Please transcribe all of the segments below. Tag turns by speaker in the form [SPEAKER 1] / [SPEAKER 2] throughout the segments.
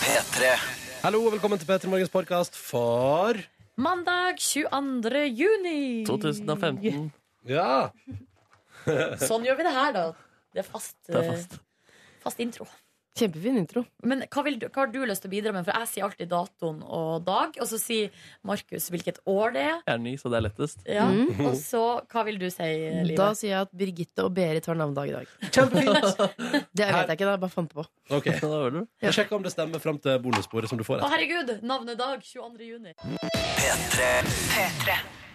[SPEAKER 1] P3.
[SPEAKER 2] Hallo og velkommen til Petter Morgens podkast for
[SPEAKER 3] Mandag 22. juni.
[SPEAKER 4] 2015.
[SPEAKER 2] Ja!
[SPEAKER 3] Sånn gjør vi det her, da. Det er fast,
[SPEAKER 4] Det er fast.
[SPEAKER 3] eh, fast intro.
[SPEAKER 5] Kjempefin intro.
[SPEAKER 3] Men hva, vil du, hva har du lyst til å bidra med? For jeg sier alltid datoen og dag, og så sier Markus hvilket år det er.
[SPEAKER 4] Jeg er ny, så det er lettest.
[SPEAKER 3] Ja. Og så hva vil du si,
[SPEAKER 5] Da
[SPEAKER 3] Line?
[SPEAKER 5] sier jeg at Birgitte og Berit har navnedag i dag.
[SPEAKER 2] Kjempefint!
[SPEAKER 5] Det vet jeg ikke, da. Jeg bare fant det på.
[SPEAKER 2] OK.
[SPEAKER 4] Ja, da hører du.
[SPEAKER 2] Jeg sjekker om det stemmer fram til bonussporet som du får.
[SPEAKER 3] Å,
[SPEAKER 2] etter.
[SPEAKER 3] herregud! Navnedag 22. juni.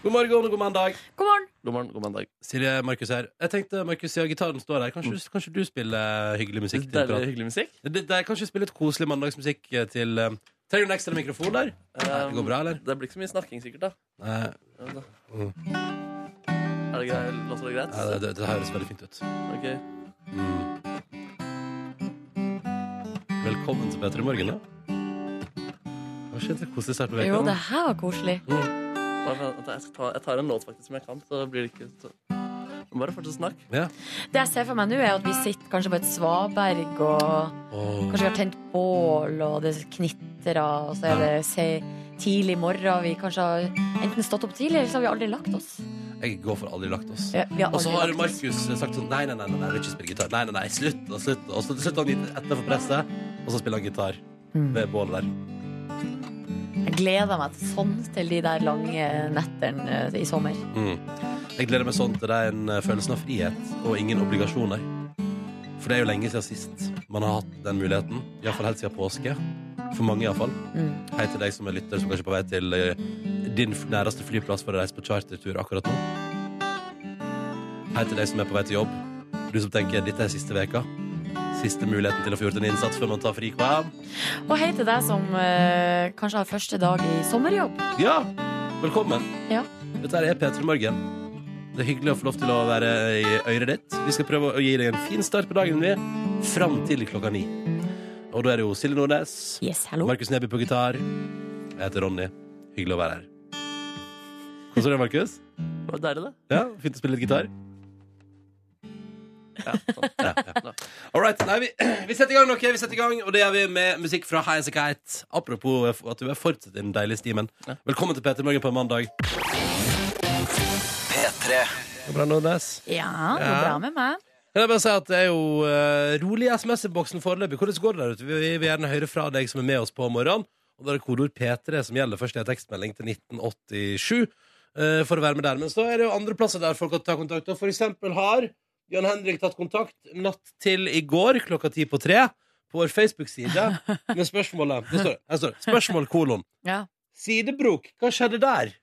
[SPEAKER 2] God morgen og god mandag.
[SPEAKER 3] God morgen!
[SPEAKER 4] God morgen, god mandag.
[SPEAKER 2] Silje Markus her. Jeg tenkte, Markus, siden gitaren står der, kanskje,
[SPEAKER 3] Mm.
[SPEAKER 2] kanskje du spiller eh, hyggelig musikk? til
[SPEAKER 4] Deilig,
[SPEAKER 2] praten?
[SPEAKER 4] hyggelig musikk.
[SPEAKER 2] Det, det er kanskje spille litt koselig mandagsmusikk eh, til eh, Trenger du en ekstra mikrofon der? Nei, det går bra, eller?
[SPEAKER 4] Um, Det blir ikke så mye snakking, sikkert. da
[SPEAKER 2] Nei,
[SPEAKER 4] Ja, da. Er det greit? Låter det greit?
[SPEAKER 2] nei, det, det, det høres veldig fint ut. Mm.
[SPEAKER 4] Ok.
[SPEAKER 2] Velkommen til Petter i morgen, da. Det var ikke en koselig start på veka.
[SPEAKER 3] Jo, det her var koselig.
[SPEAKER 4] Bare vent, Jeg, skal ta, jeg tar en låt faktisk som jeg kan, så blir det ikke så... Men Bare fortsett å snakke.
[SPEAKER 2] Ja.
[SPEAKER 3] Det jeg ser for meg nå, er at vi sitter kanskje på et svaberg, og
[SPEAKER 2] Åh.
[SPEAKER 3] kanskje vi har tent bål, og det knitrer, og så er det se, tidlig morgen. Vi kanskje har enten stått opp tidlig, eller så har vi aldri lagt oss.
[SPEAKER 2] Jeg går for aldri lagt oss.
[SPEAKER 3] Ja, vi har
[SPEAKER 2] Og så
[SPEAKER 3] aldri
[SPEAKER 2] har
[SPEAKER 3] lagt oss.
[SPEAKER 2] Markus sagt sånn Nei, nei, nei, nei, nei, jeg vil ikke spille gitar. Nei, nei, nei, slutt og slutt. Og så til slutt har han gitt etter for presset, og så spiller han gitar
[SPEAKER 3] Mm.
[SPEAKER 2] ved bålet der.
[SPEAKER 3] Jeg gleder meg til sånn til de der lange nettene eh, i sommer.
[SPEAKER 2] Mm. Jeg gleder meg sånn til den eh, følelsen av frihet og ingen obligasjoner. For det er jo lenge siden sist man har hatt den muligheten. Iallfall helt siden påske. For mange, iallfall.
[SPEAKER 3] Mm.
[SPEAKER 2] Hei til deg som er lytter, som kanskje er på vei til eh, din f- næreste flyplass for å reise på chartertur akkurat nå. Hei til deg som er på vei til jobb. Du som tenker dette er siste veka. Siste muligheten til å få gjort en innsats før man tar fri. Hva?
[SPEAKER 3] Og hei til deg som eh, kanskje har første dag i sommerjobb.
[SPEAKER 2] Ja, velkommen.
[SPEAKER 3] Ja.
[SPEAKER 2] Dette her er P3 Morgen. Det er hyggelig å få lov til å være i øret ditt. Vi skal prøve å gi deg en fin start på dagen vi fram til klokka ni. Og da er det jo Silje Nordnes,
[SPEAKER 3] Yes, hallo.
[SPEAKER 2] Markus Neby på gitar. Jeg heter Ronny. Hyggelig å være her. Hvordan er det, Markus?
[SPEAKER 4] Det var deilig, det.
[SPEAKER 2] Ja, Fint å spille litt gitar.
[SPEAKER 4] Ja, sånn.
[SPEAKER 2] Ja, ja. All right. Nei, vi, vi setter i gang noe, vi setter i gang, og det gjør vi med musikk fra High As A Kite. Apropos at du er fortsatt i den deilige stimen.
[SPEAKER 4] Ja.
[SPEAKER 2] Velkommen til Peter Morgen på en mandag.
[SPEAKER 1] P3.
[SPEAKER 2] Går det bra, Nordnes?
[SPEAKER 3] Ja, det går
[SPEAKER 2] Ja.
[SPEAKER 3] bra med meg.
[SPEAKER 2] Kan jeg bare si at Det er jo eh, rolig i SMS-boksen foreløpig. Hvordan går det der ute? Vi vi vil gjerne høre fra deg som er med oss på morgenen. Og Da er det kodeord P3 som gjelder. Først er det tekstmelding til 1987 eh, for å være med der. Men så er det jo andre plasser der folk kan ta kontakt. Og for eksempel har Jan Henrik tatt kontakt natt til i går klokka ti på tre på vår Facebook-side med spørsmålet Det står, her står det. Spørsmål kolon.
[SPEAKER 3] Ja.
[SPEAKER 2] Sidebrok, hva skjedde der?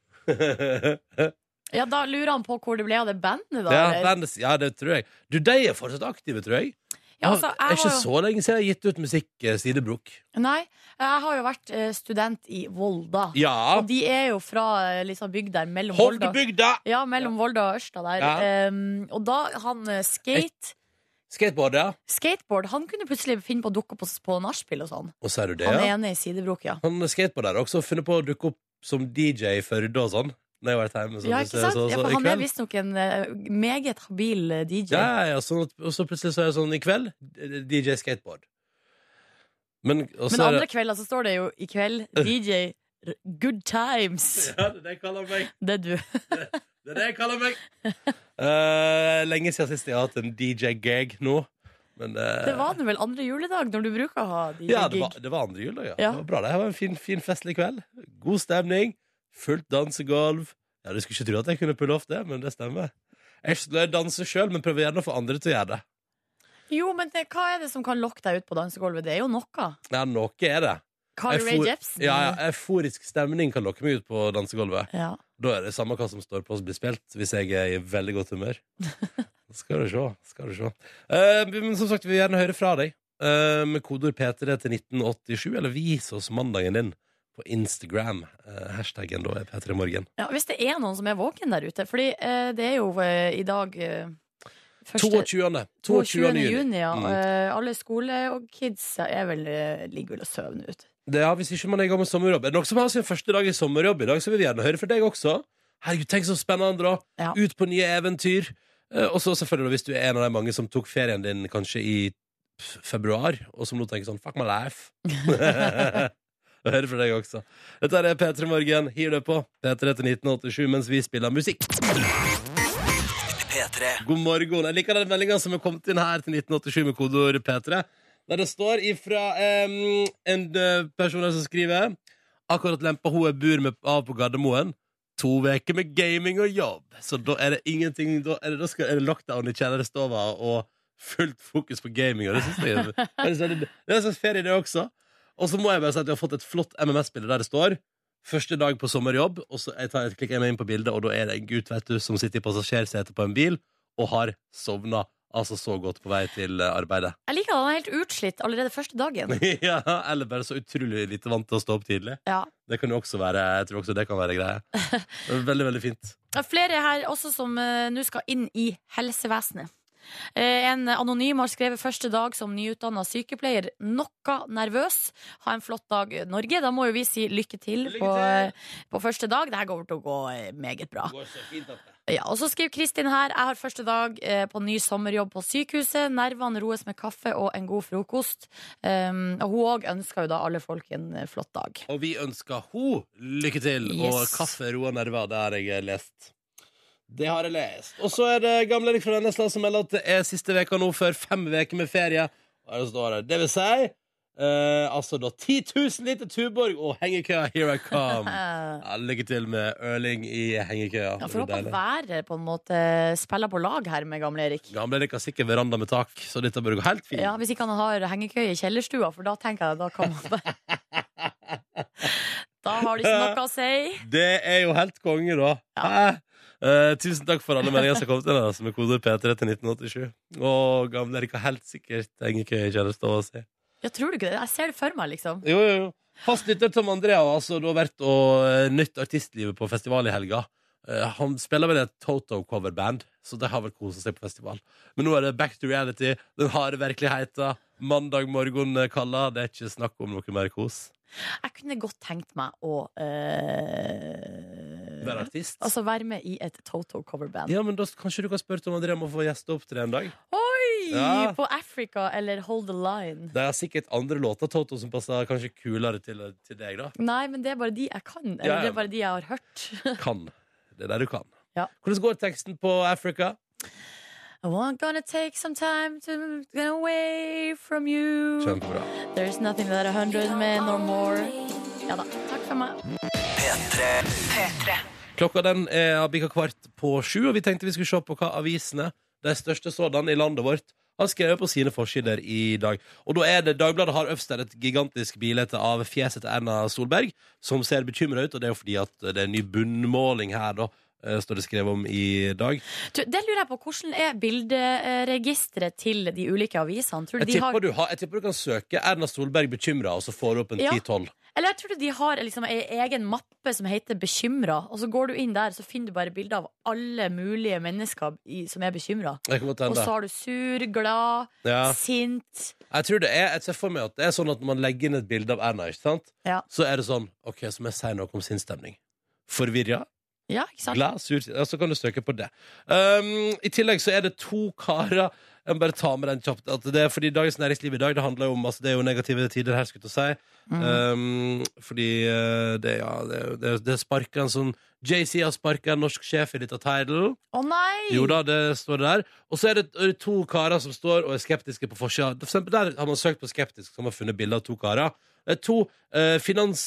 [SPEAKER 3] Ja, Da lurer han på hvor det ble av det bandet, da.
[SPEAKER 2] ja,
[SPEAKER 3] eller?
[SPEAKER 2] bandet- ja, det tror jeg. Du, de er fortsatt aktive, tror jeg.
[SPEAKER 3] Ja, altså,
[SPEAKER 2] det er
[SPEAKER 3] jeg
[SPEAKER 2] ikke
[SPEAKER 3] har jo-
[SPEAKER 2] så lenge siden jeg har gitt ut musikk, eh, Sidebrok.
[SPEAKER 3] Nei, jeg har jo vært eh, student i Volda.
[SPEAKER 2] Ja.
[SPEAKER 3] Og de er jo fra eh, liksom, bygda der mellom Volda
[SPEAKER 2] Hovdebygda!
[SPEAKER 3] Ja, mellom Volda og Ørsta der.
[SPEAKER 2] Ja.
[SPEAKER 3] Em, og da han eh, skate,
[SPEAKER 2] Skateboard, ja.
[SPEAKER 3] skateboard Han kunne plutselig finne på å dukke opp på, på nachspiel og sånn.
[SPEAKER 2] Og så er du det,
[SPEAKER 3] Han
[SPEAKER 2] ja.
[SPEAKER 3] ene i sidebrok, ja.
[SPEAKER 2] Han skateboarder har også funnet på å dukke opp som DJ i Førde og sånn. Når jeg har vært hjemme. Så,
[SPEAKER 3] Ja,
[SPEAKER 2] så,
[SPEAKER 3] ikke
[SPEAKER 2] så,
[SPEAKER 3] sant?
[SPEAKER 2] så,
[SPEAKER 3] ja,
[SPEAKER 2] i
[SPEAKER 3] for han er
[SPEAKER 2] kveld.
[SPEAKER 3] visstnok en eh, meget habil eh, DJ.
[SPEAKER 2] ja, ja, ja, sånn at, og så plutselig så er det sånn i kveld eh, DJ skateboard. Men, og
[SPEAKER 3] Men
[SPEAKER 2] så er
[SPEAKER 3] andre
[SPEAKER 2] det
[SPEAKER 3] kvelder så står det jo i kveld DJ R- Good Times.
[SPEAKER 2] Ja, det er det jeg kaller meg.
[SPEAKER 3] Det er du.
[SPEAKER 2] Det er det jeg kaller meg. Eh, lenge siden sist jeg har hatt en DJ-gag nå. Men eh,
[SPEAKER 3] Det var nå vel andre juledag, når du bruker å ha DJ-gig.
[SPEAKER 2] Ja, det var, det var andre juledag, ja.
[SPEAKER 3] Ja.
[SPEAKER 2] Det var bra, det her var en fin, fin festlig kveld. God stemning, fullt dansegolv. Ja, du skulle ikke tro at jeg kunne pulle off det, men det stemmer. Jeg er ikke så glad i å danse sjøl, men prøver gjerne å få andre til å gjøre det.
[SPEAKER 3] Jo, men det, hva er det som kan lokke deg ut på dansegulvet? Det er jo noe.
[SPEAKER 2] Ja, noe er det. Jeg
[SPEAKER 3] Carl Ray
[SPEAKER 2] for-
[SPEAKER 3] Jepsen.
[SPEAKER 2] Ja, ja, Euforisk stemning kan lokke meg ut på dansegolvet.
[SPEAKER 3] Ja.
[SPEAKER 2] Da er det samme hva som står på oss blir spilt, hvis jeg er i veldig godt humør. Skal du se. Skal du se. Eh, men som sagt, vi vil gjerne høre fra deg. Eh, med kodeord P3 til 1987, eller vis oss mandagen din på Instagram. Eh, hashtaggen da er P3morgen.
[SPEAKER 3] Ja, hvis det er noen som er våken der ute, fordi eh, det er jo eh, i dag eh, første-
[SPEAKER 2] 22. 22. juni.
[SPEAKER 3] ja.
[SPEAKER 2] Mm.
[SPEAKER 3] Eh, alle skole og kids er vel, eh, ligger vel og sover nå ute.
[SPEAKER 2] Det er, hvis ikke man er i gang med sommerjobb. Er det noen som har sin første dag i sommerjobb i dag, så vil vi gjerne høre fra deg også. Herregud, tenk så spennende, da.
[SPEAKER 3] Ja.
[SPEAKER 2] Ut på nye eventyr. Eh, og så selvfølgelig, hvis du er en av de mange som tok ferien din kanskje i februar, og som nå tenker sånn Fuck my life. Jeg hører fra deg også. Dette er P3 Morgen. Hiv det på. P3 til 1987 mens vi spiller musikk. God morgen. Jeg liker den meldinga som er kommet inn her til 1987 med kodeord P3. Der det står ifra em, en eh, person her som skriver Akkurat lempa hun jeg bor med av på Gardermoen. To uker med gaming og jobb. Så da er det ingenting Da er det, da skal, er det lockdown i kjellerstova og fullt fokus på gaming. Og det synes jeg er- det er en slags- det er en slags ferie, det også. Og så må jeg bare si at jeg har fått et flott MMS-bilde der det står Første dag på sommerjobb, og så jeg tar, klikker jeg meg inn på bildet, og da er det en gutt vet du, som sitter i passasjersetet på en bil og har sovna altså så godt på vei til eh, arbeidet.
[SPEAKER 6] Jeg liker at han er helt utslitt allerede første dagen.
[SPEAKER 2] ja, eller bare så utrolig lite vant til å stå opp tidlig.
[SPEAKER 6] Ja.
[SPEAKER 2] Det kan jo også være jeg tror også det kan være greie. Veldig, veldig fint.
[SPEAKER 3] Det er flere her også som eh, nå skal inn i helsevesenet. Eh, en anonym har skrevet første dag som nyutdanna sykepleier. Noe nervøs. Ha en flott dag, Norge. Da må jo vi si lykke til,
[SPEAKER 2] Lykke
[SPEAKER 3] På, eh,
[SPEAKER 2] til!
[SPEAKER 3] på første dag. Dette kommer til å gå eh, meget bra.
[SPEAKER 2] går så fint at det.
[SPEAKER 3] Ja, og så skriver Kristin her Jeg har første dag eh, på ny sommerjobb på sykehuset Nervene roes med kaffe og en god frokost um, Og hun også ønsker jo da alle folk en eh, flott dag
[SPEAKER 2] Og vi ønsker ho lykke til og
[SPEAKER 3] Yes.
[SPEAKER 2] kaffe, ro og nerver. Det har jeg lest. Det har jeg lest. Og så er det gamle Erik fra Vennesla som melder at det er siste veka nå før fem veker med ferie. Og her står det. Det vil si eh, altså da 10 000 liter Tuborg og hengekøya Here I Come.
[SPEAKER 3] Eh,
[SPEAKER 2] Ja, lykke til med Erling i hengekøya.
[SPEAKER 3] Ja,
[SPEAKER 2] Det
[SPEAKER 3] for
[SPEAKER 2] blir
[SPEAKER 3] håper at
[SPEAKER 2] deilig.
[SPEAKER 3] været på en måte eh, spiller på lag her med gamle Erik
[SPEAKER 2] Gamle Erik har sikkert veranda med tak, så dette bør gå helt fint.
[SPEAKER 3] ja, hvis ikke han har hengekøy i kjellerstua For da tenker jeg, da kan man Da har de ikke noe å si
[SPEAKER 2] Det er jo helt konge, da. Hæ? Eh, tusen takk for alle meldinger som kom til deg, som er kode P3 til 1987. Og gamle Erik har helt sikkert hengekøye kjæreste å si.
[SPEAKER 3] Jeg tror du ikke det, jeg ser det for meg liksom
[SPEAKER 2] Jo, jo, jo. Fast lytter Tom Andrea har altså da vært og eh, nytt artistlivet på festival i helga. Eh, han spiller vel et Toto-coverband, så det har vel kosa seg på festival. Men nå er det back to reality, den harde virkeligheten. Mandag morgen eh, kalla, det er ikke snakk om noe mer kos.
[SPEAKER 3] Jeg kunne godt tenkt meg å eh,
[SPEAKER 2] Være artist.
[SPEAKER 3] Altså være med i et Toto coverband
[SPEAKER 2] Ja, men da s- kanskje du kan spørre Tom Andrea om å få gjeste opp til det en dag?
[SPEAKER 3] Oi!
[SPEAKER 2] Ja.
[SPEAKER 3] På Africa eller Hold the Line.
[SPEAKER 2] Det er sikkert andre låter Toto som passer kanskje kulere til, til deg, da.
[SPEAKER 3] Nei, men det er bare de jeg kan. Eller
[SPEAKER 2] Ja,
[SPEAKER 3] det
[SPEAKER 2] ja.
[SPEAKER 3] er bare de jeg har hørt.
[SPEAKER 2] Kan. Det er der du kan.
[SPEAKER 3] Ja.
[SPEAKER 2] Hvordan går teksten på Africa?
[SPEAKER 3] I want gonna take some time to get away from you.
[SPEAKER 2] Kjempebra.
[SPEAKER 3] There's nothing that a hundred men or more. Ja da. Takk for meg.
[SPEAKER 2] Klokka den er bikka kvart på sju, og vi tenkte vi skulle se på hva avisene, de største sådan i landet vårt, har skrevet på sine forsider i dag. Og da er det Dagbladet har øverst der et gigantisk bilde av fjeset til Erna Solberg, som ser bekymra ut, og det er jo fordi at det er en ny bunnmåling her, da, eh, står det skrevet om i dag.
[SPEAKER 3] Du, det lurer jeg på. Hvordan er bilderegisteret til de ulike avisene? Tror du
[SPEAKER 2] Jeg
[SPEAKER 3] de
[SPEAKER 2] tipper,
[SPEAKER 3] har,
[SPEAKER 2] du, har, jeg tipper du kan søke Erna Solberg bekymra, og så får du opp en
[SPEAKER 3] Ja.
[SPEAKER 2] 10-12.
[SPEAKER 3] eller jeg tror du de har liksom ei egen mappe som heter Bekymra, og så går du inn der, så finner du bare bilder av alle mulige mennesker i, som er bekymra.
[SPEAKER 2] Det kan godt
[SPEAKER 3] Og
[SPEAKER 2] hende.
[SPEAKER 3] så har du sur, glad,
[SPEAKER 2] Ja.
[SPEAKER 3] sint
[SPEAKER 2] Jeg tror det er, jeg ser for meg at det er sånn at når man legger inn et bilde av Erna, ikke sant?
[SPEAKER 3] Ja.
[SPEAKER 2] så er det sånn OK, så må jeg si noe om sinnsstemning. Forvirra,
[SPEAKER 3] Ja, ikke sant?
[SPEAKER 2] glad, sur ja, Så kan du søke på det. Um, I tillegg så er det to karer Jeg må bare ta med den kjapt. At det er fordi Dagens Næringsliv i dag det handler jo om altså, Det er jo negative tider her, skulle jeg til å si.
[SPEAKER 3] Mm.
[SPEAKER 2] Um, fordi eh, det, ja, det, det, det sparker en sånn JC har sparka en norsk sjef i dette title.
[SPEAKER 3] Å nei!
[SPEAKER 2] Jo da, det står det der. Og så er det er det to karer som står og er skeptiske på forsida. For eksempel der har man søkt på skeptisk, så har man funnet bilder av to karer. Det er to eh,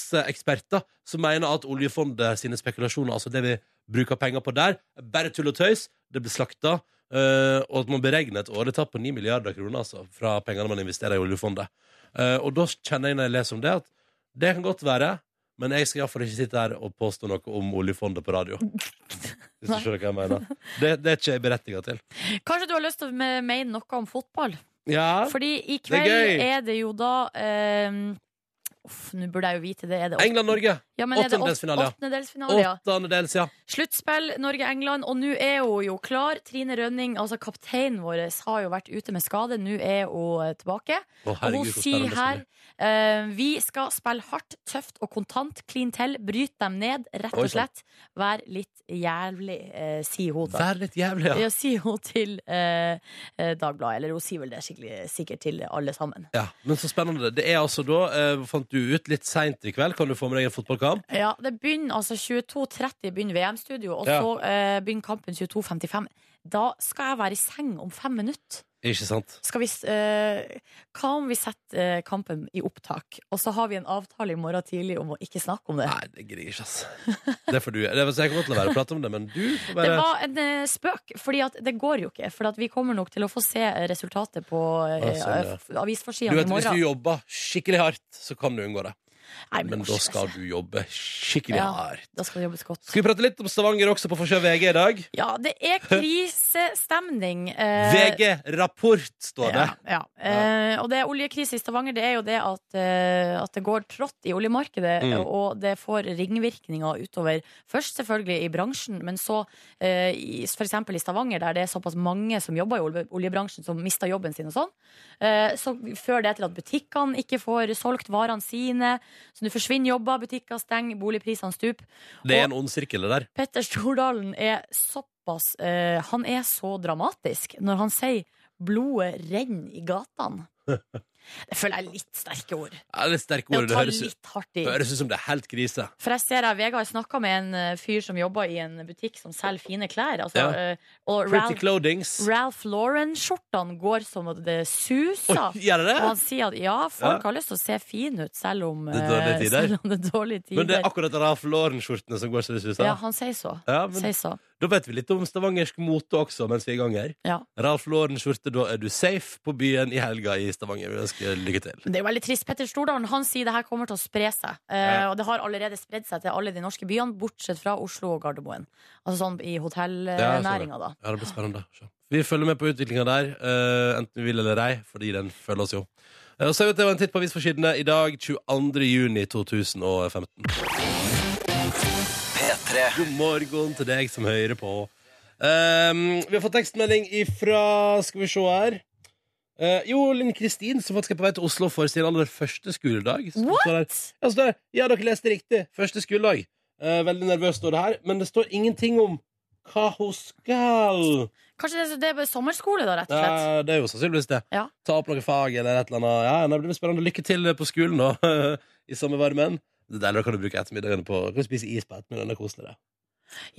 [SPEAKER 2] finanseksperter som mener at oljefondet sine spekulasjoner, altså det vi bruker penger på der, er bare tull og tøys. Det blir slakta. eh, og at man beregner et årlig tap på 9 milliarder kroner altså, fra pengene man investerer i oljefondet. Eh, og da kjenner jeg når jeg leser om det, at det kan godt være, men jeg skal iallfall ikke sitte her og påstå noe om oljefondet på radio. Hvis du skjønner hva jeg mener. Det, det er ikke jeg berettiget til.
[SPEAKER 3] Kanskje du har lyst til å me- mene noe om fotball?
[SPEAKER 2] Ja.
[SPEAKER 3] Fordi i
[SPEAKER 2] Det er
[SPEAKER 3] kveld
[SPEAKER 2] gøy.
[SPEAKER 3] er, det jo da eh, ehm, Uff, nå burde jeg jo vite det. Er det
[SPEAKER 2] England-Norge.
[SPEAKER 3] Ja, men er det åt-
[SPEAKER 2] Åttendedelsfinale, ja.
[SPEAKER 3] Åttendedelsfinale, ja.
[SPEAKER 2] Åttende dels, ja.
[SPEAKER 3] Sluttspill Norge-England, og nå er hun jo klar. Trine Rønning, altså kapteinen vår, har jo vært ute med skade. Nå er hun eh, tilbake.
[SPEAKER 2] Å,
[SPEAKER 3] Og
[SPEAKER 2] herregud,
[SPEAKER 3] hun
[SPEAKER 2] så
[SPEAKER 3] sier
[SPEAKER 2] spennende det
[SPEAKER 3] her
[SPEAKER 2] blir.
[SPEAKER 3] eh, Vi skal spille hardt, tøft og kontant. Klin til. Bryt dem ned, rett
[SPEAKER 2] Oi,
[SPEAKER 3] og
[SPEAKER 2] sånn. sant.
[SPEAKER 3] slett. Vær litt jævlig, eh, sier hun da.
[SPEAKER 2] Vær litt jævlig, ja.
[SPEAKER 3] Ja, sier hun til eh, eh, Dagbladet. Eller hun sier vel det skikkelig sikkert til alle sammen.
[SPEAKER 2] ja. Men så spennende. Det er altså da, eh, fant du ut litt seint i kveld, kan du få med deg en fotballkamp?
[SPEAKER 3] Ja, det begynner altså 22.30 begynner VM-studio, og
[SPEAKER 2] Ja.
[SPEAKER 3] så eh, begynner kampen 22.55. Da skal jeg være i seng om fem minutter.
[SPEAKER 2] Ikke sant?
[SPEAKER 3] Skal vi, s- eh, hva om vi setter eh, kampen i opptak, og så har vi en avtale i morgen tidlig om å ikke snakke om det?
[SPEAKER 2] Nei, det gidder jeg ikke, ass. Det får du gjøre. Det er- så Jeg kan godt la være å prate om det, men du får
[SPEAKER 3] Det
[SPEAKER 2] bare
[SPEAKER 3] var en eh, spøk, fordi at det går jo ikke. For at vi kommer nok til å få se eh, resultatet på eh,
[SPEAKER 2] Ah, sånn, ja.
[SPEAKER 3] f-
[SPEAKER 2] du
[SPEAKER 3] avisforsidene
[SPEAKER 2] vet,
[SPEAKER 3] i
[SPEAKER 2] Hvis
[SPEAKER 3] morgen.
[SPEAKER 2] du jobber skikkelig hardt, så kan du unngå det.
[SPEAKER 3] Nei, altså.
[SPEAKER 2] Men da skal du jobbe skikkelig
[SPEAKER 3] Ja.
[SPEAKER 2] hardt.
[SPEAKER 3] Da skal det jobbes godt.
[SPEAKER 2] Skal vi prate litt om Stavanger også på Forsida VG i dag?
[SPEAKER 3] Ja, det er krisestemning. eh,
[SPEAKER 2] VG-rapport, står
[SPEAKER 3] Ja,
[SPEAKER 2] det.
[SPEAKER 3] ja. Eh, og det er oljekrise i Stavanger. Det er jo det at, eh, at det går trått i oljemarkedet,
[SPEAKER 2] Mm.
[SPEAKER 3] og det får ringvirkninger utover først selvfølgelig i bransjen, men så eh, i- for eksempel i Stavanger, der det er såpass mange som jobber i olje- oljebransjen, som mister jobben sin og sånn. Eh, så fører det til at butikkene ikke får solgt varene sine, så det forsvinner jobber, butikker stenger, boligprisene stuper.
[SPEAKER 2] Det er en ond sirkel, det der.
[SPEAKER 3] Petter Stordalen er såpass eh, Han er så dramatisk når han sier 'blodet renner i gatene'. Det føler jeg er litt sterke ord.
[SPEAKER 2] Ja, det er sterke
[SPEAKER 3] Det er
[SPEAKER 2] ord.
[SPEAKER 3] å
[SPEAKER 2] Det
[SPEAKER 3] ta
[SPEAKER 2] høres, ut-
[SPEAKER 3] litt hardt i.
[SPEAKER 2] høres ut som det er helt krise.
[SPEAKER 3] For jeg ser at Vegard snakka med en eh, fyr som jobber i en butikk som selger fine klær. Altså,
[SPEAKER 2] Ja.
[SPEAKER 3] eh, og
[SPEAKER 2] Pretty
[SPEAKER 3] Ralph,
[SPEAKER 2] clothings.
[SPEAKER 3] Ralph Lauren-skjortene går som at det suser.
[SPEAKER 2] Oi, Gjør det
[SPEAKER 3] Og
[SPEAKER 2] det?
[SPEAKER 3] han sier at ja, folk
[SPEAKER 2] Ja.
[SPEAKER 3] har lyst til å se fine ut selv om
[SPEAKER 2] Det er dårlige
[SPEAKER 3] eh,
[SPEAKER 2] tider.
[SPEAKER 3] selv om det er dårlige tider.
[SPEAKER 2] Men det er akkurat Ralph Lauren-skjortene som går så det suser.
[SPEAKER 3] ja,
[SPEAKER 2] Ja,
[SPEAKER 3] han sier så.
[SPEAKER 2] men
[SPEAKER 3] Sier så.
[SPEAKER 2] Da vet vi litt om stavangersk mote også mens vi er i gang her.
[SPEAKER 3] Ja.
[SPEAKER 2] Ralf Lauren-skjorte, da er du safe på byen i helga i Stavanger. Vi ønsker lykke til.
[SPEAKER 3] Men Det er jo veldig trist. Petter Stordalen han sier det her kommer til å spre seg. Eh,
[SPEAKER 2] Ja.
[SPEAKER 3] Og det har allerede spredd seg til alle de norske byene, bortsett fra Oslo og Gardermoen. Altså sånn i
[SPEAKER 2] Ja, jeg så
[SPEAKER 3] hotellnæringa, da.
[SPEAKER 2] Ja, det blir spennende. å se. Vi følger med på utviklinga der, eh, enten vi vil eller ei, fordi den følger oss jo. Eh, Og så er det en titt på avisforsidene i dag, 22. juni 2015. God morgen til deg som hører på. Um, vi har fått tekstmelding ifra Skal vi se her. Eh, jo, Linn Kristin, som faktisk er på vei til Oslo for sin aller første skoledag. som står der. Ja, så der. Altså, ja, dere leste riktig. Første skoledag. Eh, veldig nervøs står det her, men det står ingenting om hva hun skal.
[SPEAKER 3] Kanskje det, er- det er bare sommerskole, da, rett og slett.
[SPEAKER 2] Ja, det er jo sannsynligvis det.
[SPEAKER 3] Ja.
[SPEAKER 2] Ta opp noen fag eller et eller annet. Ja, nei, det blir spennende. Lykke til på skolen nå, i sommervarmen. Det er deilig, da kan du bruke ettermiddagene på Kan du spise is på ettermiddagen. Det er koselig, det.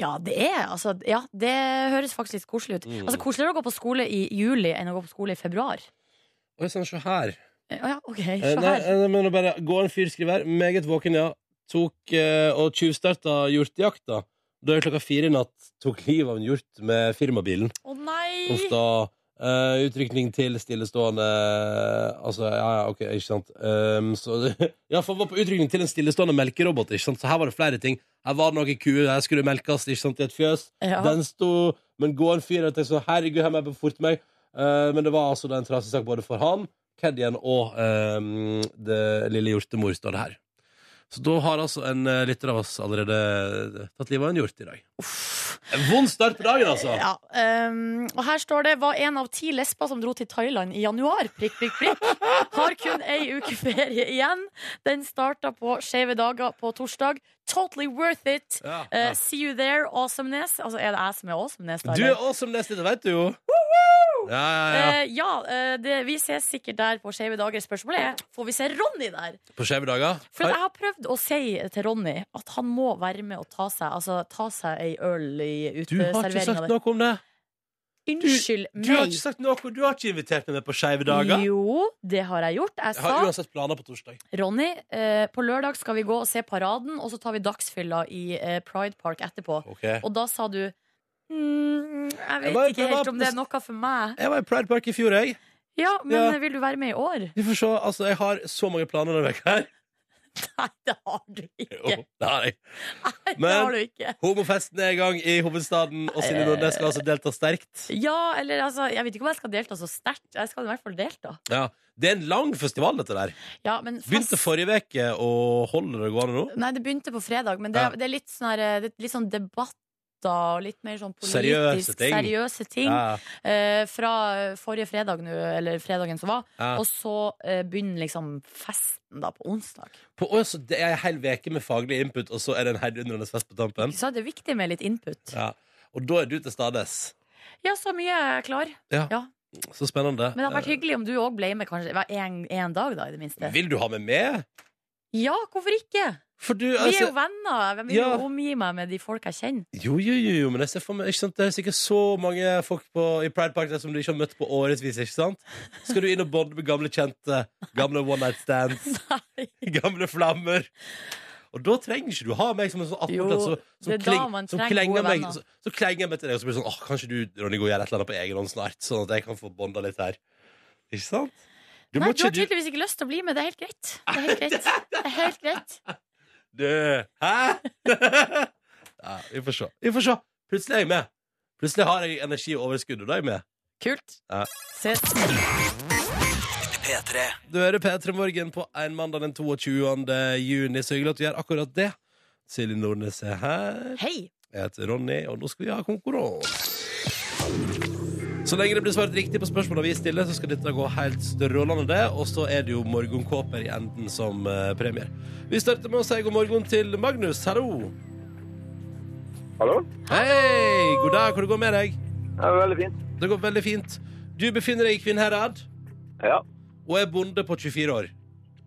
[SPEAKER 3] Ja, det er altså Ja, det høres faktisk litt koselig ut.
[SPEAKER 2] Mm.
[SPEAKER 3] Altså koseligere å gå på skole i juli enn å gå på skole i februar.
[SPEAKER 2] Oi sann, se her.
[SPEAKER 3] Eh, Å ja, OK, se
[SPEAKER 2] Eh, Nei,
[SPEAKER 3] her.
[SPEAKER 2] eh, men bare gå en fyr skriver her. Meget våken, ja. Tok eh, og tjuvstarta hjortejakta. Da er klokka fire i natt tok livet av en hjort med firmabilen.
[SPEAKER 3] Å nei!
[SPEAKER 2] Uff da. Eh, utrykning til stillestående Altså, ja, ja, ok, ikke sant. Ehm, så, ja, for det var på utrykning til en stillestående melkerobot, ikke sant. Så her var det flere ting. Her var det noen kuer, her skulle det melkes, ikke sant, i et fjøs.
[SPEAKER 3] Ja.
[SPEAKER 2] Den sto Men gå en fyr og tenkte sånn, herregud, her må jeg bare forte meg. Eh, men det var altså da en trasig sak både for han, Caddien og ehm, det lille hjortemor, står det her. Så da har altså en eh, lytter av oss allerede tatt livet av en hjort i dag. En vond start på dagen, altså!
[SPEAKER 3] Ja, ehm, og her står det Var en av ti lesber som dro til Thailand i januar Prikk, prikk, prikk Har kun ei uke ferie igjen Den startet på skjeve dager på torsdag Totally worth it
[SPEAKER 2] Ja,
[SPEAKER 3] Eh,
[SPEAKER 2] ja.
[SPEAKER 3] See you there, awesomeness Altså er det jeg som er awesomeness da,
[SPEAKER 2] Du
[SPEAKER 3] eller?
[SPEAKER 2] er awesome neste, det vet du jo. Ja, ja, ja.
[SPEAKER 3] Eh, ja, eh, det, vi ses sikkert der på skjeve dager Spørsmålet er, får vi se Ronny der?
[SPEAKER 2] På skjeve dager.
[SPEAKER 3] For at jeg har prøvd å si til Ronny At han må være med og ta seg Altså ta seg ei øl i
[SPEAKER 2] Du har ikke sagt
[SPEAKER 3] uteserveringen der
[SPEAKER 2] noe om det.
[SPEAKER 3] Unnskyld
[SPEAKER 2] Du har
[SPEAKER 3] meg
[SPEAKER 2] ikke sagt noe, du har ikke invitert meg med på skjeve dager.
[SPEAKER 3] Jo, det har jeg gjort Jeg
[SPEAKER 2] Jeg
[SPEAKER 3] sa
[SPEAKER 2] har uansett planer på torsdag.
[SPEAKER 3] Ronny, eh, på lørdag skal vi gå og se paraden, og så tar vi dagsfylla i eh, Pride Park etterpå.
[SPEAKER 2] Jeg
[SPEAKER 3] Og da sa du mm, Jeg
[SPEAKER 2] Jeg var-
[SPEAKER 3] vet
[SPEAKER 2] jeg
[SPEAKER 3] ikke helt
[SPEAKER 2] var
[SPEAKER 3] om det er
[SPEAKER 2] på-
[SPEAKER 3] noe for meg.
[SPEAKER 2] var i Pride Park i fjor, jeg.
[SPEAKER 3] Ja, men
[SPEAKER 2] Ja.
[SPEAKER 3] vil du være med i år?
[SPEAKER 2] Vi får se, altså Jeg har så mange planer denne veka her.
[SPEAKER 3] Nei, det har du ikke.
[SPEAKER 2] Jo, nei.
[SPEAKER 3] Nei, det
[SPEAKER 2] Men-
[SPEAKER 3] har du ikke.
[SPEAKER 2] Homofesten er i gang i hovedstaden, og Silje Nordnes skal altså delta sterkt.
[SPEAKER 3] Ja, eller altså, jeg vet ikke om jeg skal delta så sterkt. Jeg skal i hvert fall delta.
[SPEAKER 2] Ja. Det er en lang festival, dette der.
[SPEAKER 3] Ja, men
[SPEAKER 2] Begynte
[SPEAKER 3] fest-
[SPEAKER 2] forrige uke, og holder det gående nå?
[SPEAKER 3] Nei, det begynte på fredag, men det,
[SPEAKER 2] Ja.
[SPEAKER 3] det er litt sånn, her, det er litt sånn debatter og litt mer sånn politisk
[SPEAKER 2] Seriøse ting.
[SPEAKER 3] seriøse ting,
[SPEAKER 2] Ja,
[SPEAKER 3] eh, fra forrige fredag nå, eller fredagen som var.
[SPEAKER 2] ja.
[SPEAKER 3] Og så eh, begynner liksom festen da på onsdag.
[SPEAKER 2] På, å, så det er en hel uke med faglig input, og så er det en heidundrende fest på tampen?
[SPEAKER 3] Så det er viktig med litt input.
[SPEAKER 2] Ja. Og da er du til stades.
[SPEAKER 3] Ja, så mye er jeg klar.
[SPEAKER 2] Så spennende.
[SPEAKER 3] Men det hadde vært hyggelig om du òg ble med kanskje hver en, en dag, da, i det minste.
[SPEAKER 2] Vil du ha meg med?
[SPEAKER 3] Ja, hvorfor ikke?
[SPEAKER 2] For du,
[SPEAKER 3] Vi er
[SPEAKER 2] altså,
[SPEAKER 3] jo venner. Jeg vil
[SPEAKER 2] Ja.
[SPEAKER 3] jo omgi meg med de folk jeg kjenner.
[SPEAKER 2] jo, jo, jo, jo, men jeg ser for meg ikke sant? Det er sikkert så mange folk på, i Pride Park der som du ikke har møtt på årevis. ikke sant? Skal du inn og bonde med gamle kjente? Gamle one night stands?
[SPEAKER 3] Nei.
[SPEAKER 2] Gamle flammer? Og da trenger ikke du ha meg som en sånn 18
[SPEAKER 3] Jo,
[SPEAKER 2] som, som,
[SPEAKER 3] det er da man
[SPEAKER 2] som
[SPEAKER 3] trenger
[SPEAKER 2] klenger
[SPEAKER 3] gode
[SPEAKER 2] meg,
[SPEAKER 3] venner.
[SPEAKER 2] så, så klenger jeg meg til deg, og så blir det sånn Åh, kanskje du Ronny, går og gjør et eller annet på egen hånd snart, sånn at jeg kan få bonda litt her. Ikke sant? Du
[SPEAKER 3] Nei,
[SPEAKER 2] må
[SPEAKER 3] du har
[SPEAKER 2] ikke du,
[SPEAKER 3] tydeligvis ikke lyst til å bli med. Det er helt greit. Det er helt greit. Det er helt greit.
[SPEAKER 2] Du, hæ? ja, vi får se. Vi får se. Plutselig er jeg med. Plutselig har jeg energi og overskudd, og da er jeg med.
[SPEAKER 3] Kult.
[SPEAKER 2] Ja.
[SPEAKER 3] Ses.
[SPEAKER 2] Du hører P3 Morgen på en mandag den 22. juni. Så hyggelig at du gjør akkurat det. Silje Nordnes er her.
[SPEAKER 3] Hei.
[SPEAKER 2] Jeg heter Ronny, og nå skal vi ha konkurranse. Så lenge det blir svart riktig på spørsmålene vi stiller, så skal dette gå helt strålende, det. Og så er det jo morgenkåper i enden som eh, premier. Vi starter med å si god morgen til Magnus. Hallo.
[SPEAKER 7] Hallo?
[SPEAKER 2] Hei! God dag. Hvordan går det med deg?
[SPEAKER 7] Det er veldig fint.
[SPEAKER 2] Det går veldig fint. Du befinner deg i Kvinnherad
[SPEAKER 7] Ja,
[SPEAKER 2] og er bonde på 24 år.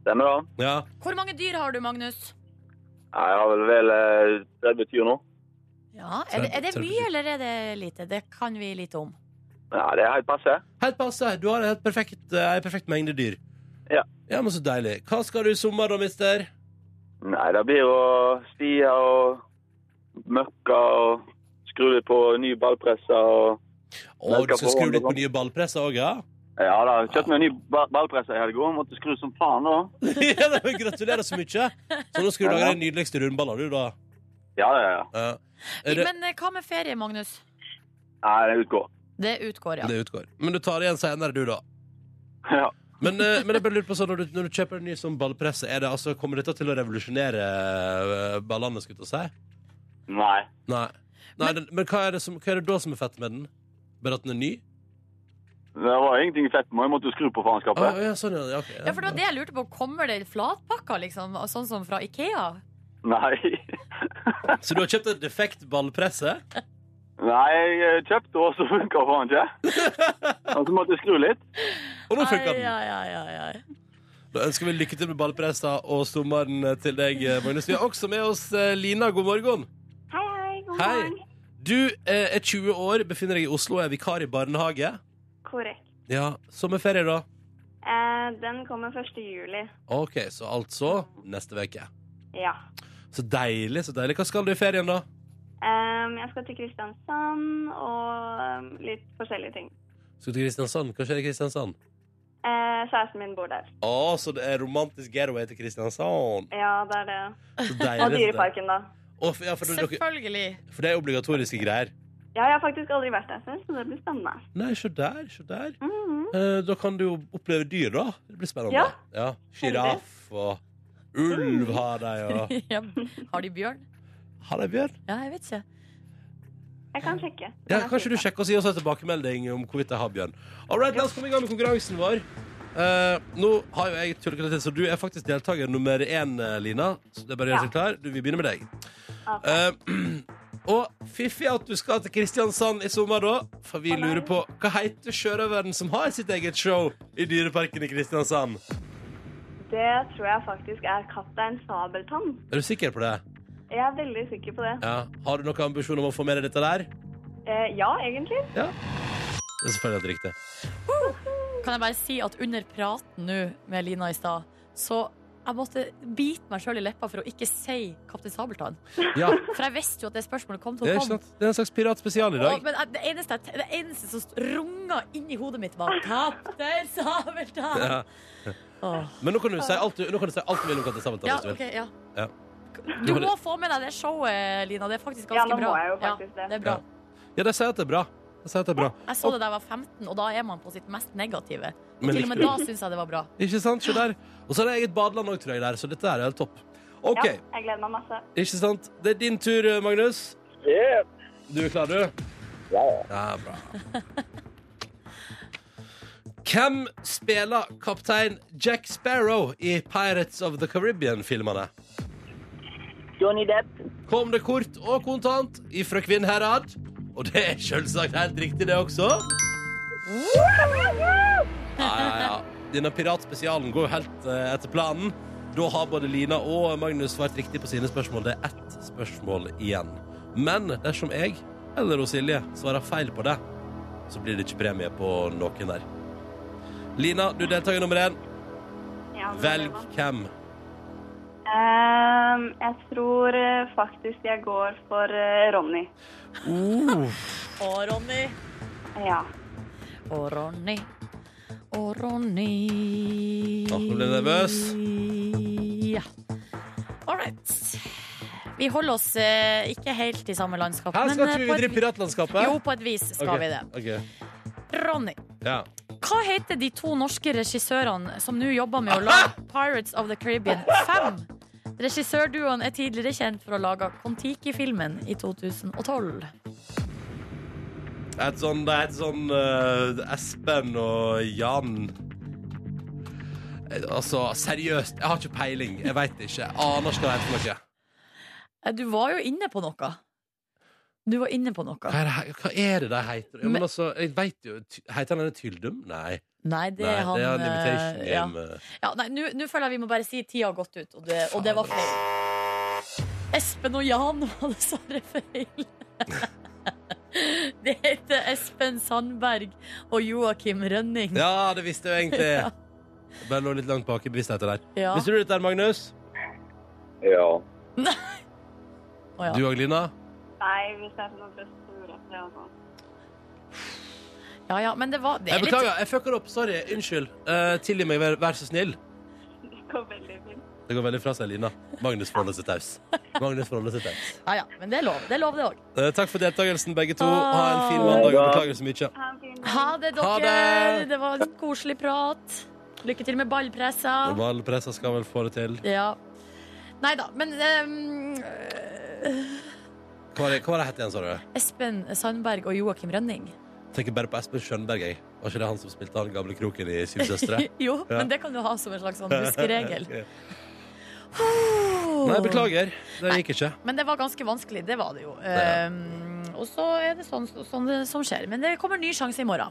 [SPEAKER 7] stemmer det.
[SPEAKER 2] Ja.
[SPEAKER 3] Hvor mange dyr har du, Magnus?
[SPEAKER 7] Nei, Jeg har vel vel eh, 30 dyr nå.
[SPEAKER 3] Ja, Er det, er det
[SPEAKER 2] Tredje-
[SPEAKER 3] mye, eller er det lite? Det kan vi lite om.
[SPEAKER 7] Ja, det er helt passe.
[SPEAKER 2] Helt passe. Du har en helt perfekt, eh, en perfekt mengde dyr.
[SPEAKER 7] Ja.
[SPEAKER 2] ja. men Så deilig. Hva skal du i sommer, da, mister?
[SPEAKER 7] Nei, det blir jo stier og møkka og skru litt på ny ballpresse og
[SPEAKER 2] Å, du
[SPEAKER 7] Jeg skal
[SPEAKER 2] skal
[SPEAKER 7] på
[SPEAKER 2] skru litt på
[SPEAKER 7] vandring.
[SPEAKER 2] nye ballpresser òg, ja?
[SPEAKER 7] Ja da, kjøpte meg en ny ba- ballpresse i helga. Måtte skru som faen da.
[SPEAKER 2] ja da, men Gratulerer så mye. Så nå skal du lage de nydeligste rundballer, du, da.
[SPEAKER 7] Ja, ja, ja.
[SPEAKER 2] Ja. Er det,
[SPEAKER 3] Men eh, hva med ferie, Magnus?
[SPEAKER 7] Nei, det utgår.
[SPEAKER 3] Det utgår, ja.
[SPEAKER 2] det utgår. Men du tar det igjen senere, du, da.
[SPEAKER 7] Ja.
[SPEAKER 2] Men, eh, men jeg bare lurer på sånn, når du, når du kjøper en ny sånn ballpresse, er det, altså, kommer dette til å revolusjonere eh, ballene, skulle jeg til å si?
[SPEAKER 7] Nei.
[SPEAKER 2] Nei. Nei men, den, men hva er, det som, hva er det da som er fett med den? Bare at den er ny?
[SPEAKER 7] Det var ingenting fett med meg. Jeg måtte skru på
[SPEAKER 2] Ah,
[SPEAKER 7] faenskapet.
[SPEAKER 2] ja, sånn, ja. ja, ok,
[SPEAKER 3] Ja, for det var det jeg lurte på. Kommer det flatpakker, liksom? Sånn som fra Ikea?
[SPEAKER 7] Nei.
[SPEAKER 2] ja. Så du har kjøpt et defekt ballpresse?
[SPEAKER 7] Nei, jeg kjøpte og så funka faen ikke. Og så måtte jeg skru litt.
[SPEAKER 2] Og nå
[SPEAKER 3] Ai,
[SPEAKER 2] funker den!
[SPEAKER 3] ai, ai, ai, ai.
[SPEAKER 2] Da ønsker vi lykke til med ballpressa og sommeren til deg, eh, Magnus. Vi har også med oss eh, Lina. God morgen.
[SPEAKER 8] Hei, hei. God
[SPEAKER 2] Hei.
[SPEAKER 8] morgen.
[SPEAKER 2] Du eh, er 20 år, befinner deg i Oslo, er vikar i barnehage.
[SPEAKER 8] Korrekt.
[SPEAKER 2] Ja, Sommerferie, da?
[SPEAKER 8] Eh, den kommer 1. juli.
[SPEAKER 2] OK, så altså neste uke.
[SPEAKER 8] Ja.
[SPEAKER 2] Så deilig, så deilig. Hva skal du i ferien, da?
[SPEAKER 8] Em, jeg skal til Kristiansand og em, litt forskjellige ting.
[SPEAKER 2] Skal du til Kristiansand? Hva skjer i Kristiansand?
[SPEAKER 8] Eh, kjæresten min bor der.
[SPEAKER 2] Å, så det er romantisk getaway til Kristiansand.
[SPEAKER 8] Ja, det er det.
[SPEAKER 2] Så deilig.
[SPEAKER 8] Og Dyreparken, da.
[SPEAKER 2] Å, for, ja, for, dere,
[SPEAKER 3] Selvfølgelig.
[SPEAKER 2] for det er obligatoriske greier.
[SPEAKER 8] Ja, jeg har faktisk aldri vært der før, så det blir spennende.
[SPEAKER 2] Nei, se der, se der.
[SPEAKER 8] Mhm.
[SPEAKER 2] Eh, da kan du jo oppleve dyr, da. Det blir spennende.
[SPEAKER 8] Ja. Mm.
[SPEAKER 2] ja. Sjiraff og ulv har de, og
[SPEAKER 3] Ja. Har de bjørn?
[SPEAKER 2] Har de bjørn?
[SPEAKER 3] Ja, jeg vet ikke.
[SPEAKER 8] Jeg kan sjekke.
[SPEAKER 2] Ja, kanskje du sjekker og gir oss en tilbakemelding om hvorvidt de har bjørn. All right, la oss komme i gang med konkurransen vår. Eh, nå har jo jeg tullet til, så du er faktisk deltaker nummer én, eh, Lina. Så det er bare å gjøre seg klar. Du, vi begynner med deg.
[SPEAKER 8] Ok.
[SPEAKER 2] Eh, og fiffig at du skal til Kristiansand i sommer, da. For vi lurer på hva heter sjørøveren som har sitt eget show i Dyreparken i Kristiansand?
[SPEAKER 8] Det tror jeg faktisk er Kaptein Sabeltann.
[SPEAKER 2] Er du sikker på det?
[SPEAKER 8] Jeg er veldig sikker på det.
[SPEAKER 2] Ja. Har du noen ambisjon om å få med deg dette der?
[SPEAKER 8] Eh, ja, egentlig.
[SPEAKER 2] Det er selvfølgelig helt riktig.
[SPEAKER 3] Kan jeg bare si at under praten nå med Lina i stad, så jeg måtte bite meg sjøl i leppa for å ikke si Kaptein Sabeltann.
[SPEAKER 2] Ja,
[SPEAKER 3] For jeg visste jo at det spørsmålet kom til å
[SPEAKER 2] det er, ikke
[SPEAKER 3] komme.
[SPEAKER 2] sant? det er en slags piratspesial i
[SPEAKER 3] Og,
[SPEAKER 2] dag.
[SPEAKER 3] men jeg- det eneste, jeg- det eneste som runga inni hodet mitt, var Kaptein Sabeltann!
[SPEAKER 2] Ja.
[SPEAKER 3] Å,
[SPEAKER 6] Åh.
[SPEAKER 2] Men nå kan du si alt du, nå kan du, si alt du vil om Katta Sabeltann.
[SPEAKER 3] Ja,
[SPEAKER 2] hvis du vil.
[SPEAKER 3] ok, ja.
[SPEAKER 2] Ja.
[SPEAKER 3] Du må få med deg det showet, Lina. Det er faktisk
[SPEAKER 8] Ja,
[SPEAKER 3] ganske
[SPEAKER 8] nå
[SPEAKER 3] bra.
[SPEAKER 8] må jeg jo faktisk
[SPEAKER 3] ja,
[SPEAKER 8] det.
[SPEAKER 3] det er bra.
[SPEAKER 2] Ja. ja, de sier at det er bra. De sier at det er bra.
[SPEAKER 3] Jeg så det da jeg var 15, og da er man på sitt mest negative.
[SPEAKER 2] Men
[SPEAKER 3] Til og med
[SPEAKER 2] likte
[SPEAKER 3] da syns jeg det var bra.
[SPEAKER 2] du? Ikke sant? Se der. Og så er det eget badeland òg, tror jeg, der, så dette er helt topp. OK,
[SPEAKER 8] Ja, jeg gleder meg masse.
[SPEAKER 2] ikke sant? Det er din tur, Magnus.
[SPEAKER 7] Yeah.
[SPEAKER 2] Du er klar, du? Ja, ja. bra. Hvem spiller kaptein Jack Sparrow i Pirates of the Caribbean-filmene?
[SPEAKER 7] Johnny Depp.
[SPEAKER 2] Kom det kort og kontant ifra Kvinnherad? Og det er selvsagt helt riktig, det også. Ja, ja, ja. Denne piratspesialen går jo helt eh, etter planen. Da har både Lina og Magnus svart riktig på sine spørsmål. Det er ett spørsmål igjen. Men dersom jeg eller hos Silje svarer feil på det, så blir det ikke premie på noen der. Lina, du er deltaker nummer én.
[SPEAKER 8] Ja, nå gleder jeg
[SPEAKER 2] Velg
[SPEAKER 8] meg.
[SPEAKER 2] hvem.
[SPEAKER 8] Ehm, jeg tror eh, faktisk jeg går for eh, Ronny.
[SPEAKER 2] Oh,
[SPEAKER 3] Å, Ronny.
[SPEAKER 8] Ja.
[SPEAKER 3] Å, Ronny. Å, Ronny.
[SPEAKER 2] Åh, nå ble jeg nervøs.
[SPEAKER 3] Ja. All right. Vi holder oss eh, ikke helt i samme landskap.
[SPEAKER 2] Her skal
[SPEAKER 3] men, eh,
[SPEAKER 2] ikke
[SPEAKER 3] på
[SPEAKER 2] vi
[SPEAKER 3] et
[SPEAKER 2] videre i
[SPEAKER 3] vi-
[SPEAKER 2] piratlandskapet.
[SPEAKER 3] Jo, på et vis skal
[SPEAKER 2] Ok,
[SPEAKER 3] vi det.
[SPEAKER 2] ok.
[SPEAKER 3] Ronny,
[SPEAKER 2] Ja.
[SPEAKER 3] hva heter de to norske regissørene som nå jobber med å lage Pirates of the Caribbean 5? Regissørduoen er tidligere kjent for å lage Kon-Tiki-filmen i 2012.
[SPEAKER 2] Det er et sånn, det er et sånn eh, Espen og Jan Eh, Altså, seriøst, jeg har ikke peiling. Jeg veit ikke. Jeg aner ikke hva det heter. for noe.
[SPEAKER 3] Eh, Du var jo inne på noe. Du var inne på noe.
[SPEAKER 2] Hva er det, he- hva er det de heter? Ja,
[SPEAKER 3] Men-
[SPEAKER 2] men altså, jeg vet jo Ty- Heter han denne Tyldum? Nei.
[SPEAKER 3] Nei, det
[SPEAKER 2] Nei,
[SPEAKER 3] er han
[SPEAKER 2] det er en
[SPEAKER 3] eh,
[SPEAKER 2] Imitation
[SPEAKER 3] ja.
[SPEAKER 2] Game. eh.
[SPEAKER 3] Ja, nei, Nå nå føler jeg vi må bare si tida har gått ut, og det, og det var feil. Espen og Jan var dessverre feil. Det heter Espen Sandberg og Joakim Rønning.
[SPEAKER 2] Ja, det visste jeg jo egentlig. Bare lå litt langt bak i bevisstheten der.
[SPEAKER 3] Ja.
[SPEAKER 2] Visste du dette, her, Magnus?
[SPEAKER 7] Ja.
[SPEAKER 3] Å, ja.
[SPEAKER 2] Du og Lina?
[SPEAKER 8] Nei, hvis jeg får noe trøst, så gjør jeg det. Altså.
[SPEAKER 3] Ja, ja, men det var det er
[SPEAKER 2] Jeg
[SPEAKER 3] litt-
[SPEAKER 2] beklager, jeg fucker opp. Sorry. Unnskyld. Eh, tilgi meg, vær, vær så snill.
[SPEAKER 8] Det går veldig fint.
[SPEAKER 2] Det går veldig fra seg, Lina. Magnus forholder seg taus. Magnus forholder seg taus.
[SPEAKER 3] Ja, ja, men det er lov, det er lov, det òg.
[SPEAKER 2] Eh, Takk for deltakelsen, begge to. Ha en fin mandag. og Beklager så mye.
[SPEAKER 8] Ha en fin dag.
[SPEAKER 3] Ha det, dere.
[SPEAKER 2] Ha
[SPEAKER 3] det.
[SPEAKER 2] det.
[SPEAKER 3] var en koselig prat. Lykke til med ballpressa.
[SPEAKER 2] Valpressa skal vel få det til.
[SPEAKER 3] Ja. Nei da, men ehm, øh,
[SPEAKER 2] Hva var det, hva var det het igjen, sa du?
[SPEAKER 3] Espen Sandberg og Joakim Rønning.
[SPEAKER 2] Tenker bare på Espen Skjønberg, jeg. Var ikke det han som spilte han gamle kroken i Syv søstre?
[SPEAKER 3] jo,
[SPEAKER 2] Ja.
[SPEAKER 3] men det kan du ha som en slags sånn huskeregel.
[SPEAKER 2] Nei, beklager. Det gikk ikke.
[SPEAKER 3] Men det var ganske vanskelig, det var det jo. Ehm, og så er det sånn, sånn det som skjer. Men det kommer ny sjanse i morgen.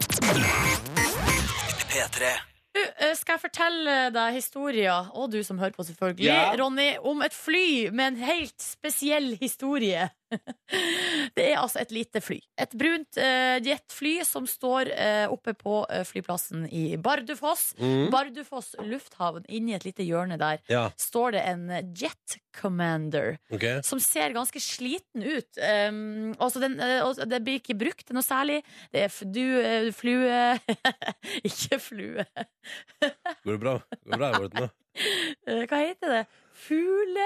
[SPEAKER 3] Du, eh, skal jeg fortelle deg historier, og du som hører på selvfølgelig,
[SPEAKER 2] Ja.
[SPEAKER 3] Ronny, om et fly med en helt spesiell historie. det er altså et lite fly. Et brunt eh, jetfly som står eh, oppe på eh, flyplassen i Bardufoss.
[SPEAKER 2] Mm.
[SPEAKER 3] Bardufoss lufthavn, inni et lite hjørne der,
[SPEAKER 2] Ja,
[SPEAKER 3] står det en jet commander
[SPEAKER 2] OK.
[SPEAKER 3] som ser ganske sliten ut. Um, altså den, eh, altså det blir ikke brukt noe særlig. Det er f- du, eh, flue Ikke flue.
[SPEAKER 2] Går det bra? Går det bra i vårt nå?
[SPEAKER 3] Eh, Hva heter det? Fugle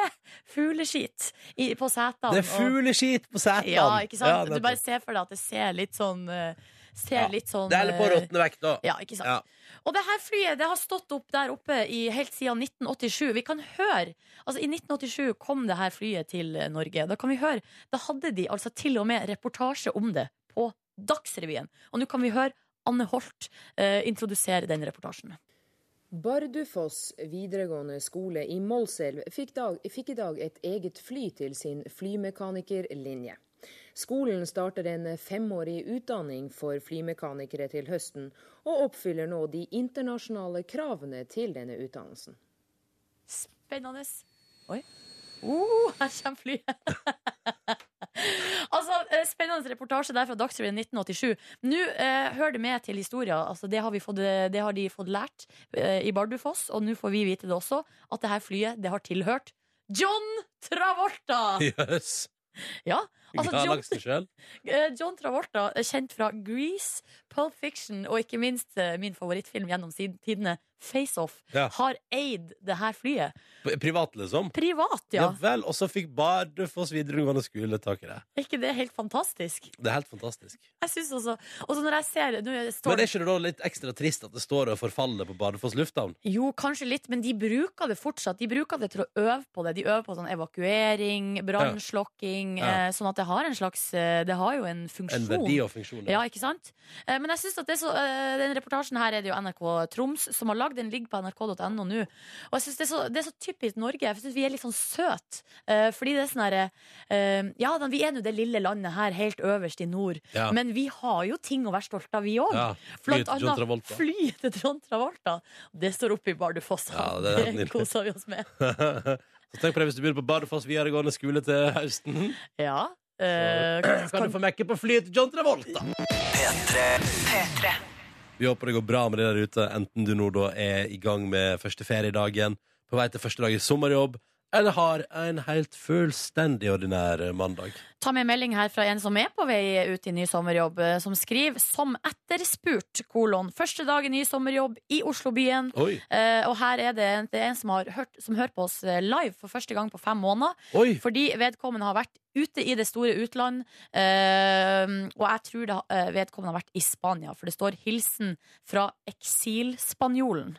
[SPEAKER 3] Fugleskit i, på setene.
[SPEAKER 2] Det er
[SPEAKER 3] og-
[SPEAKER 2] fugleskit på setene!
[SPEAKER 3] Ja, ikke sant?
[SPEAKER 2] Ja,
[SPEAKER 3] du bare ser for deg at det ser litt sånn eh, Ser
[SPEAKER 2] Ja,
[SPEAKER 3] litt sånn
[SPEAKER 2] det er litt på
[SPEAKER 3] eh,
[SPEAKER 2] råtne vekk, da.
[SPEAKER 3] Ja, ikke sant?
[SPEAKER 2] Ja.
[SPEAKER 3] Og det her flyet det har stått opp der oppe i, helt siden 1987. Vi kan høre Altså, i 1987 kom det her flyet til eh, Norge. Da kan vi høre Da hadde de altså til og med reportasje om det på Dagsrevyen. Og nå kan vi høre Anne Holt eh, introdusere den reportasjen.
[SPEAKER 9] Bardufoss videregående skole i Målselv fikk, dag, fikk i dag et eget fly til sin flymekanikerlinje. Skolen starter en femårig utdanning for flymekanikere til høsten, og oppfyller nå de internasjonale kravene til denne utdannelsen.
[SPEAKER 3] Spennende. Oi. Oh, her kommer flyet. altså, eh, Spennende reportasje der fra Dagsrevyen 1987. Nå eh, hører det med til historia. Altså, det, har vi fått, eh, det har de fått lært eh, i Bardufoss, og nå får vi vite det også, at det her flyet det har tilhørt John Travolta!
[SPEAKER 2] Jøss.
[SPEAKER 3] Ja, Altså,
[SPEAKER 2] Galaksen sjøl.
[SPEAKER 3] Eh, John Travolta, er kjent fra Grease, Pulp Fiction og ikke minst eh, min favorittfilm gjennom siden- tidene, Face Off,
[SPEAKER 2] Ja.
[SPEAKER 3] har eid det her flyet.
[SPEAKER 2] Privat, liksom.
[SPEAKER 3] Privat,
[SPEAKER 2] Ja.
[SPEAKER 3] ja.
[SPEAKER 2] vel, og så fikk Bardufoss videregående skole tak i det.
[SPEAKER 3] Er ikke det helt fantastisk?
[SPEAKER 2] Det er helt fantastisk.
[SPEAKER 3] Jeg synes også, og så når jeg ser nå er det- står
[SPEAKER 2] Men er ikke det da litt ekstra trist at det står og forfaller på Bardufoss lufthavn?
[SPEAKER 3] Jo, kanskje litt, men de bruker det fortsatt. De bruker det til å øve på det. De øver på sånn evakuering, brannslokking,
[SPEAKER 2] Ja.
[SPEAKER 3] eh, sånn at det har en slags eh, Det har jo en funksjon.
[SPEAKER 2] En verdi og funksjon.
[SPEAKER 3] Ja, ikke sant? Eh, Men jeg synes at det er så, eh, den reportasjen her er det jo NRK Troms som har lagd. Den ligger på nrk.no nå. Og jeg synes det er, så, det er så typisk Norge. Jeg synes vi er litt sånn søt. Eh, Fordi det er sånn herre Ja, da, vi er nå det lille landet her helt øverst i nord.
[SPEAKER 2] Ja.
[SPEAKER 3] Men vi har jo ting å være stolt av, vi òg.
[SPEAKER 2] Ja, fly til John Travolta.
[SPEAKER 3] fly til John Travolta. Det står oppe i Bardufoss.
[SPEAKER 2] Ja, det er helt nydelig.
[SPEAKER 3] koser vi oss med.
[SPEAKER 2] så tenk på det hvis du begynner på Bardufoss videregående skole til høsten.
[SPEAKER 3] Ja. eh,
[SPEAKER 2] Kan du få mekke på flyet til John Travolta? Vi håper det går bra med det der ute, enten du nå da er i gang med første feriedagen, på vei til første dag i sommerjobb, eller har en helt fullstendig ordinær mandag.
[SPEAKER 3] Ta med en melding her fra en som er på vei ut i ny sommerjobb, eh, som skriver som etterspurt, kolon. Første dag i ny sommerjobb i Oslobyen.
[SPEAKER 2] Oi,
[SPEAKER 3] Eh, og her er det en, det er en som, har hørt, som hører på oss eh, live for første gang på fem måneder.
[SPEAKER 2] oi!
[SPEAKER 3] Fordi vedkommende har vært ute i det store utland. eh, og jeg tror det, har- eh, vedkommende har vært i Spania, for det står 'hilsen fra eksilspanjolen'.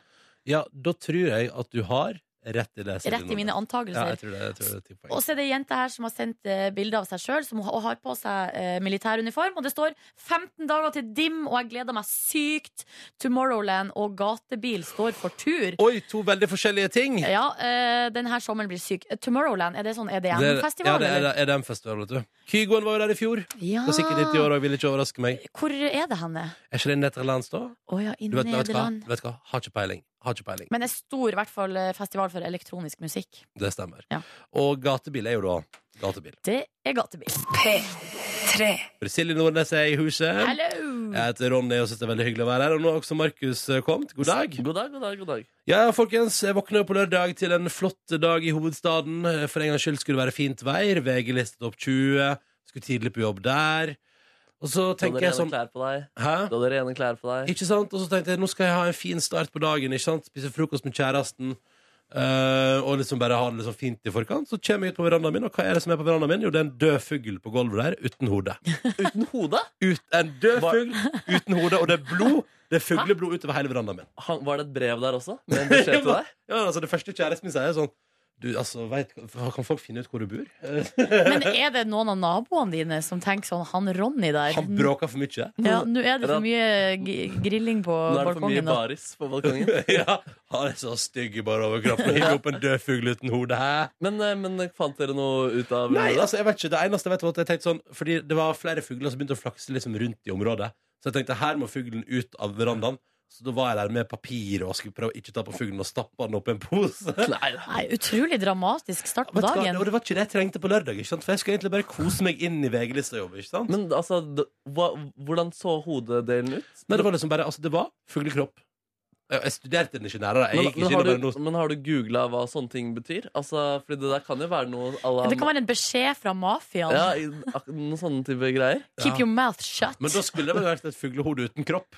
[SPEAKER 2] Ja, da tror jeg at du har rett i det. Silje
[SPEAKER 3] Rett i
[SPEAKER 2] Nordnes.
[SPEAKER 3] mine antakelser.
[SPEAKER 2] Ja, jeg tror det, jeg tror det er ti poeng.
[SPEAKER 3] Og så er det ei jente her som har sendt eh, bilde av seg sjøl, som ha- og har på seg eh, militæruniform. Og det står 15 dager til DIM, og jeg gleder meg sykt. Tomorrowland og gatebil står for tur.
[SPEAKER 2] Oi, to veldig forskjellige ting!
[SPEAKER 3] Ja, eh, den her sommeren blir syk. Eh, Tomorrowland, er det sånn
[SPEAKER 2] Det er- ja,
[SPEAKER 3] EDM-festival,
[SPEAKER 2] det er,
[SPEAKER 3] eller?
[SPEAKER 2] er den festivalen, vet du. Kygoen var jo der i fjor.
[SPEAKER 3] Ja.
[SPEAKER 2] Og sikkert litt i år òg, vil ikke overraske meg.
[SPEAKER 3] Hvor er det henne?
[SPEAKER 2] Er ikke det nederlandsk, da?
[SPEAKER 3] Å ja, i
[SPEAKER 2] Du vet, vet, du hva?
[SPEAKER 3] Nederland.
[SPEAKER 2] vet du hva? Har ikke peiling. Har ikke peiling.
[SPEAKER 3] Men en stor i hvert fall, eh, festival for elektronisk musikk.
[SPEAKER 2] Det stemmer.
[SPEAKER 3] Ja.
[SPEAKER 2] Og gatebil er jo da gatebil.
[SPEAKER 3] Det er gatebil.
[SPEAKER 2] For Silje Nordnes er i huset.
[SPEAKER 3] Hello!
[SPEAKER 2] Jeg heter Ronny og syns det er veldig hyggelig å være her. Og nå har også Markus eh, kommet. God dag.
[SPEAKER 4] God dag, god dag, god dag.
[SPEAKER 2] Ja, folkens, jeg våkner på lørdag til en flott dag i hovedstaden. For en gangs skyld skulle det være fint vær. VG listet opp 20. Skulle tidlig på jobb der. Og så
[SPEAKER 4] Du hadde
[SPEAKER 2] tenker jeg
[SPEAKER 4] rene
[SPEAKER 2] sånn
[SPEAKER 4] klær på deg.
[SPEAKER 2] Hæ?
[SPEAKER 4] Du hadde rene klær på deg.
[SPEAKER 2] Ikke sant? Og så tenkte jeg, nå skal jeg ha en fin start på dagen ikke sant? Spise frokost med kjæresten eh, Og liksom bare ha det liksom fint i forkant Så kommer jeg ut på verandaen min Og hva er det som er på verandaen min? Jo, det er en død fugl på gulvet der Uten hodet
[SPEAKER 4] Uten hodet?
[SPEAKER 2] ut, En død
[SPEAKER 4] Hva-
[SPEAKER 2] fugl uten hodet Og det er blod Det er fugleblod utover hele verandaen min
[SPEAKER 4] Han, var det et brev der også? Med en beskjed til deg?
[SPEAKER 2] Ja, altså det første kjæresten min sier er sånn Du, altså, vet, kan folk finne ut hvor du bor? Eh,
[SPEAKER 3] Men er det noen av naboene dine som tenker sånn, han Ronny der
[SPEAKER 2] Han bråker for mye
[SPEAKER 3] Ja, nå er det for
[SPEAKER 4] Eller-
[SPEAKER 3] mye g- grilling på
[SPEAKER 4] Nå er det for mye
[SPEAKER 3] balkongen. da.
[SPEAKER 4] baris på balkongen.
[SPEAKER 2] ja, han er så stygg i bare overkroppen Hikker opp en død fugl uten hodet Hæ?
[SPEAKER 4] Men, eh, men fant dere noe ut av
[SPEAKER 2] Nei, altså, jeg vet ikke. Det eneste jeg vet var at jeg tenkte sånn Fordi det var flere fugler som begynte å flakse liksom rundt i området. Så jeg tenkte her må fuglen ut av verandaen. Så da var jeg der med papir og skulle prøve å ikke ta på fuglen og stappe den opp i en pose.
[SPEAKER 4] Nei, da.
[SPEAKER 3] Nei, utrolig dramatisk start på
[SPEAKER 2] Vet du hva?
[SPEAKER 3] dagen.
[SPEAKER 2] Og det var ikke det jeg trengte på lørdag, ikke sant? for jeg skulle egentlig bare kose meg inn i VG-listajobb. ikke sant?
[SPEAKER 4] Men altså, d- hva, hvordan så hodedelen ut?
[SPEAKER 2] Nei, det var liksom bare Altså, det var fuglekropp. Jeg jeg studerte den ikke nærere. Jeg
[SPEAKER 4] Men,
[SPEAKER 2] gikk
[SPEAKER 4] men,
[SPEAKER 2] ikke
[SPEAKER 4] har
[SPEAKER 2] inn og bare
[SPEAKER 4] du,
[SPEAKER 2] noe
[SPEAKER 4] men har du googla hva sånne ting betyr? Altså, fordi det der kan jo være noe à la
[SPEAKER 3] Det kan være en beskjed fra mafiaen.
[SPEAKER 4] ja, i- ak- Noen sånne type greier.
[SPEAKER 3] Keep your mouth shut.
[SPEAKER 2] Men da skulle det vel vært et fuglehode uten kropp.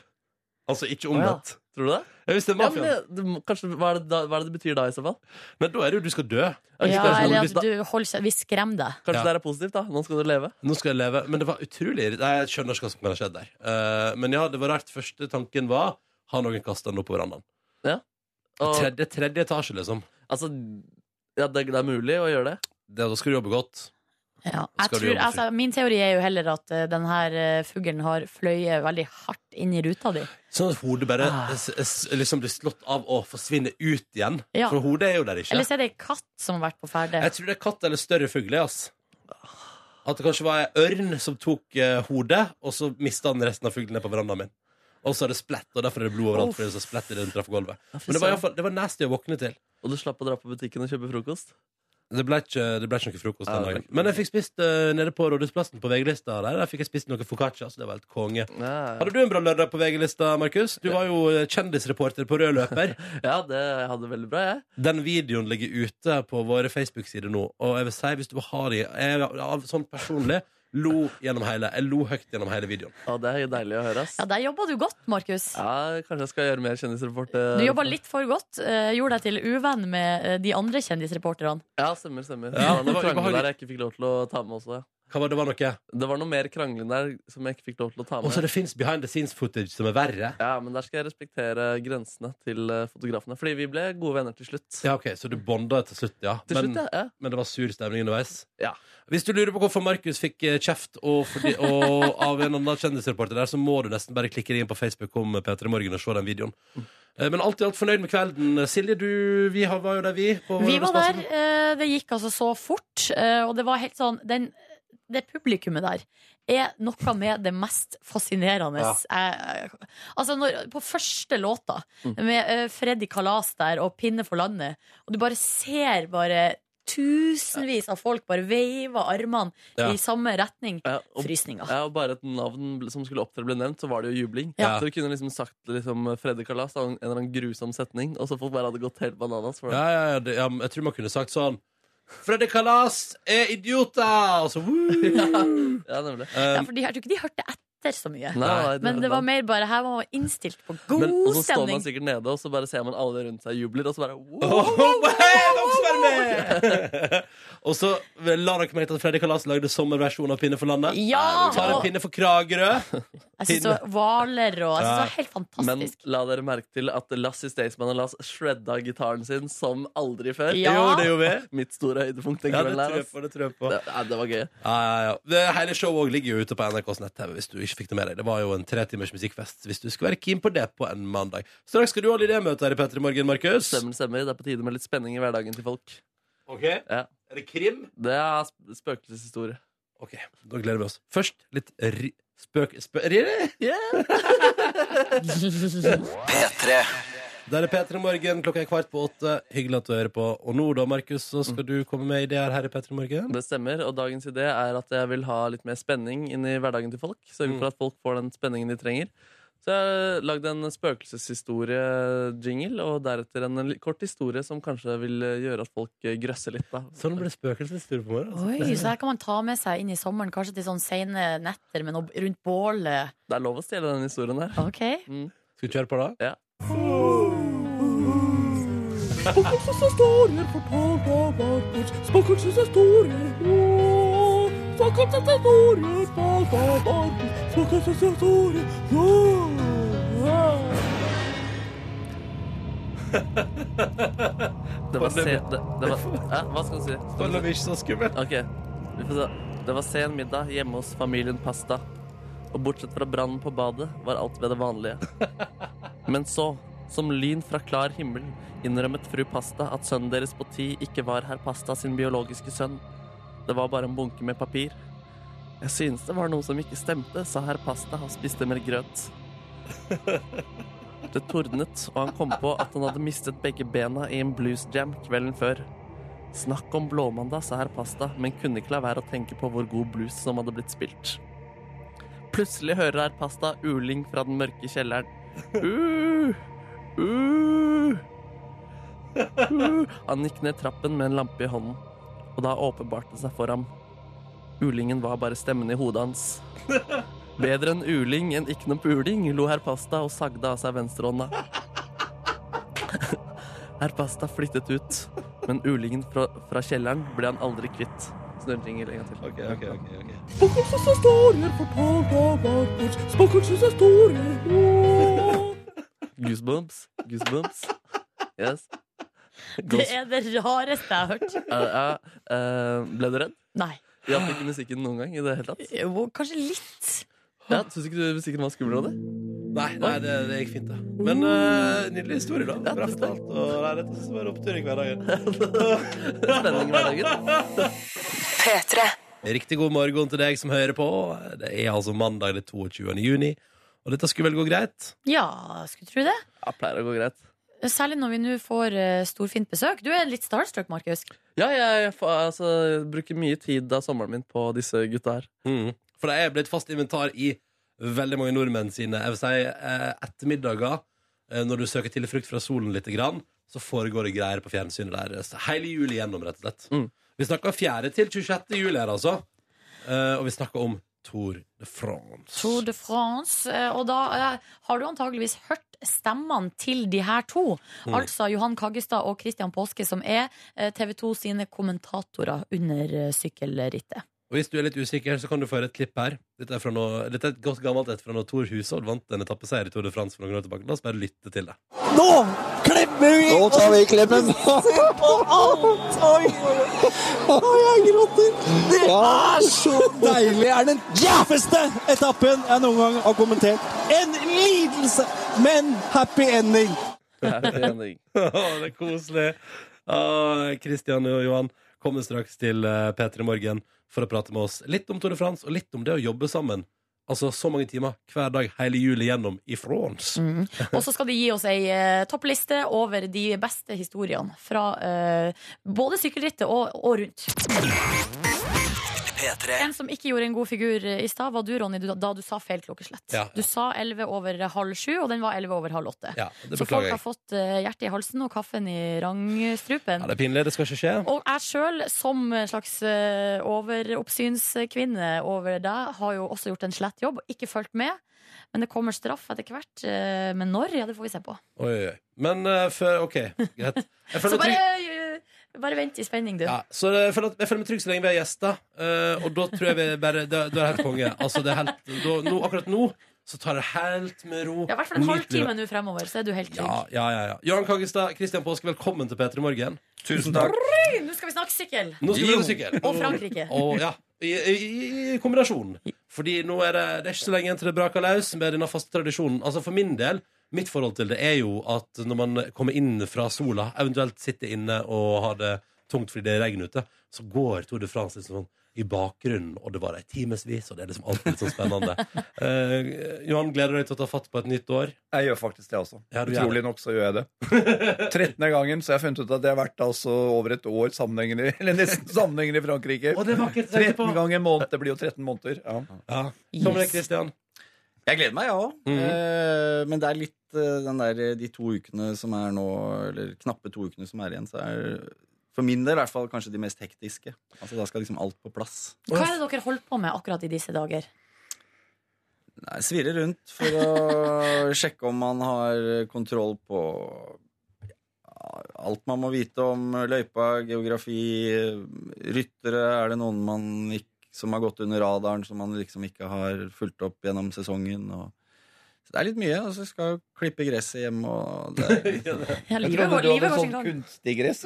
[SPEAKER 2] Altså ikke omvendt.
[SPEAKER 4] Tror du det?
[SPEAKER 2] Jeg visste det
[SPEAKER 4] Ja,
[SPEAKER 2] var
[SPEAKER 4] men
[SPEAKER 2] mafiaen.
[SPEAKER 4] det, det må- kanskje, hva, er det, da, hva er det det betyr da, i så fall?
[SPEAKER 2] Nei, da er det jo du skal dø.
[SPEAKER 4] Ok,
[SPEAKER 3] ja,
[SPEAKER 4] kanskje
[SPEAKER 3] eller
[SPEAKER 4] hvis
[SPEAKER 3] at
[SPEAKER 4] da-
[SPEAKER 3] du holder seg Vi skremmer deg.
[SPEAKER 4] Kanskje
[SPEAKER 2] Ja.
[SPEAKER 4] det her er positivt? da Nå skal du leve.
[SPEAKER 2] Nå skal jeg leve. Men det var utrolig irrit- Nei, Jeg skjønner ikke hva som kan ha skjedd der. Eh, men ja, det var rart. Første tanken var har noen kasta den opp på verandaen.
[SPEAKER 4] Og,
[SPEAKER 2] Tredje, tredje etasje, liksom.
[SPEAKER 4] altså, ja, det, det er mulig å gjøre det.
[SPEAKER 2] Det, da skal du jobbe godt.
[SPEAKER 3] Ja.
[SPEAKER 2] Skal
[SPEAKER 3] Jeg
[SPEAKER 2] du
[SPEAKER 3] tror,
[SPEAKER 2] jobbe
[SPEAKER 3] altså, min teori er jo heller at eh, den her eh, fuglen har fløyet veldig hardt inn i ruta di.
[SPEAKER 2] Sånn at hodet bare
[SPEAKER 4] Ah.
[SPEAKER 2] s, s, liksom blir slått av og forsvinner ut igjen.
[SPEAKER 3] Ja.
[SPEAKER 2] For hodet er jo der ikke.
[SPEAKER 3] Eller så er det ei katt som har vært på ferde.
[SPEAKER 2] Jeg tror det er katt eller større fugle. ass. At det kanskje var ei ørn som tok eh, hodet, og så mista den resten av fuglen ned på verandaen min. Og så er det splett, og derfor er det blod overalt. Fordi det er så splett i det den traff gulvet. Men det var, i hvert fall- det var nasty å våkne til.
[SPEAKER 4] Og du slapp å dra på butikken og kjøpe frokost?
[SPEAKER 2] Det ble ikke, det ble ikke noe frokost
[SPEAKER 4] Ja,
[SPEAKER 2] den
[SPEAKER 4] det ble
[SPEAKER 2] dagen.
[SPEAKER 4] ikke-
[SPEAKER 2] Men jeg fikk spist eh, nede på Rådhusplassen på VG-lista. Der, der fikk jeg spist noe foccaccia, så det var helt konge.
[SPEAKER 4] Ja,
[SPEAKER 2] Hadde du en bra lørdag på VG-lista, Markus? Du var jo eh, kjendisreporter på rød løper.
[SPEAKER 4] ja det jeg hadde det veldig bra, jeg.
[SPEAKER 2] Den videoen ligger ute på våre Facebook-sider nå, og jeg vil si, hvis du vil ha de jeg, er av- Sånn personlig Lo gjennom hele. Jeg lo høyt gjennom hele videoen.
[SPEAKER 4] Ja, det er deilig å høre, ass.
[SPEAKER 3] Ja, der jobba du godt, Markus.
[SPEAKER 4] Ja, kanskje jeg skal gjøre mer kjendisrapport. eh,
[SPEAKER 3] Du jobba litt for godt. eh, gjorde deg til uvenn med eh, de andre kjendisreporterne.
[SPEAKER 4] Ja, stemmer, stemmer.
[SPEAKER 2] Ja,
[SPEAKER 4] det var noe
[SPEAKER 2] det var
[SPEAKER 4] krangling
[SPEAKER 2] ubehagelig.
[SPEAKER 4] der jeg ikke fikk lov til å ta med også. Ja.
[SPEAKER 2] Hva var det, det var noe?
[SPEAKER 4] Det var noe mer krangling der som jeg ikke fikk lov til å ta
[SPEAKER 2] Og så
[SPEAKER 4] med.
[SPEAKER 2] det fins behind the scenes footage som er verre.
[SPEAKER 4] Ja, men der skal jeg respektere grensene til eh, fotografene. Fordi vi ble gode venner til slutt.
[SPEAKER 2] Ja, ok, Så du bonda til slutt, ja.
[SPEAKER 4] Til
[SPEAKER 2] men,
[SPEAKER 4] slutt, ja. ja.
[SPEAKER 2] men det var sur stemning underveis?
[SPEAKER 4] Ja.
[SPEAKER 2] Hvis du lurer på hvorfor Markus fikk eh, kjeft og fordi, og av en annen kjendisreporter der, så må du nesten bare klikke deg inn på Facebook om P3 Morgen og se den videoen.
[SPEAKER 4] Mm.
[SPEAKER 2] Eh, Men alt i alt fornøyd med kvelden. Silje, du, vi har- var jo der, vi. på
[SPEAKER 3] Vi var der.
[SPEAKER 2] arbeidsplassen.
[SPEAKER 3] eh, det gikk altså så fort, eh, og det var helt sånn den, Det publikummet der er noe med det mest fascinerende jeg- jeg- Altså, når, på første låta,
[SPEAKER 4] Mm.
[SPEAKER 3] med eh, Freddy Kalas der og Pinne for landet, og du bare ser bare Tusenvis av folk bare veiver armene
[SPEAKER 2] Ja.
[SPEAKER 3] i samme retning.
[SPEAKER 4] Ja, og-
[SPEAKER 3] Frysninger.
[SPEAKER 4] Ja, og bare et navn ble- som skulle opptre ble nevnt, så var det jo jubling.
[SPEAKER 2] Ja.
[SPEAKER 4] Så du kunne liksom sagt liksom, Freddy Kalas, da, en eller annen grusom setning, og så folk bare hadde gått helt bananas. For det.
[SPEAKER 2] Ja, ja, ja, det, ja, men jeg tror man kunne sagt sånn Freddy Kalas er idioter! Og så woo!
[SPEAKER 4] Ja, nemlig.
[SPEAKER 3] Ja,
[SPEAKER 2] Eh,
[SPEAKER 3] for de, jeg tror ikke de hørte etter så mye.
[SPEAKER 4] Nei, nei,
[SPEAKER 3] Men det var
[SPEAKER 4] var-
[SPEAKER 3] mer bare her var man innstilt på god
[SPEAKER 4] Men, og så står man
[SPEAKER 3] stemning.
[SPEAKER 4] sikkert nede, og så bare ser man alle rundt seg jubler, og så bare wow.
[SPEAKER 2] oh, oh, hei, dere som er med! Og så la dere merke til at Freddy Kalas lagde sommerversjon av Pinne for landet.
[SPEAKER 3] Ja!
[SPEAKER 2] Tar en
[SPEAKER 3] Og
[SPEAKER 2] pinne for Kragerø.
[SPEAKER 3] jeg synes det var hvaler og jeg synes det var helt
[SPEAKER 4] Men
[SPEAKER 3] fantastisk.
[SPEAKER 4] la dere merke til at Lassie Staysman og Lass shredda gitaren sin som aldri før.
[SPEAKER 3] Ja.
[SPEAKER 2] Jo, det gjorde vi.
[SPEAKER 4] Mitt store høydepunkt den
[SPEAKER 2] Ja, det
[SPEAKER 4] kvelden. her,
[SPEAKER 2] tror jeg
[SPEAKER 4] ass.
[SPEAKER 2] på. Det tror jeg på.
[SPEAKER 4] Det, ja, det var gøy.
[SPEAKER 2] Ja, ja, ja. Det hele showet også ligger jo ute på NRKs nett-TV. hvis du ikke fikk Det med deg Det var jo en tretimers musikkfest hvis du skulle være keen på det på en mandag. Straks skal du ha idémøte her i P3 Morgen, Markus.
[SPEAKER 4] Stemmer, stemmer. Det er på tide med litt spenning i hverdagen til folk.
[SPEAKER 2] Ok,
[SPEAKER 4] Ja.
[SPEAKER 2] Er det krim?
[SPEAKER 4] Det er sp- spøkelseshistorie.
[SPEAKER 2] Ok, Da gleder vi oss. Først litt ri spøk... Spø ri- Der er P3 Morgen, klokka er kvart på åtte. Hyggelig at du hører på. Og nå da, Markus, så skal du komme med ideer her i P3 Morgen.
[SPEAKER 4] Det stemmer, og dagens idé er at jeg vil ha litt mer spenning inn i hverdagen til folk. Sørge
[SPEAKER 2] Mm.
[SPEAKER 4] for at folk får den spenningen de trenger. Så jeg har lagd en spøkelseshistorie-jingle, og deretter en li- kort historie som kanskje vil eh, gjøre at folk eh, grøsser litt. Da.
[SPEAKER 2] Sånn blir det spøkelsestur på morgenen.
[SPEAKER 3] Oi, så her kan man ta med seg inn i sommeren, kanskje til sånn sene netter, men opp- rundt bålet.
[SPEAKER 4] Det er lov å stjele denne historien her.
[SPEAKER 3] Ok.
[SPEAKER 2] Skal vi kjøre på, da?
[SPEAKER 4] Ja. Det var se... Det, det var, Hæ? hva skal du si?
[SPEAKER 2] Det var ikke så skummelt.
[SPEAKER 4] Ok, vi får se. Det var sen middag hjemme hos familien Pasta. Og bortsett fra brannen på badet var alt ved det vanlige. Men så, som lyn fra klar himmel, innrømmet fru Pasta at sønnen deres på ti ikke var herr Pasta sin biologiske sønn. Det var bare en bunke med papir. Jeg synes det var noe som ikke stemte, sa herr Pasta og spiste mer grøt. Det tordnet, og han kom på at han hadde mistet begge bena i en bluesjam kvelden før. Snakk om blåmandag, sa herr Pasta, men kunne ikke la være å tenke på hvor god blues som hadde blitt spilt. Plutselig hører herr Pasta uling fra den mørke kjelleren. Uh, uh, uh. Han gikk ned trappen med en lampe i hånden, og da åpenbarte det seg for ham. Ulingen var bare stemmen i hodet hans. Bedre enn uling enn ikke noe puling, lo herr Pasta og sagde av seg venstrehånda. Herr Pasta flyttet ut, men ulingen fra, fra kjelleren ble han aldri kvitt. Snurringer en gang til.
[SPEAKER 2] Ok, ok, ok, ok.
[SPEAKER 4] Goosebumps. Goosebumps. Yes.
[SPEAKER 3] Det er det rareste jeg har hørt.
[SPEAKER 4] Eh, eh, eh, ble du redd?
[SPEAKER 3] Nei.
[SPEAKER 4] Jeg hadde ikke musikken noen gang. i det hele tatt.
[SPEAKER 3] Jo, kanskje litt.
[SPEAKER 4] Ja, Syns ikke du musikken var skummel av det?
[SPEAKER 2] Nei, nei det, det gikk fint, det. Men eh, nydelig historie, da.
[SPEAKER 4] Ja,
[SPEAKER 2] Bra
[SPEAKER 4] tusen takk.
[SPEAKER 2] fortalt. Og nei, dette synes jeg var en opptur i hverdagen.
[SPEAKER 4] Spenning i hverdagen.
[SPEAKER 2] Riktig god morgen til deg som hører på. Det er altså mandag den 22. juni, og dette skulle vel gå greit?
[SPEAKER 3] Ja, skulle tro det.
[SPEAKER 4] Ja, pleier å gå greit.
[SPEAKER 3] Særlig når vi nå får eh, storfint besøk. Du er litt starstruck, Markus.
[SPEAKER 4] Ja, jeg, fa- altså, jeg bruker mye tid av sommeren min på disse gutta her.
[SPEAKER 2] Mm. For det er blitt fast inventar i veldig mange nordmenn sine jeg vil si, eh, ettermiddager. eh, Når du søker tilflukt fra solen litt, grann, så foregår det greier på fjernsynet der. eh, Hele juli gjennom, rett og slett.
[SPEAKER 4] Mm.
[SPEAKER 2] Vi snakker 4. til 26. juli her, altså. Eh, og vi snakker om Tour de France.
[SPEAKER 3] Tour de France. eh, Og da eh, har du antageligvis hørt stemmene til de her to.
[SPEAKER 2] Mm.
[SPEAKER 3] Altså Johan Kaggestad og Christian Påske, som er eh, TV 2 sine kommentatorer under eh, sykkelrittet.
[SPEAKER 2] Og hvis du er litt usikker, så kan du få høre et klipp her. Dette er, fra nå- dette er et godt gammelt et fra når Thor Hushovd vant en etappeseier i Tour de France for noen år tilbake. La oss bare lytte til det.
[SPEAKER 1] Nå klemmer vi! Nå tar vi klemmen! Se på alt! Oi, Oi, jeg gråter! Det er så deilig! Det er den tøffeste etappen jeg noen gang har kommentert. En lidelse, men happy ending!
[SPEAKER 10] Enig.
[SPEAKER 2] Å, det er koselig. Å, Christian og Johan kommer straks til eh, P3 Morgen for å prate med oss litt om Tour de France og litt om det å jobbe sammen. Altså så mange timer hver dag hele juli gjennom i France.
[SPEAKER 3] Mm. Og så skal de gi oss ei eh, toppliste over de beste historiene fra eh, både sykkelrittet og, og rundt. En som ikke gjorde en god figur eh, i stad, var du, Ronny, du- da du sa feil klokkeslett.
[SPEAKER 2] Ja, ja.
[SPEAKER 3] Du sa 11 over halv sju, og den var 11 over halv åtte.
[SPEAKER 2] Ja, det
[SPEAKER 3] Så folk
[SPEAKER 2] beklager
[SPEAKER 3] har
[SPEAKER 2] jeg.
[SPEAKER 3] fått eh, hjertet i halsen og kaffen i rangstrupen.
[SPEAKER 2] Ja, det er pinlig. Det skal ikke skje.
[SPEAKER 3] Og jeg sjøl, som en slags eh, overoppsynskvinne over deg, har jo også gjort en slett jobb og ikke fulgt med. Men det kommer straff etter hvert. eh, Men når? Ja, det får vi se på.
[SPEAKER 2] Oi, oi, oi. Men eh, før OK, greit. Jeg føler
[SPEAKER 3] Så
[SPEAKER 2] meg
[SPEAKER 3] bare,
[SPEAKER 2] trygg-
[SPEAKER 3] eh, bare vent i spenning, du.
[SPEAKER 2] ja, så jeg føler, at- jeg føler meg trygg så lenge vi er gjester, eh, og da tror jeg vi bare Da, da er det helt konge. Altså, det er helt, da, nå, akkurat nå så tar det helt med ro.
[SPEAKER 3] I hvert fall en
[SPEAKER 2] Nyt livet.
[SPEAKER 3] halvtime nå fremover, så er du helt trygg.
[SPEAKER 2] Ja, ja, ja, ja. Johan Kaggestad, Kristian Påske, velkommen til P3 Morgen.
[SPEAKER 1] Tusen takk.
[SPEAKER 3] Oi, Nå skal vi snakke sykkel!
[SPEAKER 2] Nå skal vi prøve sykkel.
[SPEAKER 3] Og Frankrike.
[SPEAKER 2] Og, ja, i, i, I kombinasjon. Fordi nå er det, det er ikke så lenge igjen til det braker løs med denne faste tradisjonen. Altså For min del, mitt forhold til det er jo at når man kommer inn fra sola, eventuelt sitter inne og har det tungt fordi det er regn ute, så går Tour de France liksom sånn i bakgrunnen, og det var i timevis, og det er liksom alltid litt sånn spennende. Eh, Johan, gleder du deg til å ta fatt på et nytt år?
[SPEAKER 1] Jeg gjør faktisk det også.
[SPEAKER 2] Ja, du gjør
[SPEAKER 1] Utrolig nok så gjør jeg det. 13. gangen, så jeg har funnet ut at det har vært altså over et år sammenhengende, eller nesten sammenhengende i Frankrike.
[SPEAKER 2] Å, det er vakkert å tenke
[SPEAKER 1] 13
[SPEAKER 2] på!
[SPEAKER 1] ganger en måned. Det blir jo 13 måneder. Ja.
[SPEAKER 2] Ja. Kommer det, Kristian?
[SPEAKER 11] Jeg gleder meg, jeg òg.
[SPEAKER 2] Mhm.
[SPEAKER 11] Men det er litt eh, den der, de to ukene som er nå, eller knappe to ukene som er igjen, så er for min del i hvert fall kanskje de mest hektiske. Altså Da skal liksom alt på plass.
[SPEAKER 3] Hva er det dere holder på med akkurat i disse dager?
[SPEAKER 11] Nei, Svirre rundt for å sjekke om man har kontroll på ja, alt man må vite om løypa, geografi, ryttere. Er det noen man ikke, som har gått under radaren, som man liksom ikke har fulgt opp gjennom sesongen? Og så det er litt mye. Og så skal jeg klippe gresset hjemme, og det
[SPEAKER 3] Ja,
[SPEAKER 1] Jeg trodde
[SPEAKER 3] livet går,
[SPEAKER 1] du hadde
[SPEAKER 3] livet går sin
[SPEAKER 1] sånn
[SPEAKER 3] gang.
[SPEAKER 1] kunstig gress.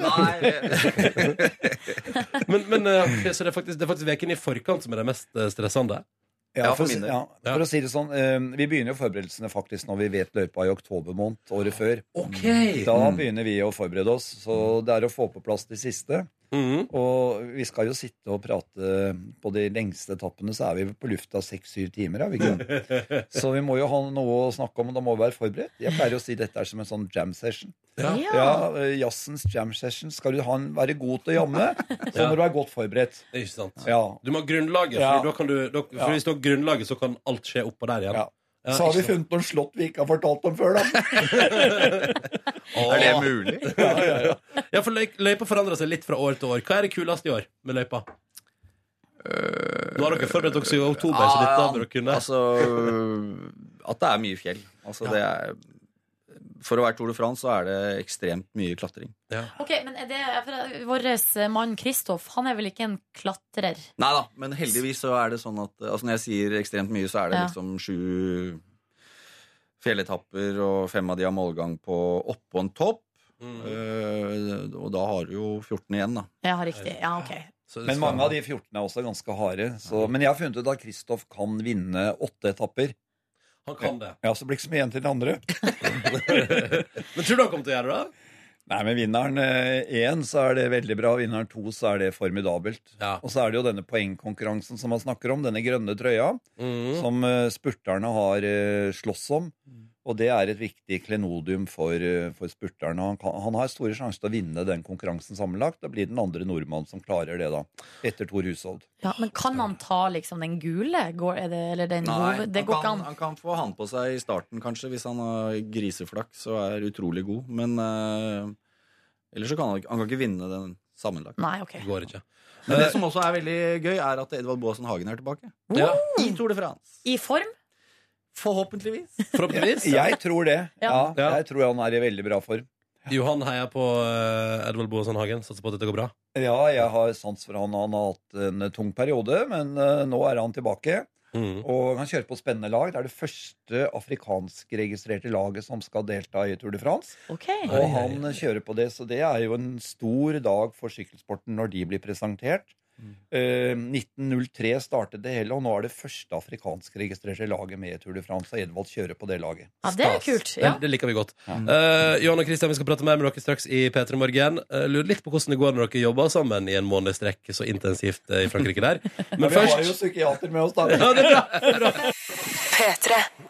[SPEAKER 1] ja.
[SPEAKER 2] Men, men eh, ok, så det er faktisk, det er faktisk veken i forkant som er det mest eh, stressende?
[SPEAKER 1] Ja,
[SPEAKER 11] Ja,
[SPEAKER 1] for,
[SPEAKER 11] for
[SPEAKER 1] å si-
[SPEAKER 11] min del.
[SPEAKER 1] ja,
[SPEAKER 2] Ja.
[SPEAKER 1] for å si det sånn, eh, vi begynner jo forberedelsene faktisk når vi vet løypa i oktober måned året før.
[SPEAKER 2] Ok
[SPEAKER 1] Da
[SPEAKER 11] Mm.
[SPEAKER 1] begynner vi å forberede oss, så det er å få på plass de siste.
[SPEAKER 2] Mhm.
[SPEAKER 1] Og vi skal jo sitte og prate på de lengste etappene, så er vi på lufta seks-syv timer. Er vi ikke? det? Så vi må jo ha noe å snakke om, og da må vi være forberedt. Jeg pleier å si dette er som en sånn jam session.
[SPEAKER 2] Ja.
[SPEAKER 1] Ja, eh, Jazzens jam session. Skal du ha en, være god til å jamme, så
[SPEAKER 2] Ja.
[SPEAKER 1] må du være godt forberedt.
[SPEAKER 2] Det er ikke sant
[SPEAKER 1] Ja.
[SPEAKER 2] Du må ha grunnlaget,
[SPEAKER 1] Ja.
[SPEAKER 2] for, da kan du, da, for
[SPEAKER 1] Ja.
[SPEAKER 2] hvis du har grunnlaget, så kan alt skje oppå der igjen
[SPEAKER 1] Ja. Så har vi
[SPEAKER 2] ikke sant.
[SPEAKER 1] funnet noen slott vi ikke har fortalt om før, da.
[SPEAKER 11] Er det mulig?
[SPEAKER 2] Ja, for løy- løypa forandrer seg litt fra år til år Hva er det kuleste i år med løypa? Nå har dere forberedt dere i oktober, så dette hadde dere kunnet
[SPEAKER 11] Altså, at det er mye fjell. Altså, det er, for å være Tour de France så er det ekstremt mye klatring.
[SPEAKER 3] Ok, men er det, for eh, Vår mann Kristoff, han er vel ikke en klatrer?
[SPEAKER 11] Nei da, men heldigvis så er det sånn at altså Når jeg sier ekstremt mye, så er det
[SPEAKER 3] Ja.
[SPEAKER 11] liksom sju fjelletapper, og fem av de har målgang på oppå en topp.
[SPEAKER 1] øh,
[SPEAKER 2] mm.
[SPEAKER 11] Eh, og da har du jo 14 igjen, da.
[SPEAKER 3] Ja, riktig. Ja, ok.
[SPEAKER 2] Så det
[SPEAKER 1] Men
[SPEAKER 2] skal-
[SPEAKER 1] mange av de 14 er også ganske harde. Så, men jeg har funnet ut at Kristoff kan vinne åtte etapper.
[SPEAKER 2] Han kan det
[SPEAKER 1] Ja, så blir det ikke så mye igjen til den andre.
[SPEAKER 2] Men tror du han kommer til å gjøre det?
[SPEAKER 1] Nei, men vinneren én, så er det veldig bra. Vinneren to, så er det formidabelt.
[SPEAKER 2] Ja
[SPEAKER 1] Og så er det jo denne poengkonkurransen som man snakker om, denne grønne trøya,
[SPEAKER 2] mm.
[SPEAKER 1] som eh, spurterne har eh, slåss om. Og det er et viktig klenodium for, eh, for spurterne. Han, kan, han har store sjanser til å vinne den konkurransen sammenlagt. Da blir den andre nordmannen som klarer det, da. Etter Thor Hushovd.
[SPEAKER 3] Ja, men kan han ta liksom den gule? Går, er det, eller den hoved... Det
[SPEAKER 11] han,
[SPEAKER 3] går ikke
[SPEAKER 11] kan,
[SPEAKER 3] an.
[SPEAKER 11] han kan få han på seg i starten, kanskje, hvis han har griseflaks og er utrolig god. Men eh, ellers så kan han, ikke- han kan ikke vinne den Sammenlagt.
[SPEAKER 3] Nei, ok.
[SPEAKER 2] Går ikke.
[SPEAKER 1] Eh,
[SPEAKER 11] Men det som også er veldig gøy, er at Edvard Baasen Hagen er tilbake.
[SPEAKER 2] Ja.
[SPEAKER 11] I Tour de France.
[SPEAKER 3] I form?
[SPEAKER 11] Forhåpentligvis.
[SPEAKER 2] Forhåpentligvis.
[SPEAKER 1] Jeg tror det. Ja,
[SPEAKER 3] Ja.
[SPEAKER 1] jeg tror han er i veldig bra form.
[SPEAKER 2] Johan heier på eh, Edvald Boasson Hagen. Satser på at dette går bra.
[SPEAKER 1] Ja, jeg har sans for han. Han har hatt en eh, tung periode, men eh, nå er han tilbake.
[SPEAKER 2] Mm.
[SPEAKER 1] Og han kjører på spennende lag. Det er det første afrikanskregistrerte laget som skal delta i Tour de France.
[SPEAKER 3] Ok.
[SPEAKER 1] Og han kjører på det, så det er jo en stor dag for sykkelsporten når de blir presentert. Eh, 1903 startet det hele, og nå er det første afrikanskregistrerte laget med i Tour de France. Og Edvald kjører på det laget.
[SPEAKER 3] Ja, det er kult. Ja.
[SPEAKER 2] Det, det liker vi godt. Eh, Johan og Christian, vi skal prate mer med dere straks i P3 Morgen. Eh, lurer litt på hvordan det går når dere jobber sammen i en måneds strekk så intensivt eh, i Frankrike der. Men
[SPEAKER 1] vi har
[SPEAKER 2] først
[SPEAKER 1] jo psykiater med oss, da.
[SPEAKER 2] Ja, det er bra. Det er bra.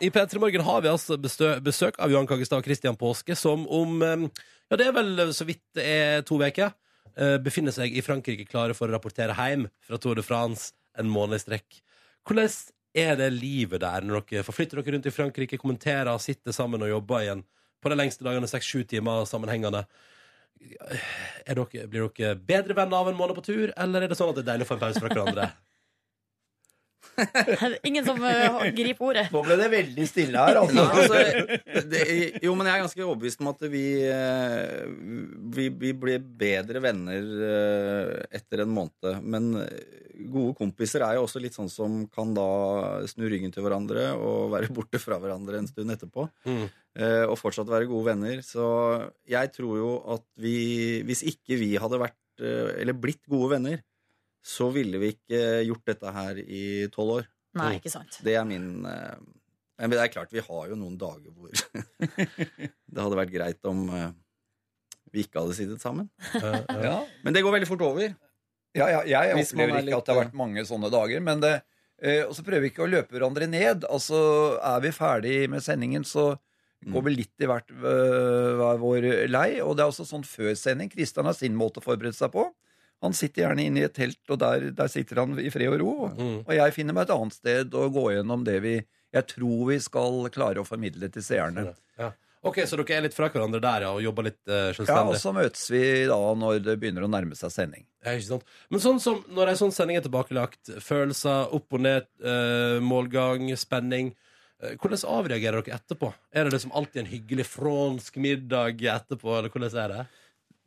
[SPEAKER 2] I P3 Morgen har vi altså bestø- besøk av Johan Kaggestad og Christian Påske, som om eh, Ja, det er vel eh, så vidt det er to uker. eh, Befinner seg i Frankrike klare for å rapportere hjem fra Tour de France en måned i strekk. Hvordan er det livet der når dere forflytter dere rundt i Frankrike, kommenterer, sitter sammen og jobber igjen på de lengste dagene, seks-sju timer sammenhengende? Er dere, blir dere bedre venner av en måned på tur, eller er det sånn at det er deilig å få en pause fra hverandre?
[SPEAKER 3] Ingen som eh, griper ordet.
[SPEAKER 1] Nå ble det veldig stille her,
[SPEAKER 11] Ja,
[SPEAKER 1] altså.
[SPEAKER 11] altså, det, jo, men jeg er ganske overbevist om at vi, eh, vi, vi ble bedre venner eh, etter en måned. Men gode kompiser er jo også litt sånn som kan da snu ryggen til hverandre og være borte fra hverandre en stund etterpå.
[SPEAKER 2] Mm.
[SPEAKER 11] eh, Og fortsatt være gode venner. Så jeg tror jo at vi, hvis ikke vi hadde vært, eh, eller blitt gode venner, så ville vi ikke gjort dette her i tolv år.
[SPEAKER 3] Nei, ikke sant.
[SPEAKER 11] Det er min eh, Men det er klart, vi har jo noen dager hvor det hadde vært greit om eh, vi ikke hadde sittet sammen.
[SPEAKER 1] Eh, Ja.
[SPEAKER 11] Men det går veldig fort over.
[SPEAKER 1] Ja, ja, jeg
[SPEAKER 11] Hvis man
[SPEAKER 1] opplever
[SPEAKER 11] er
[SPEAKER 1] ikke at det har
[SPEAKER 11] eh,
[SPEAKER 1] vært mange sånne dager, men det eh, Og så prøver vi ikke å løpe hverandre ned. Altså, er vi ferdig med sendingen, så går
[SPEAKER 11] Mm.
[SPEAKER 1] vi litt i hvert eh, hver vår lei. Og det er også sånn før sending. Kristian har sin måte å forberede seg på. Han sitter gjerne inne i et telt, og der, der sitter han i fred og ro. Og jeg finner meg et annet sted og går gjennom det vi jeg tror vi skal klare å formidle til seerne.
[SPEAKER 2] Ja. Ok, Så dere er litt fra hverandre der ja, og jobber litt eh,
[SPEAKER 1] Ja, og
[SPEAKER 2] selvstendig?
[SPEAKER 1] så møtes vi da når det begynner å nærme seg sending.
[SPEAKER 2] Ja, ikke sant? Men sånn som når en sånn sending er tilbakelagt, følelser, opp og ned, eh, målgang, spenning eh, hvordan avreagerer dere etterpå? Er det liksom alltid en hyggelig fransk middag etterpå? Eller hvordan er det?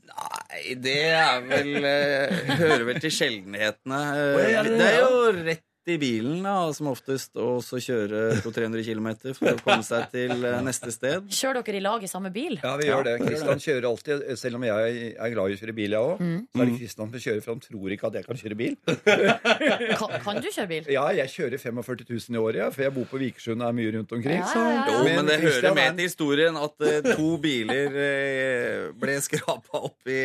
[SPEAKER 11] Nei, det er vel eh, Hører vel til sjeldenhetene. Eh,
[SPEAKER 2] Å, ja, ja, ja.
[SPEAKER 11] det er jo rett i bilen, da, som oftest, og så kjøre 200-300 km for å komme seg til eh, neste sted.
[SPEAKER 3] Kjører dere i lag i samme bil?
[SPEAKER 1] Ja, vi gjør det. Kristian kjører alltid, selv om jeg er glad i å kjøre bil, jeg òg. Så er det Kristian som kjører, for han tror ikke at jeg kan kjøre bil.
[SPEAKER 3] Kan, kan du kjøre bil?
[SPEAKER 1] Ja, jeg kjører 45 000 i året, ja, for jeg bor på Vikersund og er mye rundt omkring.
[SPEAKER 3] Ja, ja, ja.
[SPEAKER 11] Jo, men det hører
[SPEAKER 1] Kristian er-
[SPEAKER 11] med til historien at eh, to biler eh, ble skrapa opp i,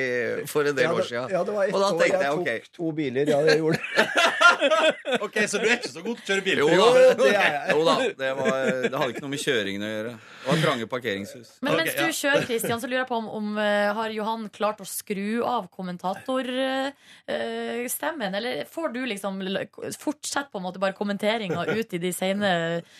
[SPEAKER 11] for en del
[SPEAKER 1] Ja,
[SPEAKER 11] år
[SPEAKER 1] det-
[SPEAKER 11] siden.
[SPEAKER 1] Ja, det var ett
[SPEAKER 11] og da
[SPEAKER 1] år
[SPEAKER 11] tenkte
[SPEAKER 1] jeg
[SPEAKER 11] jeg
[SPEAKER 1] tok
[SPEAKER 11] ok,
[SPEAKER 1] to biler. Ja, jeg gjorde det.
[SPEAKER 2] Ok, Så du er ikke så god til å kjøre bil?
[SPEAKER 11] Jo da,
[SPEAKER 1] det er jeg.
[SPEAKER 11] jo da det, var, det hadde ikke noe med kjøringen å gjøre. Det var trange parkeringshus.
[SPEAKER 3] Men
[SPEAKER 2] Ok,
[SPEAKER 3] mens du
[SPEAKER 2] ja.
[SPEAKER 3] kjører, Christian, så lurer jeg på om, om eh, har Johan klart å skru av kommentatorstemmen? eller får du liksom l- fortsette på en måte bare kommenteringa ut i de sene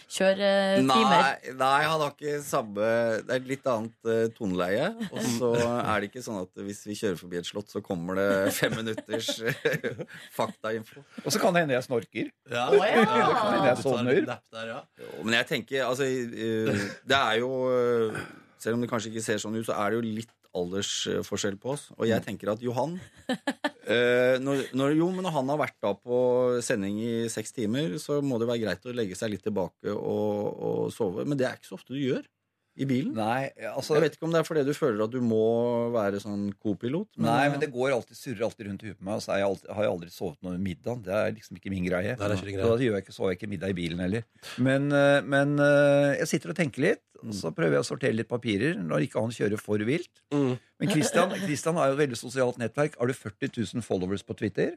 [SPEAKER 3] kjøretimer?
[SPEAKER 11] Nei, nei, han har ikke samme Det er et litt annet eh, toneleie. Og så er det ikke sånn at hvis vi kjører forbi et slott, så kommer det fem minutters eh, faktainfo.
[SPEAKER 1] Og så kan det hende jeg snorker.
[SPEAKER 2] Ja.
[SPEAKER 3] Å, ja.
[SPEAKER 1] Men jeg sovner.
[SPEAKER 11] Jo, Men jeg tenker, altså eh, Det er jo eh, Selv om det kanskje ikke ser sånn ut, så er det jo litt aldersforskjell på oss. Og jeg
[SPEAKER 1] Mm.
[SPEAKER 11] tenker at Johan eh, når, når, Jo, men når han har vært da på sending i seks timer, så må det være greit å legge seg litt tilbake og, og sove. Men det er ikke så ofte du gjør i bilen.
[SPEAKER 1] Nei,
[SPEAKER 11] Jeg
[SPEAKER 1] altså
[SPEAKER 11] vet ikke om det er fordi du føler at du må være sånn co-pilot.
[SPEAKER 1] Nei, men det går alltid, surrer alltid rundt i huet på meg. Og så er jeg alltid, har jeg aldri sovet noe middag. Det er liksom ikke min greie.
[SPEAKER 2] Nei, det er ikke din
[SPEAKER 1] Så
[SPEAKER 2] greie.
[SPEAKER 1] da gjør jeg ikke, sover jeg ikke middag i bilen heller. Men, eh, men eh, jeg sitter og tenker litt,
[SPEAKER 11] Mm.
[SPEAKER 1] og så prøver jeg å sortere litt papirer når ikke han kjører for vilt.
[SPEAKER 2] Mm.
[SPEAKER 1] Men Christian, Christian har jo et veldig sosialt nettverk. Har du 40 000 followers på Twitter?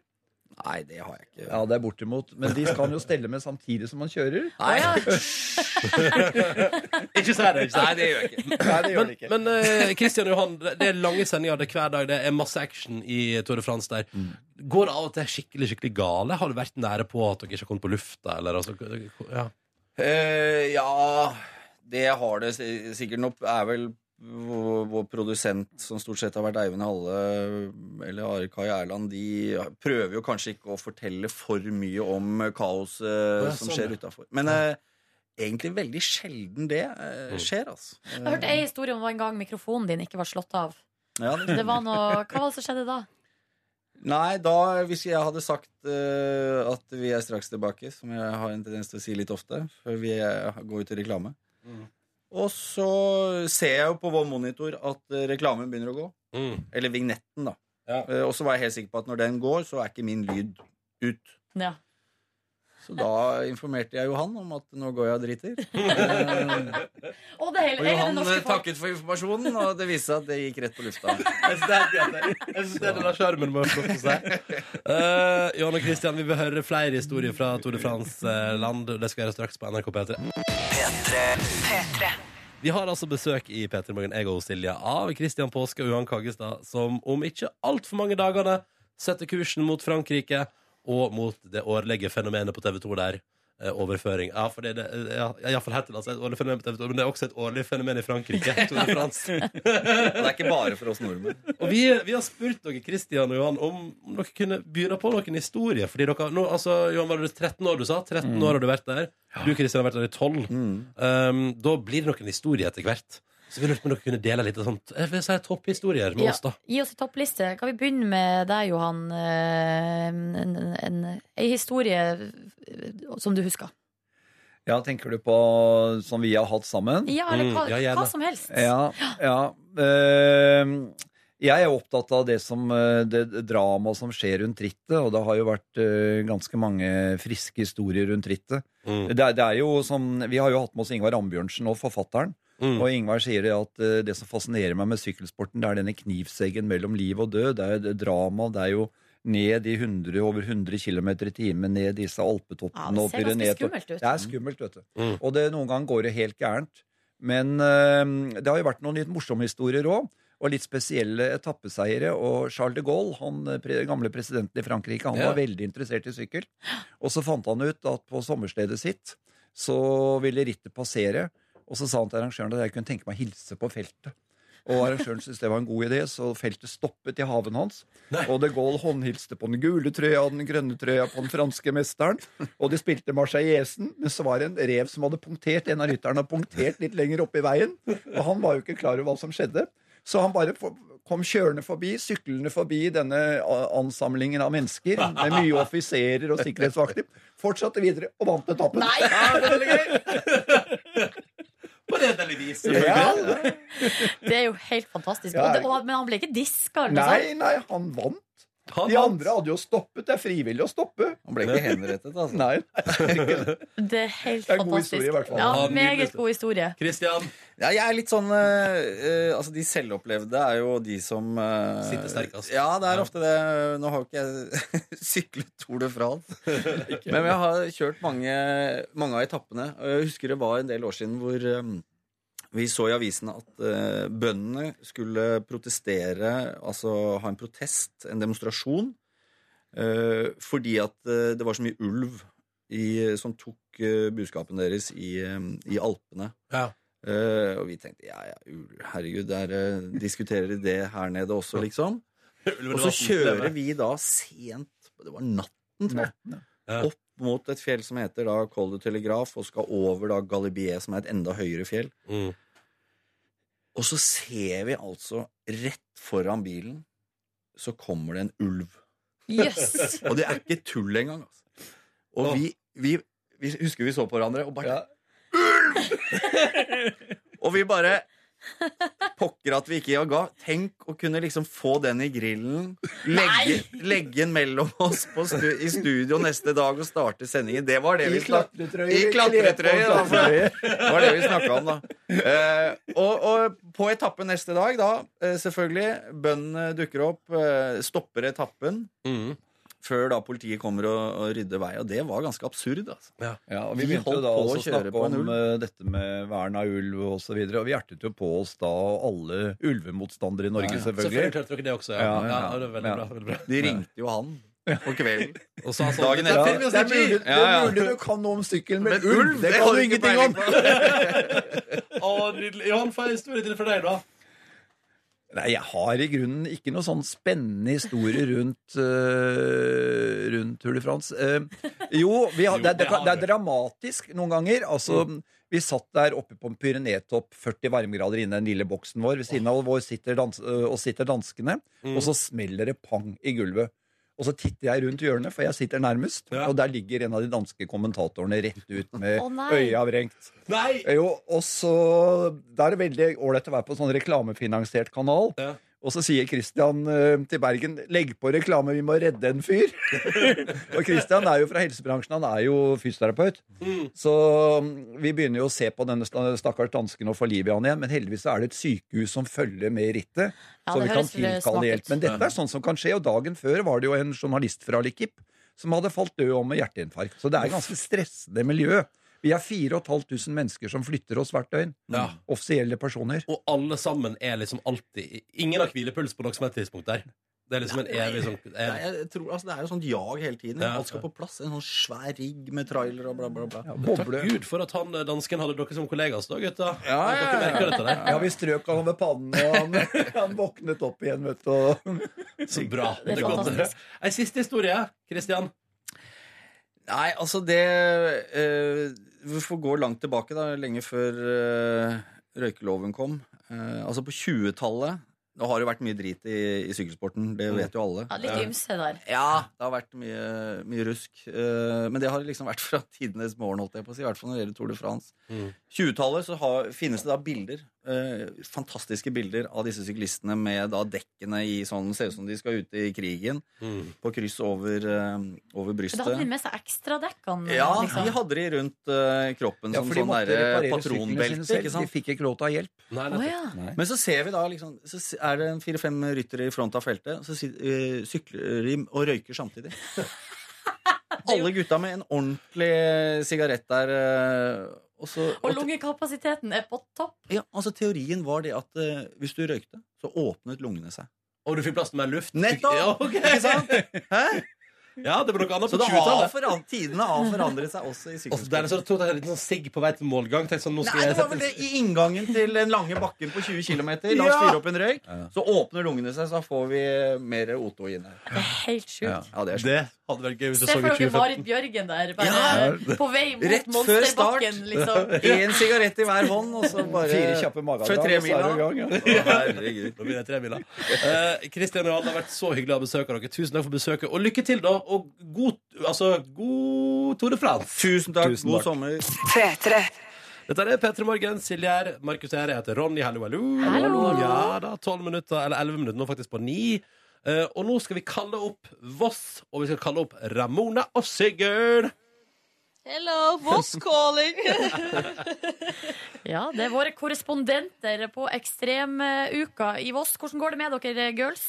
[SPEAKER 11] Nei, det har jeg ikke.
[SPEAKER 1] Ja, det er bortimot. Men de skal han jo stelle med samtidig som han kjører.
[SPEAKER 11] Nei,
[SPEAKER 2] Ikke si det!
[SPEAKER 11] Nei, det gjør jeg ikke.
[SPEAKER 1] Nei, det gjør de ikke.
[SPEAKER 2] Men eh, Kristian og Johan, det det er lange sendinger, det er hver dag, det er masse action i Tour de France der.
[SPEAKER 11] Mm.
[SPEAKER 2] Går det av og til skikkelig skikkelig gale? Har du vært nære på at dere ikke har kommet på lufta? Eller, altså, ja.
[SPEAKER 11] Eh, ja, det har det si- sikkert nok. Er vel vår, vår produsent, som stort sett har vært Eivind Halle eller Are Kai Erland, de prøver jo kanskje ikke å fortelle for mye om kaoset
[SPEAKER 12] ja,
[SPEAKER 11] som
[SPEAKER 12] sånn,
[SPEAKER 11] skjer
[SPEAKER 12] ja.
[SPEAKER 11] utafor. Men eh, egentlig veldig sjelden det eh, skjer, altså.
[SPEAKER 3] Jeg hørte ei historie om en gang mikrofonen din ikke var slått av.
[SPEAKER 11] Ja,
[SPEAKER 3] Det var noe, hva var det som skjedde da?
[SPEAKER 11] Nei, da, hvis jeg hadde sagt eh, at vi er straks tilbake, som jeg har en tendens til å si litt ofte, før vi eh, går ut i reklame Og så ser jeg jo på vår monitor at eh, reklamen begynner å gå. Eller vignetten, da. Eh, og så var jeg helt sikker på at når den går, så er ikke min lyd ut.
[SPEAKER 3] Ja.
[SPEAKER 11] Så da informerte jeg jo han om at nå går jeg og driter. Eh,
[SPEAKER 3] Og det hele, hele
[SPEAKER 11] og
[SPEAKER 3] det
[SPEAKER 11] Johan
[SPEAKER 3] norske
[SPEAKER 11] eh,
[SPEAKER 3] folk.
[SPEAKER 11] takket for informasjonen, og det viste seg at det gikk rett på lufta.
[SPEAKER 2] Jeg synes det er den av skjermen må jeg få lov til å si. Eh, Johan og Christian, vi vil høre flere historier fra Tour de France-land. Det skal gjøres straks på NRK P3. Vi har altså besøk i P3 Morgen, jeg og Silje, av Christian Påske og Johan Kaggestad, som om ikke altfor mange dagene setter kursen mot Frankrike og mot det årlige fenomenet på TV 2 der. eh, Overføring. Ja, for det er det, ja, iallfall hittil, altså. Et årlig fenomen på TV 2, men det er også et årlig fenomen i Frankrike. Tour de France.
[SPEAKER 11] Det er ikke bare for oss nordmenn.
[SPEAKER 2] Og vi, vi har spurt dere, Kristian og Johan, om, om dere kunne begynne på noen historier. Fordi dere, nå, altså, Johan, var det 13 år du sa? 13
[SPEAKER 1] Mm.
[SPEAKER 2] år har du vært der. Du, Kristian, har vært der i 12.
[SPEAKER 11] Mm.
[SPEAKER 2] Um, da blir det noen historier etter hvert. Så vi lurte på om dere kunne dele litt av sånt. Jeg vil si topphistorier med
[SPEAKER 3] Ja.
[SPEAKER 2] oss, da.
[SPEAKER 3] Gi oss en toppliste. Kan vi begynne med deg, Johan? Eh, En, en, en historie eh, som du husker.
[SPEAKER 1] Ja, tenker du på som vi har hatt sammen?
[SPEAKER 3] Ja, eller hva, hva som helst.
[SPEAKER 1] Mm, Ja, ja. Ehm, jeg er opptatt av det, som, eh, det drama som skjer rundt rittet, og det har jo vært eh, ganske mange friske historier rundt rittet.
[SPEAKER 2] Mm.
[SPEAKER 1] Det, er- det er jo som, vi har jo hatt med oss Ingvar Ambjørnsen og forfatteren,
[SPEAKER 2] Mm.
[SPEAKER 1] og Ingvar sier det at eh, det som fascinerer meg med sykkelsporten, det er denne knivseggen mellom liv og død, det er jo det drama, det er jo ned i 100, over 100 km i timen, ned disse
[SPEAKER 12] Ja,
[SPEAKER 1] alpetoppene
[SPEAKER 12] det
[SPEAKER 1] og
[SPEAKER 12] ser ganske
[SPEAKER 1] Pyreneetopp-
[SPEAKER 12] skummelt ut.
[SPEAKER 1] Det er skummelt, vet du. Og det, noen ganger går det helt gærent. Men eh, det har jo vært noen litt morsomme historier òg. Og litt spesielle etappeseiere. Og Charles de Gaulle, han eh, pre gamle presidenten i Frankrike, han
[SPEAKER 12] Ja.
[SPEAKER 1] var veldig interessert i sykkel. Og så fant han ut at på sommerstedet sitt så ville rittet passere. Og så sa han til arrangøren at jeg kunne tenke meg å hilse på feltet. Og arrangøren syntes det var en god idé, så feltet stoppet i haven hans. Og de Gaulle håndhilste på den gule trøya og den grønne trøya på den franske mesteren. Og de spilte Marseillesen, men så var det en rev som hadde punktert en av rytterne og punktert litt lenger oppe i veien. Og han var jo ikke klar over hva som skjedde. Så han bare for- kom kjørende forbi, syklende forbi denne a- ansamlingen av mennesker med mye offiserer og sikkerhetsvakter. Fortsatte videre og vant etappen. Nei!
[SPEAKER 2] På redelig vis,
[SPEAKER 3] Det er jo helt fantastisk.
[SPEAKER 1] Ja.
[SPEAKER 3] Og det, og, men han ble ikke diska? eller noe
[SPEAKER 1] Nei,
[SPEAKER 3] sånt?
[SPEAKER 1] nei, han vant. De andre hadde jo stoppet. Det er frivillig å stoppe.
[SPEAKER 11] Han ble ikke henrettet, altså.
[SPEAKER 1] Nei.
[SPEAKER 3] Det er helt
[SPEAKER 1] Det er en god
[SPEAKER 3] fantastisk.
[SPEAKER 1] historie i hvert fall.
[SPEAKER 3] Ja,
[SPEAKER 11] Ja,
[SPEAKER 3] meget
[SPEAKER 11] nydelig.
[SPEAKER 3] god historie.
[SPEAKER 2] Kristian?
[SPEAKER 11] Ja, jeg er litt sånn eh, eh, Altså, de selvopplevde er jo de som eh,
[SPEAKER 2] Sitter sterkest.
[SPEAKER 11] Ja, det er ofte det. Nå har jo ikke jeg syklet Tour de France,
[SPEAKER 2] Ikke.
[SPEAKER 11] men jeg har kjørt mange, mange av etappene. Og jeg husker det var en del år siden hvor eh, vi så i avisene at eh, bøndene skulle protestere, altså ha en protest, en demonstrasjon, eh, fordi at eh, det var så mye ulv i, som tok eh, buskapen deres i, eh, i Alpene.
[SPEAKER 2] Ja.
[SPEAKER 11] Eh, og vi tenkte ja, ja, ulv, herregud, der, eh, diskuterer de det her nede også, liksom?
[SPEAKER 2] Ulven
[SPEAKER 11] Og
[SPEAKER 2] var
[SPEAKER 11] så kjører
[SPEAKER 2] den.
[SPEAKER 11] vi da sent, det var natten, tror jeg opp mot et fjell som heter da Col du Telegraf, og skal over da Galibier, som er et enda høyere fjell.
[SPEAKER 2] Mm.
[SPEAKER 11] Og så ser vi altså rett foran bilen, så kommer det en ulv.
[SPEAKER 12] Jøss.
[SPEAKER 11] og det er ikke tull engang. Altså. Og vi, vi, vi husker vi så på hverandre og bare Ulv! og vi bare Pokker at vi ikke jaga. Tenk å kunne liksom få den i grillen, legge, legge den mellom oss på stu, i studio neste dag og starte sendingen. Det var det
[SPEAKER 1] I
[SPEAKER 11] vi snakket
[SPEAKER 1] klatretrøye.
[SPEAKER 11] i klatretrøye, da. For
[SPEAKER 1] Klatretrøye.
[SPEAKER 11] det var det vi snakka om, da. Eh, og, og på etappen neste dag, da, eh, selvfølgelig, bøndene dukker opp, eh, stopper etappen. Før da politiet kommer og, og rydder vei. Og det var ganske absurd, altså.
[SPEAKER 1] Ja, og vi begynte jo
[SPEAKER 11] holdt
[SPEAKER 1] da
[SPEAKER 11] på
[SPEAKER 1] også å
[SPEAKER 11] kjøre
[SPEAKER 1] snakke
[SPEAKER 11] en
[SPEAKER 1] om
[SPEAKER 11] ulv.
[SPEAKER 1] eh, dette med vern av ulv og så videre, og vi hjertet jo på oss da alle ulvemotstandere i Norge,
[SPEAKER 2] Ja, ja.
[SPEAKER 1] selvfølgelig.
[SPEAKER 2] Selvfølgelig klarte dere det også, ja. Ja, det var veldig bra, veldig bra.
[SPEAKER 11] De ringte jo han. på kvelden.
[SPEAKER 2] Og så altså,
[SPEAKER 11] Dagen
[SPEAKER 1] det, er,
[SPEAKER 11] etter.
[SPEAKER 1] mulig- det, er mulig, det
[SPEAKER 11] Ja, ja.
[SPEAKER 1] er mulig du kan noe om sykkel, men,
[SPEAKER 2] Men
[SPEAKER 1] ulv,
[SPEAKER 2] ulv,
[SPEAKER 1] det
[SPEAKER 2] det
[SPEAKER 1] kan
[SPEAKER 2] har
[SPEAKER 1] du
[SPEAKER 2] jeg ikke
[SPEAKER 1] ingenting om!
[SPEAKER 2] Å, nydelig. Johan, få en historie til for deg, da.
[SPEAKER 1] Nei, jeg har i grunnen ikke noe sånn spennende historie rundt, øh, rundt Tour de France. Eh, jo, vi har,
[SPEAKER 12] Jo,
[SPEAKER 1] det, er-
[SPEAKER 12] det
[SPEAKER 1] det, kan-
[SPEAKER 12] har
[SPEAKER 1] det er dramatisk noen ganger. Altså, Vi satt der oppe på en Pyrenetopp, 40 varmegrader inne i den lille boksen vår. Ved siden av vår sitter, dans, øh, og sitter danskene, og
[SPEAKER 12] Mm.
[SPEAKER 1] så smeller det pang i gulvet. Og så titter jeg rundt hjørnet, for jeg sitter nærmest, og der ligger en av de danske kommentatorene rett ut med
[SPEAKER 12] Å, nei.
[SPEAKER 1] øya avrengt.
[SPEAKER 2] Nei!
[SPEAKER 1] Jo, og så Da er det veldig ålreit å være på en sånn reklamefinansiert kanal. Og så sier Christian eh, til Bergen 'legg på reklame, vi må redde en fyr'. og Christian er jo fra helsebransjen, han er jo fysioterapeut. Så mm, vi begynner jo å se på denne sta- stakkars dansken og få liv i han igjen. Men heldigvis så er det et sykehus som følger med i rittet,
[SPEAKER 12] Ja,
[SPEAKER 1] så
[SPEAKER 12] det
[SPEAKER 1] vi kan
[SPEAKER 12] høres vel smart
[SPEAKER 1] tilkalle hjelp.
[SPEAKER 12] ut.
[SPEAKER 1] Men dette er sånn som kan skje, og dagen før var det jo en journalist fra Likip som hadde falt død om med hjerteinfarkt. Så det er et ganske stressende miljø. Vi er 4500 mennesker som flytter oss hvert døgn. Offisielle personer.
[SPEAKER 2] Og alle sammen er liksom alltid Ingen har hvilepuls på noe som helst tidspunkt der. Det er liksom en evig sånn
[SPEAKER 11] Nei, jeg tror, altså, det er jo sånn jag hele tiden.
[SPEAKER 2] Ja,
[SPEAKER 11] Alt skal på plass. En sånn svær rigg med trailer og bla, bla, bla.
[SPEAKER 2] Takk Gud for at han eh, dansken hadde dere som kollegaer, så da, gutta. At
[SPEAKER 1] ja,
[SPEAKER 2] dere
[SPEAKER 1] ja.
[SPEAKER 2] merker dette der.
[SPEAKER 1] Ja, vi strøk han over pannen, og han, han våknet opp igjen, vet du. og-
[SPEAKER 2] Så bra. Det er godt å høre. En siste historie, Christian.
[SPEAKER 11] Nei, altså det eh, Vi får gå langt tilbake, da, lenge før eh, røykeloven kom. Eh, altså på 20-tallet Det har jo vært mye drit i, i sykkelsporten, det vet jo alle.
[SPEAKER 3] Ja, litt
[SPEAKER 11] Eh,
[SPEAKER 3] ymse der.
[SPEAKER 11] Ja, det har vært mye, mye rusk. Eh, men det har liksom vært fra tidenes morgen, holdt jeg på å si. I hvert fall når det gjelder Tour de France.
[SPEAKER 1] Mm.
[SPEAKER 11] 20-tallet så har, finnes det da bilder, eh, fantastiske bilder av disse syklistene med da dekkene i sånn Ser ut som de skal ut i krigen, på kryss over, eh, over
[SPEAKER 3] Men
[SPEAKER 11] brystet.
[SPEAKER 3] Da hadde de med seg ekstradekkene.
[SPEAKER 11] Ja,
[SPEAKER 3] liksom.
[SPEAKER 11] de hadde de rundt eh, kroppen
[SPEAKER 1] Ja,
[SPEAKER 11] som
[SPEAKER 1] for de
[SPEAKER 11] sånn
[SPEAKER 1] måtte
[SPEAKER 11] der,
[SPEAKER 1] reparere syklene sine
[SPEAKER 11] patronbelte.
[SPEAKER 1] selv.
[SPEAKER 11] Ikke sant?
[SPEAKER 1] De fikk ikke lov til å ha hjelp.
[SPEAKER 2] nettopp. Å,
[SPEAKER 3] ja.
[SPEAKER 1] Nei.
[SPEAKER 11] Men så ser vi da liksom, så s- er det en fire-fem ryttere i front av feltet, så sit- eh, sykler de og røyker samtidig. Alle gutta med en ordentlig sigarett der. eh, og så,
[SPEAKER 3] Og lungekapasiteten er på topp.
[SPEAKER 11] ja, altså Teorien var det at eh, hvis du røykte, så åpnet lungene seg.
[SPEAKER 2] Og du fikk plass til mer luft.
[SPEAKER 11] Nettopp!
[SPEAKER 2] Ja, ok.
[SPEAKER 11] Ikke sant? Hæ?
[SPEAKER 2] Ja, det var noe annet på
[SPEAKER 11] Så det har
[SPEAKER 2] 20-tallet.
[SPEAKER 11] foran, tidene har forandret seg også i
[SPEAKER 2] Og så der så
[SPEAKER 11] sykkelsporten.
[SPEAKER 2] tok jeg en sånn liten sigg på vei til målgang. Tenkte sånn, nå skal
[SPEAKER 11] Nei, det
[SPEAKER 2] jeg
[SPEAKER 11] var
[SPEAKER 2] sette
[SPEAKER 11] vel det i inngangen til den lange bakken på 20 km. La oss
[SPEAKER 2] Ja!
[SPEAKER 11] fyre opp en røyk, så åpner lungene seg, så får vi eh, mer O2 inn her.
[SPEAKER 3] Helt sjukt.
[SPEAKER 11] Ja, det,
[SPEAKER 2] hadde vært gøy hvis
[SPEAKER 3] Se for dere Marit Bjørgen der, bare på vei mot
[SPEAKER 11] Rett før start.
[SPEAKER 3] monsterbakken, liksom.
[SPEAKER 11] Én sigarett i hver hånd, og så bare
[SPEAKER 1] Fire kjappe magedrag,
[SPEAKER 11] Før tre
[SPEAKER 1] og så er du i gang,
[SPEAKER 11] mila.
[SPEAKER 1] ja.
[SPEAKER 2] Herregud. Nå blir det tre biler. Eh, Kristian og Johan, det har vært så hyggelig å besøke dere. Tusen takk for besøket. Og lykke til, da. Og god, altså, god Tour de France.
[SPEAKER 11] Tusen takk. God sommer.
[SPEAKER 2] Dette er P3 Morgen. Silje her. Markus her. Jeg heter Ronny. Hallo, hallo.
[SPEAKER 12] Hallo.
[SPEAKER 2] Ja da. Tolv minutter, eller elleve minutter, nå faktisk på ni. Eh, og nå skal vi kalle opp Voss, og vi skal kalle opp Ramona og Sigurd.
[SPEAKER 13] Hello, boss calling!
[SPEAKER 3] Ja, det er våre korrespondenter på Ekstremuka i Voss. Hvordan går det med dere, girls?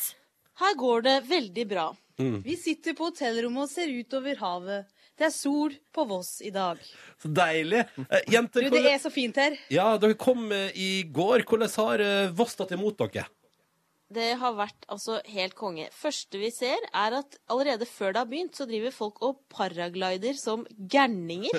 [SPEAKER 13] Her går det veldig bra.
[SPEAKER 2] Mm.
[SPEAKER 13] Vi sitter på hotellrommet og ser ut over havet. Det er sol på Voss i dag.
[SPEAKER 2] Så deilig. Eh,
[SPEAKER 13] Du,
[SPEAKER 2] jenter,
[SPEAKER 13] det
[SPEAKER 2] hvordan-
[SPEAKER 13] er så fint her.
[SPEAKER 2] ja, dere kom eh, i går. Hvordan har eh, Voss tatt imot dere?
[SPEAKER 13] Det har vært altså helt konge. Første vi ser, er at allerede før det har begynt, så driver folk og paraglider som gærninger.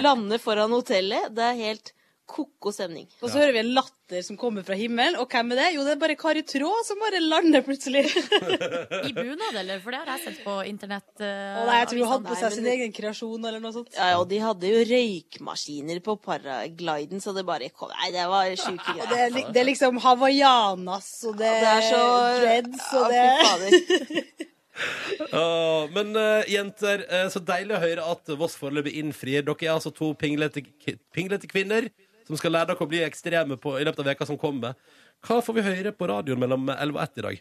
[SPEAKER 13] Lander foran hotellet. Det er helt ko-ko stemning. Og så hører vi en latter som kommer fra himmelen. Og hvem er det? Jo, det er bare Kari Traa som bare lander plutselig.
[SPEAKER 3] I bunad, eller? For det har jeg sett på internett. eh,
[SPEAKER 13] Og nei, jeg tror hun hadde på seg sin egen kreasjon eller noe sånt. Ja, ja, og de hadde jo røykmaskiner på paragliden, så det bare kom Nei, det var sjuke greier.
[SPEAKER 14] Og det, er, li- det er liksom hawaiianas, og det,
[SPEAKER 13] det er så-
[SPEAKER 14] er dreads, og det
[SPEAKER 13] Ja, fy fader.
[SPEAKER 2] Åh, men eh, jenter, eh, så deilig å høre at Voss foreløpig innfrir. Dere er altså to pinglete, ki- pinglete kvinner som skal lære dere å bli ekstreme på, i løpet av veka som kommer. Hva får vi høre på radioen mellom 11 og 1 i dag?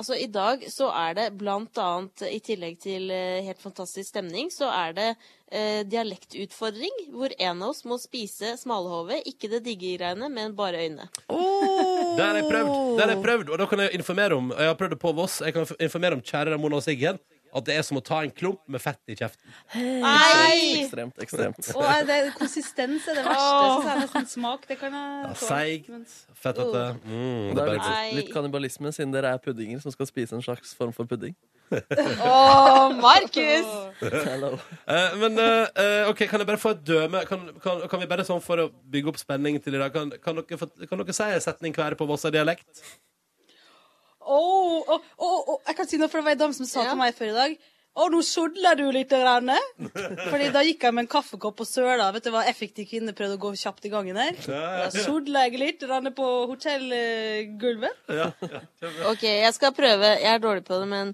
[SPEAKER 13] Altså, I dag så er det blant annet, i tillegg til eh, helt fantastisk stemning, så er det eh, dialektutfordring, hvor en av oss må spise smalahove, ikke det digge greiene, men bare øynene.
[SPEAKER 2] Det har jeg prøvd, det har jeg prøvd og da kan jeg informere om Jeg har prøvd det på Voss. Jeg kan informere om kjære Ramona og Siggen at det er som å ta en klump med fett i kjeften.
[SPEAKER 13] Nei!
[SPEAKER 2] Ekstremt, ekstremt.
[SPEAKER 14] Og er det konsistens er det verste.
[SPEAKER 13] Åh.
[SPEAKER 14] Så er det sånn smak, det kan jeg
[SPEAKER 2] Ja,
[SPEAKER 14] tåle,
[SPEAKER 2] seigt.
[SPEAKER 14] men-
[SPEAKER 2] Fettete.
[SPEAKER 13] Uh.
[SPEAKER 2] Mm,
[SPEAKER 4] det er
[SPEAKER 2] bare
[SPEAKER 4] litt, sånn.
[SPEAKER 13] Nei.
[SPEAKER 4] litt kannibalisme, siden dere er puddinger som skal spise en slags form for pudding.
[SPEAKER 13] Åh, Markus!
[SPEAKER 2] Eh, men eh, eh, ok, kan jeg bare få et døme? Kan, kan, kan vi bare sånn for å bygge opp spenning til i dag Kan, kan, dere, få- kan dere si en setning hver på Vossa-dialekt?
[SPEAKER 14] Åh, åh, åh, åh, jeg kan si noe, for det var en dame som sa til meg før i dag Å, nå sodler du litt. Grann. Fordi da gikk jeg med en kaffekopp og søla. Vet du hva effektiv kvinne prøvde å gå kjapt i gangen her?
[SPEAKER 13] Ja, ja.
[SPEAKER 14] Da sodla jeg litt grann på hotellgulvet.
[SPEAKER 13] Ok, jeg skal prøve. Jeg er dårlig på det, men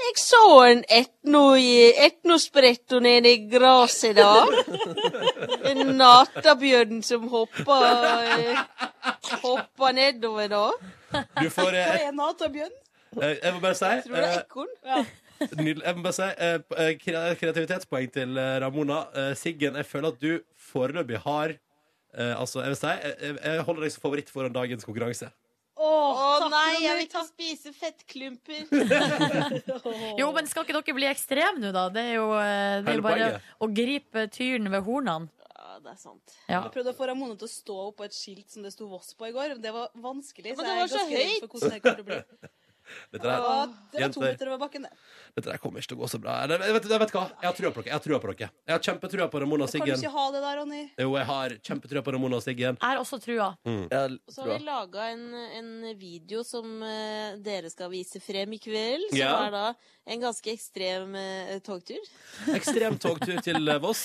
[SPEAKER 13] Jeg så en etno i- etnospretto nede i gresset i dag. En natabjørn som hoppa eh, Hoppa nedover da.
[SPEAKER 2] Du får eh,
[SPEAKER 14] Hva
[SPEAKER 2] et,
[SPEAKER 14] er natabjørn?
[SPEAKER 2] eh, Jeg må bare si
[SPEAKER 13] Tror det er
[SPEAKER 2] eh,
[SPEAKER 13] ekorn.
[SPEAKER 2] Nydelig. Jeg må bare si eh, p- eh, kre- kreativitetspoeng til eh, Ramona. Eh, Siggen, jeg føler at du foreløpig har eh, Altså, jeg vil si jeg, jeg- jeg holder deg som favoritt foran dagens konkurranse.
[SPEAKER 14] Å
[SPEAKER 13] nei, jeg vil ikke spise fettklumper.
[SPEAKER 3] Jo, men skal ikke dere bli ekstreme nå, da? Det er jo, eh, det er
[SPEAKER 13] Hele
[SPEAKER 3] jo bare
[SPEAKER 13] poenget.
[SPEAKER 3] å gripe tyren ved hornene.
[SPEAKER 13] Ja, det er sant.
[SPEAKER 3] Ja.
[SPEAKER 14] Jeg prøvde å få Ramone til å stå opp på et skilt som det sto Voss på i går. men Det var vanskelig.
[SPEAKER 13] Ja, men
[SPEAKER 14] så
[SPEAKER 13] det
[SPEAKER 14] jeg
[SPEAKER 13] var
[SPEAKER 14] er
[SPEAKER 13] så
[SPEAKER 14] ganske redd
[SPEAKER 13] høyt.
[SPEAKER 14] for hvordan jeg kommer til å bli.
[SPEAKER 2] Dette der,
[SPEAKER 14] Å, Det var to
[SPEAKER 2] jenter,
[SPEAKER 14] meter over bakken, det.
[SPEAKER 2] dette der kommer ikke til å gå så bra. Eller, vet, vet, vet du hva? Jeg har trua på dere. Jeg har, trua på dere. Jeg har kjempetrua på Ramona
[SPEAKER 14] Kan
[SPEAKER 2] og
[SPEAKER 14] du
[SPEAKER 2] Siggen.
[SPEAKER 14] ikke ha det der, Ronny?
[SPEAKER 2] Jo, jeg har kjempetrua på Ramona og Siggen.
[SPEAKER 3] Jeg har også trua.
[SPEAKER 2] Mm.
[SPEAKER 13] Og så har vi laga en, en video som eh, dere skal vise frem i kveld. Som
[SPEAKER 2] Ja.
[SPEAKER 13] er da en ganske ekstrem eh, togtur.
[SPEAKER 2] Ekstrem togtur til eh, Voss.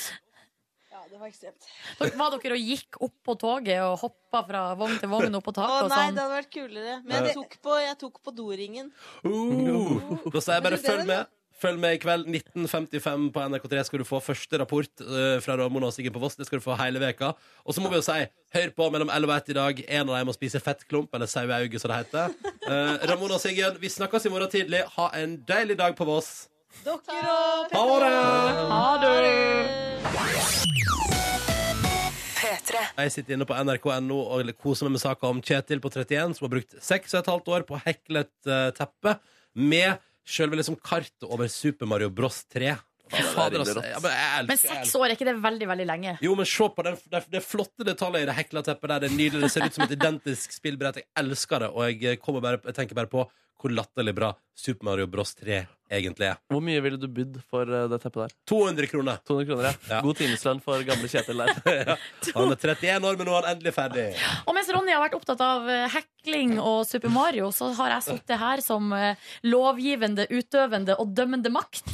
[SPEAKER 14] Ja, det var ekstremt.
[SPEAKER 3] Dere, var dere og gikk opp på toget og hoppa fra vogn til vogn opp på
[SPEAKER 13] Å
[SPEAKER 3] taket og
[SPEAKER 13] nei,
[SPEAKER 3] sånn?
[SPEAKER 13] det hadde vært kulere. Men
[SPEAKER 2] Ja.
[SPEAKER 13] jeg tok på, jeg tok på doringen.
[SPEAKER 2] Uh, da sier jeg bare
[SPEAKER 13] Men det er
[SPEAKER 2] følg
[SPEAKER 13] det,
[SPEAKER 2] med. Følg med i kveld. 19.55 på NRK3 skal du få første rapport eh, fra Ramona og Siggen på Voss. Det skal du få hele veka Og så må vi jo si hør på mellom 11 og 1 i dag. En av dem må spise fettklump, eller saueauge, som det heter. Eh, Ramona og Siggen, vi snakkes i morgen tidlig. Ha en deilig dag på Voss.
[SPEAKER 14] Dere og
[SPEAKER 2] Ha det!
[SPEAKER 3] Ha det!
[SPEAKER 2] Jeg sitter inne på nrk.no og koser meg med saka om Kjetil på 31, som har brukt 6,5 år på å hekle et eh, teppe med sjølve liksom kartet over Super Mario Bros 3. Fy Fader, altså. Ja, men jeg elsker
[SPEAKER 3] Men seks år er ikke det veldig, veldig lenge?
[SPEAKER 2] Jo, men se på den, det, det flotte detaljet i det hekla teppet der. Det er nydelig, det ser ut som et identisk spillbrett. Jeg elsker det, og jeg, kommer bare, jeg tenker bare på hvor latterlig bra Super Mario Bros 3 egentlig er.
[SPEAKER 4] Hvor mye ville du bydd for eh, det teppet der?
[SPEAKER 2] 200 kroner.
[SPEAKER 4] 200 kroner, ja. God timeslønn for gamle Kjetil der.
[SPEAKER 2] Han er 31 år, men nå er han endelig ferdig.
[SPEAKER 3] Og mens Ronny har vært opptatt av eh, hekling og Super Mario, så har jeg sittet her som eh, lovgivende, utøvende og dømmende makt.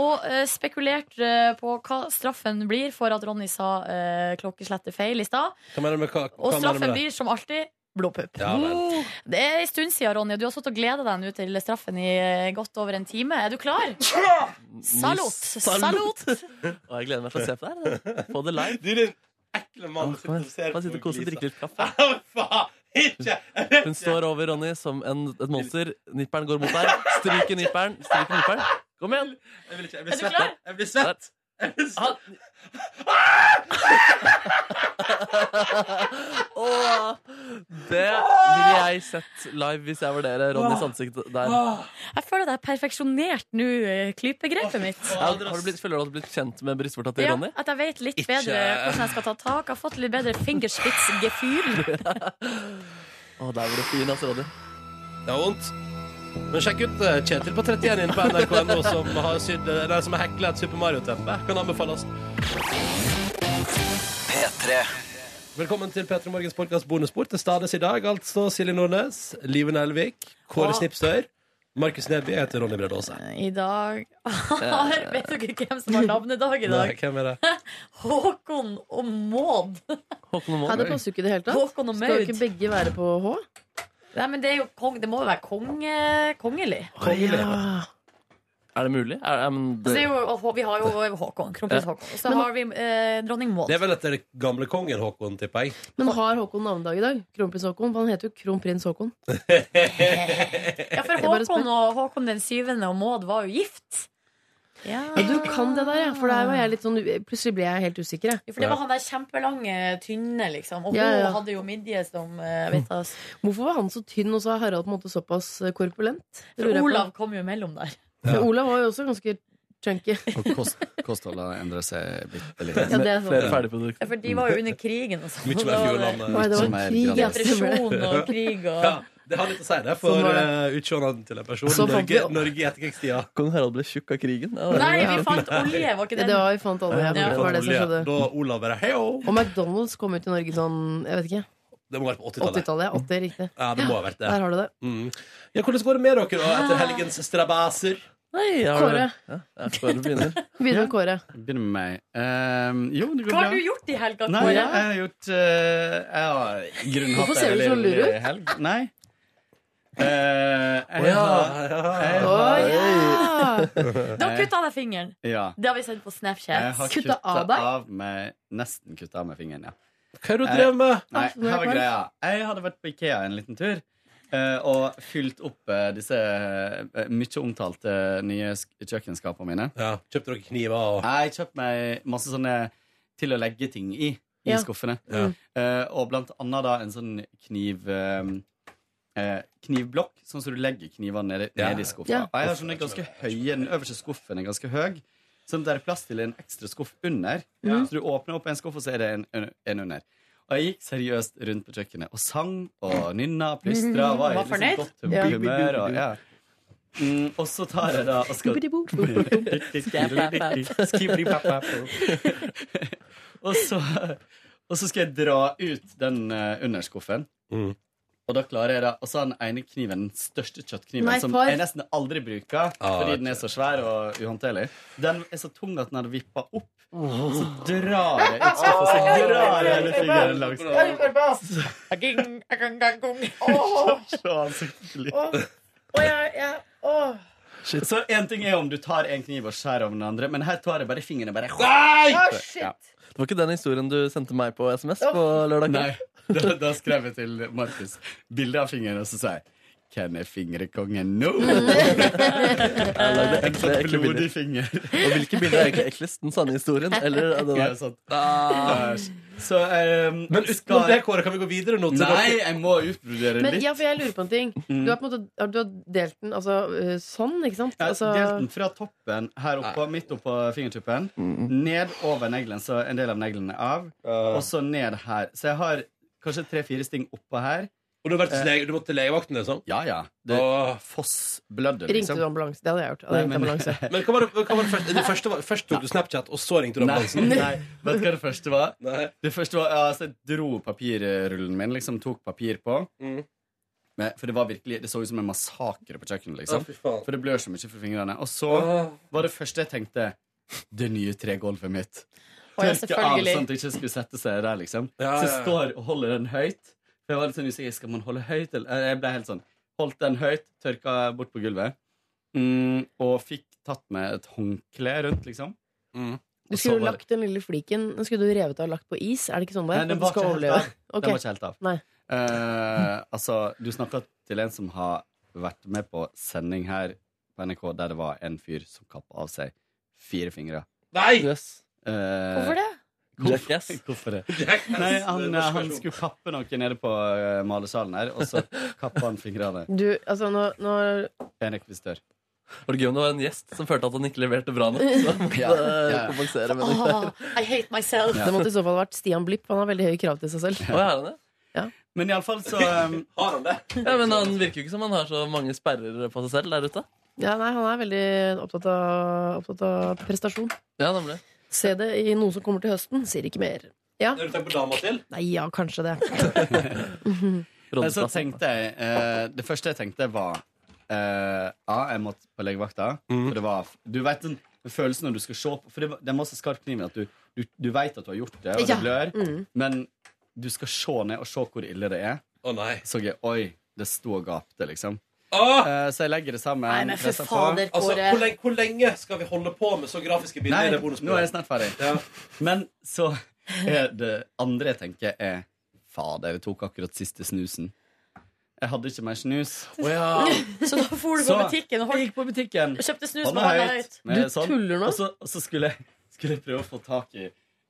[SPEAKER 3] Og eh, spekulert eh, på hva straffen blir for at Ronny sa eh, klokkeslettet feil i stad.
[SPEAKER 2] Hva mener du med hva?
[SPEAKER 3] Og
[SPEAKER 2] hva mener du med
[SPEAKER 3] straffen
[SPEAKER 2] det?
[SPEAKER 3] blir som alltid blodpupp.
[SPEAKER 2] Ja, vel.
[SPEAKER 3] det er en stund siden, Ronny, og du har sittet og gleda deg nå til straffen i eh, godt over en time. Er du klar?
[SPEAKER 2] Mm,
[SPEAKER 3] Salut! Salut!
[SPEAKER 4] Og jeg gleder meg til å se på det her. Få det live.
[SPEAKER 2] Du, din ekle mann.
[SPEAKER 4] Han sitter og koser og drikker litt kaffe.
[SPEAKER 11] Ah.
[SPEAKER 4] Hun står over Ronny som en, et monster. Nipperen går mot deg. Stryker nipperen. Stryker nipperen. Kom igjen!
[SPEAKER 2] Jeg vil ikke,
[SPEAKER 4] Er
[SPEAKER 2] jeg blir
[SPEAKER 4] du
[SPEAKER 2] svett.
[SPEAKER 4] klar?
[SPEAKER 2] Jeg blir svett. Jeg blir svett.
[SPEAKER 4] Åh, det ville jeg sett live hvis jeg var dere. Ronnys ansikt der.
[SPEAKER 3] Jeg føler at jeg har perfeksjonert nå eh, klypegrepet mitt.
[SPEAKER 4] Ja, har du blitt, føler du at du har blitt kjent med brystvorta til
[SPEAKER 3] Ja,
[SPEAKER 4] Ronny?
[SPEAKER 3] at jeg vet litt bedre hvordan jeg skal ta tak. Jeg har fått litt bedre fingerspitzgefühl.
[SPEAKER 4] Å, der var du fin, altså, Ronny.
[SPEAKER 2] Det var vondt. Men sjekk ut eh, Kjetil på 31 inne på nrk.no som har sydd, eh, nei, som har hekla et Super Mario-teppe. Kan anbefales.
[SPEAKER 12] P3.
[SPEAKER 2] Velkommen til P3 Morgens podkast bonusbord. Til stades i dag altså Silje Nordnes, Live Nelvik, Kåre
[SPEAKER 3] Og-
[SPEAKER 2] Snipsøyr, Markus Neby. Jeg heter Ronny Brede Aase.
[SPEAKER 3] I dag Vet dere hvem som har navnedag i
[SPEAKER 2] Nei,
[SPEAKER 3] dag?
[SPEAKER 2] Hvem er det?
[SPEAKER 3] Håkon og Maud.
[SPEAKER 4] Håkon
[SPEAKER 5] Ja, det passer jo ikke i det hele tatt.
[SPEAKER 3] Håkon og
[SPEAKER 5] Skal
[SPEAKER 3] Maud.
[SPEAKER 5] jo ikke begge være på H?
[SPEAKER 3] Nei, men det, er jo kong, det må jo være konge, kongelig.
[SPEAKER 4] Er det mulig? Er, er, men
[SPEAKER 3] Så Altså, det
[SPEAKER 5] Altså,
[SPEAKER 4] det,
[SPEAKER 3] er jo, og vi har jo Håkon. Kronprins
[SPEAKER 4] Ja.
[SPEAKER 3] Håkon. Og så har vi eh, dronning Maud.
[SPEAKER 2] Det er vel etter gamle kongen Håkon, tipper jeg.
[SPEAKER 5] Men har Håkon navnedag i dag? Kronprins Håkon? For han heter jo Kronprins Håkon.
[SPEAKER 3] Ja, for
[SPEAKER 5] Jeg bare spør.
[SPEAKER 3] Håkon, og Håkon den syvende og Maud var jo gift. Ja.
[SPEAKER 5] Ja, du kan det der, ja. For der var jeg litt sånn Plutselig ble jeg helt usikker, jeg.
[SPEAKER 3] For det var han der kjempelange, tynne, liksom. Og
[SPEAKER 5] Ja, ja.
[SPEAKER 3] hun hadde jo midje som eh, vet du,
[SPEAKER 5] Hvorfor var han så tynn, og så er Harald på en måte såpass eh, korpulent? Det lurer
[SPEAKER 3] For
[SPEAKER 5] jeg på.
[SPEAKER 3] Olav kom jo mellom der.
[SPEAKER 5] Men Olav var jo også ganske chunky.
[SPEAKER 12] Og kost, kostholdet endrer seg bitte litt.
[SPEAKER 5] Ja, det er sant. Flere
[SPEAKER 4] ferdigprodukter.
[SPEAKER 3] Ja, for de var jo under krigen og sånn.
[SPEAKER 12] Mye mer
[SPEAKER 2] eh.
[SPEAKER 3] Da var det-
[SPEAKER 12] fjordlandet. Mye
[SPEAKER 3] Depresjon
[SPEAKER 12] mer
[SPEAKER 3] og krig og
[SPEAKER 2] Ja, Det har litt å si, det, for
[SPEAKER 4] Sånn var det.
[SPEAKER 2] eh, utseendet til en person.
[SPEAKER 4] Så fant vi
[SPEAKER 2] Norge,
[SPEAKER 4] opp-
[SPEAKER 2] Norge i etterkrigstida.
[SPEAKER 4] Kong Harald ble tjukk av krigen. Ja,
[SPEAKER 5] Nei,
[SPEAKER 4] det var-
[SPEAKER 5] vi fant olje, var ikke det? Det var- vi fant olje.
[SPEAKER 4] Ja,
[SPEAKER 5] Det
[SPEAKER 4] fant
[SPEAKER 5] var det som
[SPEAKER 4] olje.
[SPEAKER 5] skjedde.
[SPEAKER 2] Da Olav bare heio!
[SPEAKER 5] Og McDonald's kom ut i Norge sånn, jeg vet ikke.
[SPEAKER 2] Det må være på 80-tallet.
[SPEAKER 5] 80-tallet, ja. 80, riktig.
[SPEAKER 2] Ja, det må ha vært det.
[SPEAKER 5] Der har du det.
[SPEAKER 2] Mm. Ja, hvordan går det med dere da, etter helgens strabaser?
[SPEAKER 5] Nei, har du- Kåre. Begynner med Kåre.
[SPEAKER 12] Begynner med meg. Eh, jo, det går
[SPEAKER 3] Hva
[SPEAKER 12] bra.
[SPEAKER 3] har du gjort i helga?
[SPEAKER 12] Nei,
[SPEAKER 3] Kåre?
[SPEAKER 12] jeg har gjort eh, Jeg har i grunnen
[SPEAKER 3] Hvorfor
[SPEAKER 12] hatt
[SPEAKER 3] ser
[SPEAKER 12] en
[SPEAKER 3] du så
[SPEAKER 12] veldig
[SPEAKER 3] lur
[SPEAKER 12] rolig
[SPEAKER 3] ut?
[SPEAKER 12] helg. Nei. Eh,
[SPEAKER 3] Å
[SPEAKER 12] jeg
[SPEAKER 3] ja,
[SPEAKER 12] har- jeg
[SPEAKER 3] Å
[SPEAKER 12] har-
[SPEAKER 3] ja. Da kutta jeg deg fingeren.
[SPEAKER 12] Ja.
[SPEAKER 3] Det har vi sendt på
[SPEAKER 12] Jeg har
[SPEAKER 3] Snapchat.
[SPEAKER 12] kutta av, meg Nesten kutta av meg fingeren, ja.
[SPEAKER 2] Hva
[SPEAKER 3] du drev med?
[SPEAKER 12] Nei,
[SPEAKER 3] Ah,
[SPEAKER 12] her var
[SPEAKER 3] nei.
[SPEAKER 12] greia. Jeg hadde vært på Ikea en liten tur. eh, og fylt opp eh, disse eh, mye omtalte eh, nye sk- kjøkkenskapene mine.
[SPEAKER 2] Ja, Kjøpte dere kniver og
[SPEAKER 12] Jeg kjøpte meg masse sånne til å legge ting i. I
[SPEAKER 2] Ja.
[SPEAKER 12] skuffene.
[SPEAKER 2] Ja.
[SPEAKER 12] Eh, og blant annet da en sånn kniv eh, eh, Knivblokk, sånn som du legger knivene nede,
[SPEAKER 2] Ja.
[SPEAKER 12] nede i skuffa.
[SPEAKER 2] Ja.
[SPEAKER 12] Og jeg har sånne ganske høye, Den øverste skuffen er ganske høy, sånn at det er plass til en ekstra skuff under.
[SPEAKER 4] Ja.
[SPEAKER 12] Så du åpner opp en skuff, og så er det en, en, en under. Og jeg gikk seriøst rundt på kjøkkenet og sang og nynna og plystra. og Var, i
[SPEAKER 4] Var fornøyd?
[SPEAKER 12] Liksom godt
[SPEAKER 4] Ja.
[SPEAKER 12] humør, humør og, ja. mm, og så tar jeg da og skal og, så, og så skal jeg dra ut den eh, underskuffen. Og da klarer jeg da Og så har den ene kniven, den største kjøttkniven,
[SPEAKER 5] Nei,
[SPEAKER 12] som
[SPEAKER 5] far.
[SPEAKER 12] jeg nesten aldri bruker fordi den er så svær og uhåndterlig. Den er så tung at den hadde vippa opp. Så drar jeg ut skuffen, så drar jeg hele fingeren langs. Så ansiktlig. Shit. Så en ting er om du tar en kniv og skjærer over den andre, men her tar jeg bare fingeren og bare
[SPEAKER 4] Nei! Å, shit.
[SPEAKER 12] Ja.
[SPEAKER 4] Det var ikke den historien du sendte meg på SMS på lørdag
[SPEAKER 12] Nei,
[SPEAKER 4] kveld?
[SPEAKER 12] da, da skrev jeg til Markus bilde av fingeren, og så sa jeg Hvem er fingerkongen nå?
[SPEAKER 4] Jeg lagde
[SPEAKER 5] Eh,
[SPEAKER 12] En sånn
[SPEAKER 4] ekle, ekle
[SPEAKER 12] blodig
[SPEAKER 4] bilder.
[SPEAKER 12] finger.
[SPEAKER 4] Og hvilke bilder er egentlig eklest? Den sanne historien? Eller den
[SPEAKER 12] Ja,
[SPEAKER 4] der?
[SPEAKER 12] sant. Eh,
[SPEAKER 4] Ah.
[SPEAKER 12] Så, um,
[SPEAKER 2] Men utenom
[SPEAKER 12] skal-
[SPEAKER 2] det, Kåre, kan vi gå videre nå? til
[SPEAKER 12] Nei,
[SPEAKER 2] dere?
[SPEAKER 12] jeg må utbrodere
[SPEAKER 5] Men
[SPEAKER 12] litt. Mm.
[SPEAKER 5] ja, for jeg lurer på en ting. Du har, på en måte, har- du har delt den altså, øh, sånn, ikke sant?
[SPEAKER 12] Jeg
[SPEAKER 5] Altså,
[SPEAKER 12] delte den fra toppen her oppe, midt oppå fingertuppen,
[SPEAKER 4] Mm.
[SPEAKER 12] ned over neglen, så en del av neglen er av, og så ned her. Så jeg har kanskje tre-fire sting oppå her.
[SPEAKER 2] Og du,
[SPEAKER 5] Eh.
[SPEAKER 2] har vært hos lege, du måtte til legevakten, liksom?
[SPEAKER 12] Ja, ja. Det fossblødde,
[SPEAKER 5] ringte
[SPEAKER 12] liksom.
[SPEAKER 5] du ambulanse? Det hadde jeg gjort. Jeg
[SPEAKER 12] Nei,
[SPEAKER 5] hadde ringt
[SPEAKER 12] men-
[SPEAKER 5] ambulanse.
[SPEAKER 2] Men hva var det, hva var det første? Det første var, først tok du Snapchat, og så ringte du ambulansen?
[SPEAKER 12] Nei, nei. Vet du hva det første var? Det første var, ja, altså, Jeg dro papirrullen min, liksom tok papir på. Men, for det var virkelig, det så ut som en massakre på kjøkkenet. liksom
[SPEAKER 4] Å, fy faen.
[SPEAKER 12] For det blør så mye fra fingrene. Og så var det første jeg tenkte det nye tregulvet mitt.
[SPEAKER 4] Å, ja,
[SPEAKER 12] Tørke av
[SPEAKER 4] selvfølgelig.
[SPEAKER 12] sånn at det ikke skulle sette seg der, liksom.
[SPEAKER 4] Ja,
[SPEAKER 12] Så jeg
[SPEAKER 4] ja, ja.
[SPEAKER 12] står og holder den høyt. For jeg var litt sånn usikker. Skal man holde høyt? Eller? Jeg ble helt sånn. Holdt den høyt, tørka bort på gulvet. Mm, og fikk tatt med et håndkle rundt, liksom.
[SPEAKER 5] Du
[SPEAKER 12] Og så
[SPEAKER 5] skulle jo
[SPEAKER 12] var det-
[SPEAKER 5] lagt den lille fliken Den skulle du revet av og lagt på is. Er det ikke sånn det er?
[SPEAKER 12] Nei, den
[SPEAKER 5] At du
[SPEAKER 12] var
[SPEAKER 5] skal
[SPEAKER 12] ikke helt
[SPEAKER 5] overleve?
[SPEAKER 12] av. Den
[SPEAKER 5] Ok.
[SPEAKER 12] var ikke helt av.
[SPEAKER 5] Nei.
[SPEAKER 12] Eh, altså, du snakker til en som har vært med på sending her på NRK, der det var en fyr som kappa av seg fire fingre.
[SPEAKER 2] Nei!
[SPEAKER 12] Hvorfor
[SPEAKER 3] det?
[SPEAKER 12] Jackass. Hvorfor det?
[SPEAKER 4] Jackass.
[SPEAKER 12] Nei, han,
[SPEAKER 4] Det er
[SPEAKER 12] han skulle kappe noe nede på eh, malersalen her, og så kappa han fingrene.
[SPEAKER 5] Du, altså, nå, nå
[SPEAKER 12] En rekvisitør.
[SPEAKER 4] Var det gøy om det var en gjest som følte at han ikke leverte bra nok? Så han måtte
[SPEAKER 12] Ja, ja, ja.
[SPEAKER 4] kompensere med det
[SPEAKER 5] Åh,
[SPEAKER 4] der.
[SPEAKER 3] I hate myself.
[SPEAKER 5] Det måtte i så fall vært Stian Blipp. Han har veldig høye krav til seg selv.
[SPEAKER 4] Å, er han det?
[SPEAKER 5] Ja.
[SPEAKER 12] Men iallfall så ehm,
[SPEAKER 2] Har han det?
[SPEAKER 4] Ja, men han virker jo ikke som han har så mange sperrer på seg selv der ute.
[SPEAKER 5] Ja, nei, han er veldig opptatt av, opptatt av prestasjon.
[SPEAKER 4] Ja, nemlig.
[SPEAKER 5] Se det i noe som kommer til høsten, sier ikke mer. Ja.
[SPEAKER 2] Har du tenkt på dama til?
[SPEAKER 5] Nei, ja, kanskje det.
[SPEAKER 12] Men så tenkte jeg eh, Det første jeg tenkte var eh, Ja, jeg måtte på legevakta For det var Du vet den følelsen når du skal se på For det, var- det er masse skarp kniv i At du, du, du vet at du har gjort det Og
[SPEAKER 4] Ja.
[SPEAKER 12] det blør
[SPEAKER 4] Mm.
[SPEAKER 12] Men du skal se ned og se hvor ille det er
[SPEAKER 2] Å nei
[SPEAKER 12] Så jeg, oi, det sto og gapte liksom Eh, Så jeg legger det sammen
[SPEAKER 2] Nei, men for
[SPEAKER 12] presser på.
[SPEAKER 2] fader, Kåre. Altså, hvor lenge- skal vi holde på med så grafiske bilder i
[SPEAKER 12] Nei,
[SPEAKER 2] det bonusbordet?
[SPEAKER 12] nå er jeg snart ferdig Men så er det andre jeg tenker er Fader, jeg tok akkurat siste snusen Jeg hadde ikke mer snus
[SPEAKER 3] Så da for du på
[SPEAKER 12] Så-
[SPEAKER 3] butikken og holdt-
[SPEAKER 12] på butikken.
[SPEAKER 3] kjøpte snus
[SPEAKER 12] Hånda
[SPEAKER 3] med hånda høyt.
[SPEAKER 12] med sånn.
[SPEAKER 3] Du tuller nå?
[SPEAKER 12] Og så, og så skulle, jeg, skulle jeg prøve å få tak i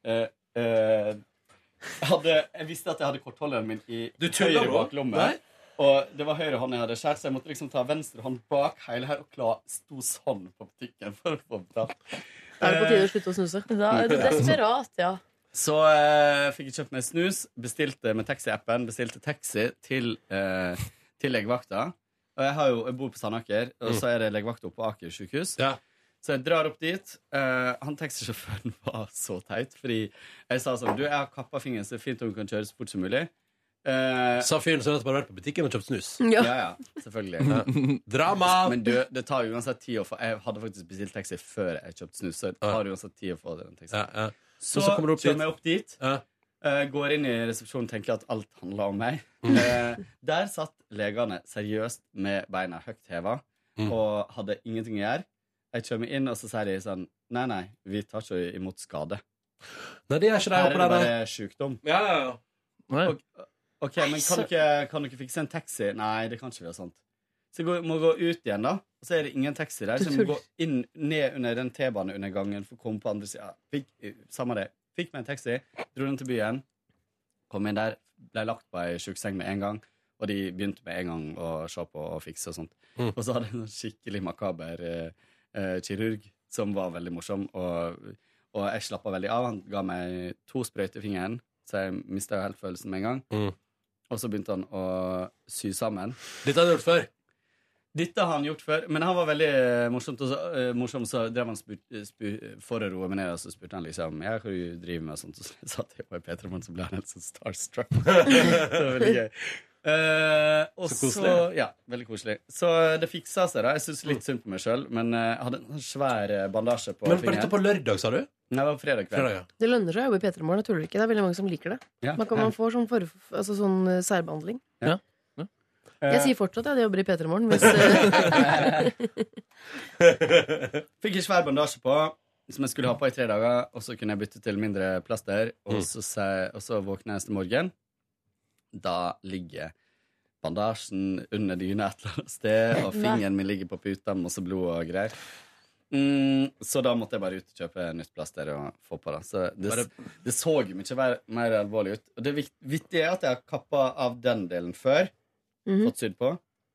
[SPEAKER 12] eh, eh, jeg, hadde, jeg visste at jeg hadde kortholderen min i
[SPEAKER 2] Du tuller
[SPEAKER 12] høyre
[SPEAKER 2] nå?
[SPEAKER 12] baklomme.
[SPEAKER 2] Nei.
[SPEAKER 12] Og det var høyre hånd jeg hadde skjært, så jeg måtte liksom ta venstre hånd bak hele her og kla, sto sånn på butikken for å få betalt.
[SPEAKER 5] Er det på tide å slutte å snuse?
[SPEAKER 3] Da er du desperat, ja.
[SPEAKER 12] Så eh, fikk jeg kjøpt meg snus, bestilte med taxiappen, bestilte taxi til, eh, til legevakta. Og jeg, har jo, jeg bor på Sandaker, og så er det legevakt oppe på Aker sykehus. Så jeg drar opp dit. Eh, han taxisjåføren var så teit, fordi jeg sa sånn Du, jeg har kappa fingeren, så det er fint om du kan kjøre så fort som mulig. Eh,
[SPEAKER 2] Sa fyren som nettopp har vært på butikken og kjøpt snus.
[SPEAKER 12] Ja, ja, selvfølgelig.
[SPEAKER 2] Ja. Drama!
[SPEAKER 12] Men du, det tar jo uansett tid å få Jeg hadde faktisk bestilt taxi før jeg kjøpte snus, så det tar uansett tid å få den taxien. Så,
[SPEAKER 2] Og så kommer du opp dit.
[SPEAKER 12] kjører jeg opp dit, eh, går inn i resepsjonen og tenker at alt handler om meg.
[SPEAKER 2] Mm.
[SPEAKER 12] Eh, der satt legene seriøst med beina høyt heva
[SPEAKER 2] Mm.
[SPEAKER 12] og hadde ingenting å gjøre. Jeg kommer inn, og så sier de sånn Nei, nei, vi tar ikke imot skade.
[SPEAKER 2] Nei, det gjør ikke de
[SPEAKER 12] Her
[SPEAKER 2] oppe
[SPEAKER 12] er det
[SPEAKER 2] der, nei.
[SPEAKER 12] bare sjukdom.
[SPEAKER 2] Ja, ja, ja.
[SPEAKER 12] Og, ok, men kan
[SPEAKER 2] så-
[SPEAKER 12] dere, kan dere fikse en taxi? Nei, det kan ikke vi ha sånt. Så jeg går, må gå ut igjen, da. Og så er det ingen taxi der. Så jeg må gå inn, ned under den T-baneundergangen for å komme på andre sida. eh, Samme det. Fikk meg en taxi, dro den til byen. Kom inn der, ble lagt på ei sjukeseng med en gang. Og de begynte med en gang å se på og fikse og sånt. Og så hadde jeg en skikkelig makaber eh, eh, kirurg som var veldig morsom. Og, og jeg slappa veldig av. Han ga meg to sprøyter i fingeren, så jeg mista jo helt følelsen med en gang.
[SPEAKER 2] Mm.
[SPEAKER 12] Og så begynte han å sy sammen.
[SPEAKER 2] Dette har du gjort før?
[SPEAKER 12] Dette har han gjort før, men han var veldig eh, morsomt, og så, eh, morsom, så drev han spurt, spu- for å roe meg ned, og så spurte han liksom ja, hva du driver med, og sånt, og så satt jeg på i P3 Morgen, så ble han helt sånn starstruck. det var veldig gøy. Eh, og
[SPEAKER 2] Så
[SPEAKER 12] så,
[SPEAKER 2] koselig.
[SPEAKER 12] Ja, veldig koselig. Så det fiksa seg, da. Jeg syns litt synd på meg sjøl, men eh, jeg hadde en sånn svær eh, bandasje på
[SPEAKER 2] Men var dette på lørdag, sa du?
[SPEAKER 12] Nei, det var fredag kveld.
[SPEAKER 2] Fredag, ja.
[SPEAKER 5] Det lønner seg å jobbe i P3 Morgen. Jeg tuller ikke. Det er veldig mange som liker det.
[SPEAKER 12] Ja.
[SPEAKER 5] Man, kan, man får sånn, for, altså sånn eh, særbehandling.
[SPEAKER 12] Ja.
[SPEAKER 5] Jeg sier fortsatt at jeg jobber i P3 Morgen. Hvis, eh,
[SPEAKER 12] Fikk en svær bandasje på som jeg skulle ha på i tre dager, og så kunne jeg bytte til mindre plaster. Og
[SPEAKER 2] Mm.
[SPEAKER 12] så, se, og så våkner jeg neste morgen. Da ligger bandasjen under dyna et eller annet sted, og
[SPEAKER 2] Nei.
[SPEAKER 12] fingeren min ligger på puta, masse blod og greier. Mm, så da måtte jeg bare ut og kjøpe nytt plaster og få på det. Så det, det så jo mye mer, mer alvorlig ut. Og det vikt- vittige er at jeg har kappa av den delen før.
[SPEAKER 2] Mhm.
[SPEAKER 12] Fått sydd på.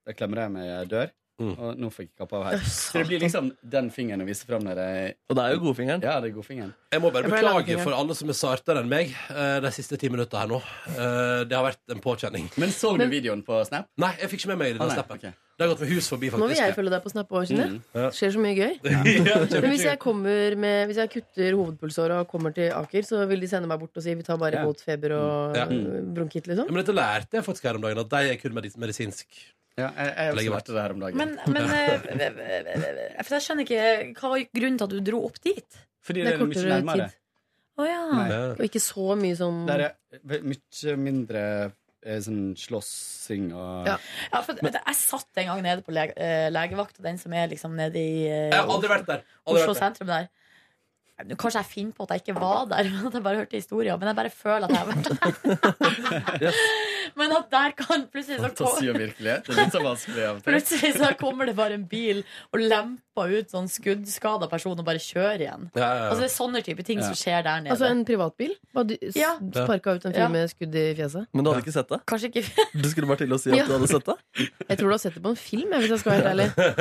[SPEAKER 12] Da klemmer jeg meg i dør.
[SPEAKER 2] Mm.
[SPEAKER 12] Og nå fikk jeg kappa av her. Så det blir liksom den fingeren å vise fram når jeg
[SPEAKER 4] Og det er jo godfingeren.
[SPEAKER 12] Ja, det er godfingeren.
[SPEAKER 2] Jeg må bare
[SPEAKER 12] Jeg pleier å lage
[SPEAKER 2] beklage
[SPEAKER 12] ting, ja.
[SPEAKER 2] for alle som er sartere enn meg eh, de siste ti minuttene her nå. Eh, Det har vært en påkjenning.
[SPEAKER 12] Men så du videoen på Snap?
[SPEAKER 2] Nei, jeg fikk ikke med meg den
[SPEAKER 12] nei,
[SPEAKER 2] snappen. Det har gått med hus forbi, faktisk.
[SPEAKER 5] nå vil jeg følge deg på Snap òg, Kine.
[SPEAKER 2] Ja.
[SPEAKER 5] Det skjer så mye gøy.
[SPEAKER 2] Ja, det
[SPEAKER 5] Men
[SPEAKER 2] er
[SPEAKER 5] hvis jeg,
[SPEAKER 2] kjempegøy.
[SPEAKER 5] kommer med, hvis jeg kutter hovedpulsåra og kommer til Aker, så vil de sende meg bort og si vi tar bare
[SPEAKER 2] Ja.
[SPEAKER 5] båtfeber og
[SPEAKER 2] Ja.
[SPEAKER 5] eh, bronkitt, liksom.
[SPEAKER 2] Ja, Men dette lærte jeg faktisk her om dagen, at de er kun medis- medisinsk.
[SPEAKER 12] Ja, jeg, jeg
[SPEAKER 2] Legger
[SPEAKER 12] lærte det her om dagen.
[SPEAKER 3] Men, men eh, For jeg skjønner ikke Hva var grunnen til at du dro opp dit?
[SPEAKER 12] Fordi det er mye nærmere.
[SPEAKER 3] Å ja.
[SPEAKER 12] Nei.
[SPEAKER 5] Og ikke så mye sånn
[SPEAKER 12] Der er ve- mye mindre eh, sånn slåssing og
[SPEAKER 5] Ja.
[SPEAKER 3] Ja, for at jeg satt en gang nede på lege, eh, legevakta, den som er liksom nede i eh,
[SPEAKER 2] Jeg har aldri vært der. Aldri
[SPEAKER 3] Oslo
[SPEAKER 2] vært der.
[SPEAKER 3] sentrum der. Nå, Kanskje jeg finner på at jeg ikke var der, men at jeg bare hørte historier. Men jeg bare føler at jeg har vært der. Men at der kan plutselig så kom-
[SPEAKER 12] Fantasi og virkelighet. Det er litt så vanskelig av og til.
[SPEAKER 3] Plutselig så kommer det bare en bil og lemper ut sånn skuddskada person og bare kjører igjen.
[SPEAKER 2] Ja, ja, ja.
[SPEAKER 3] Altså Det er sånne type ting som
[SPEAKER 5] Ja.
[SPEAKER 3] skjer der nede.
[SPEAKER 5] Altså en privatbil? Bare du s-
[SPEAKER 3] Ja.
[SPEAKER 5] Sparka ut en fyr
[SPEAKER 3] Ja.
[SPEAKER 5] med skudd i fjeset?
[SPEAKER 4] Men du hadde ikke sett det?
[SPEAKER 3] Kanskje ikke
[SPEAKER 4] Du skulle bare til å si at
[SPEAKER 5] Ja.
[SPEAKER 4] du hadde sett det?
[SPEAKER 5] Jeg tror du har sett det på en film, jeg, hvis jeg skal være helt ærlig. Og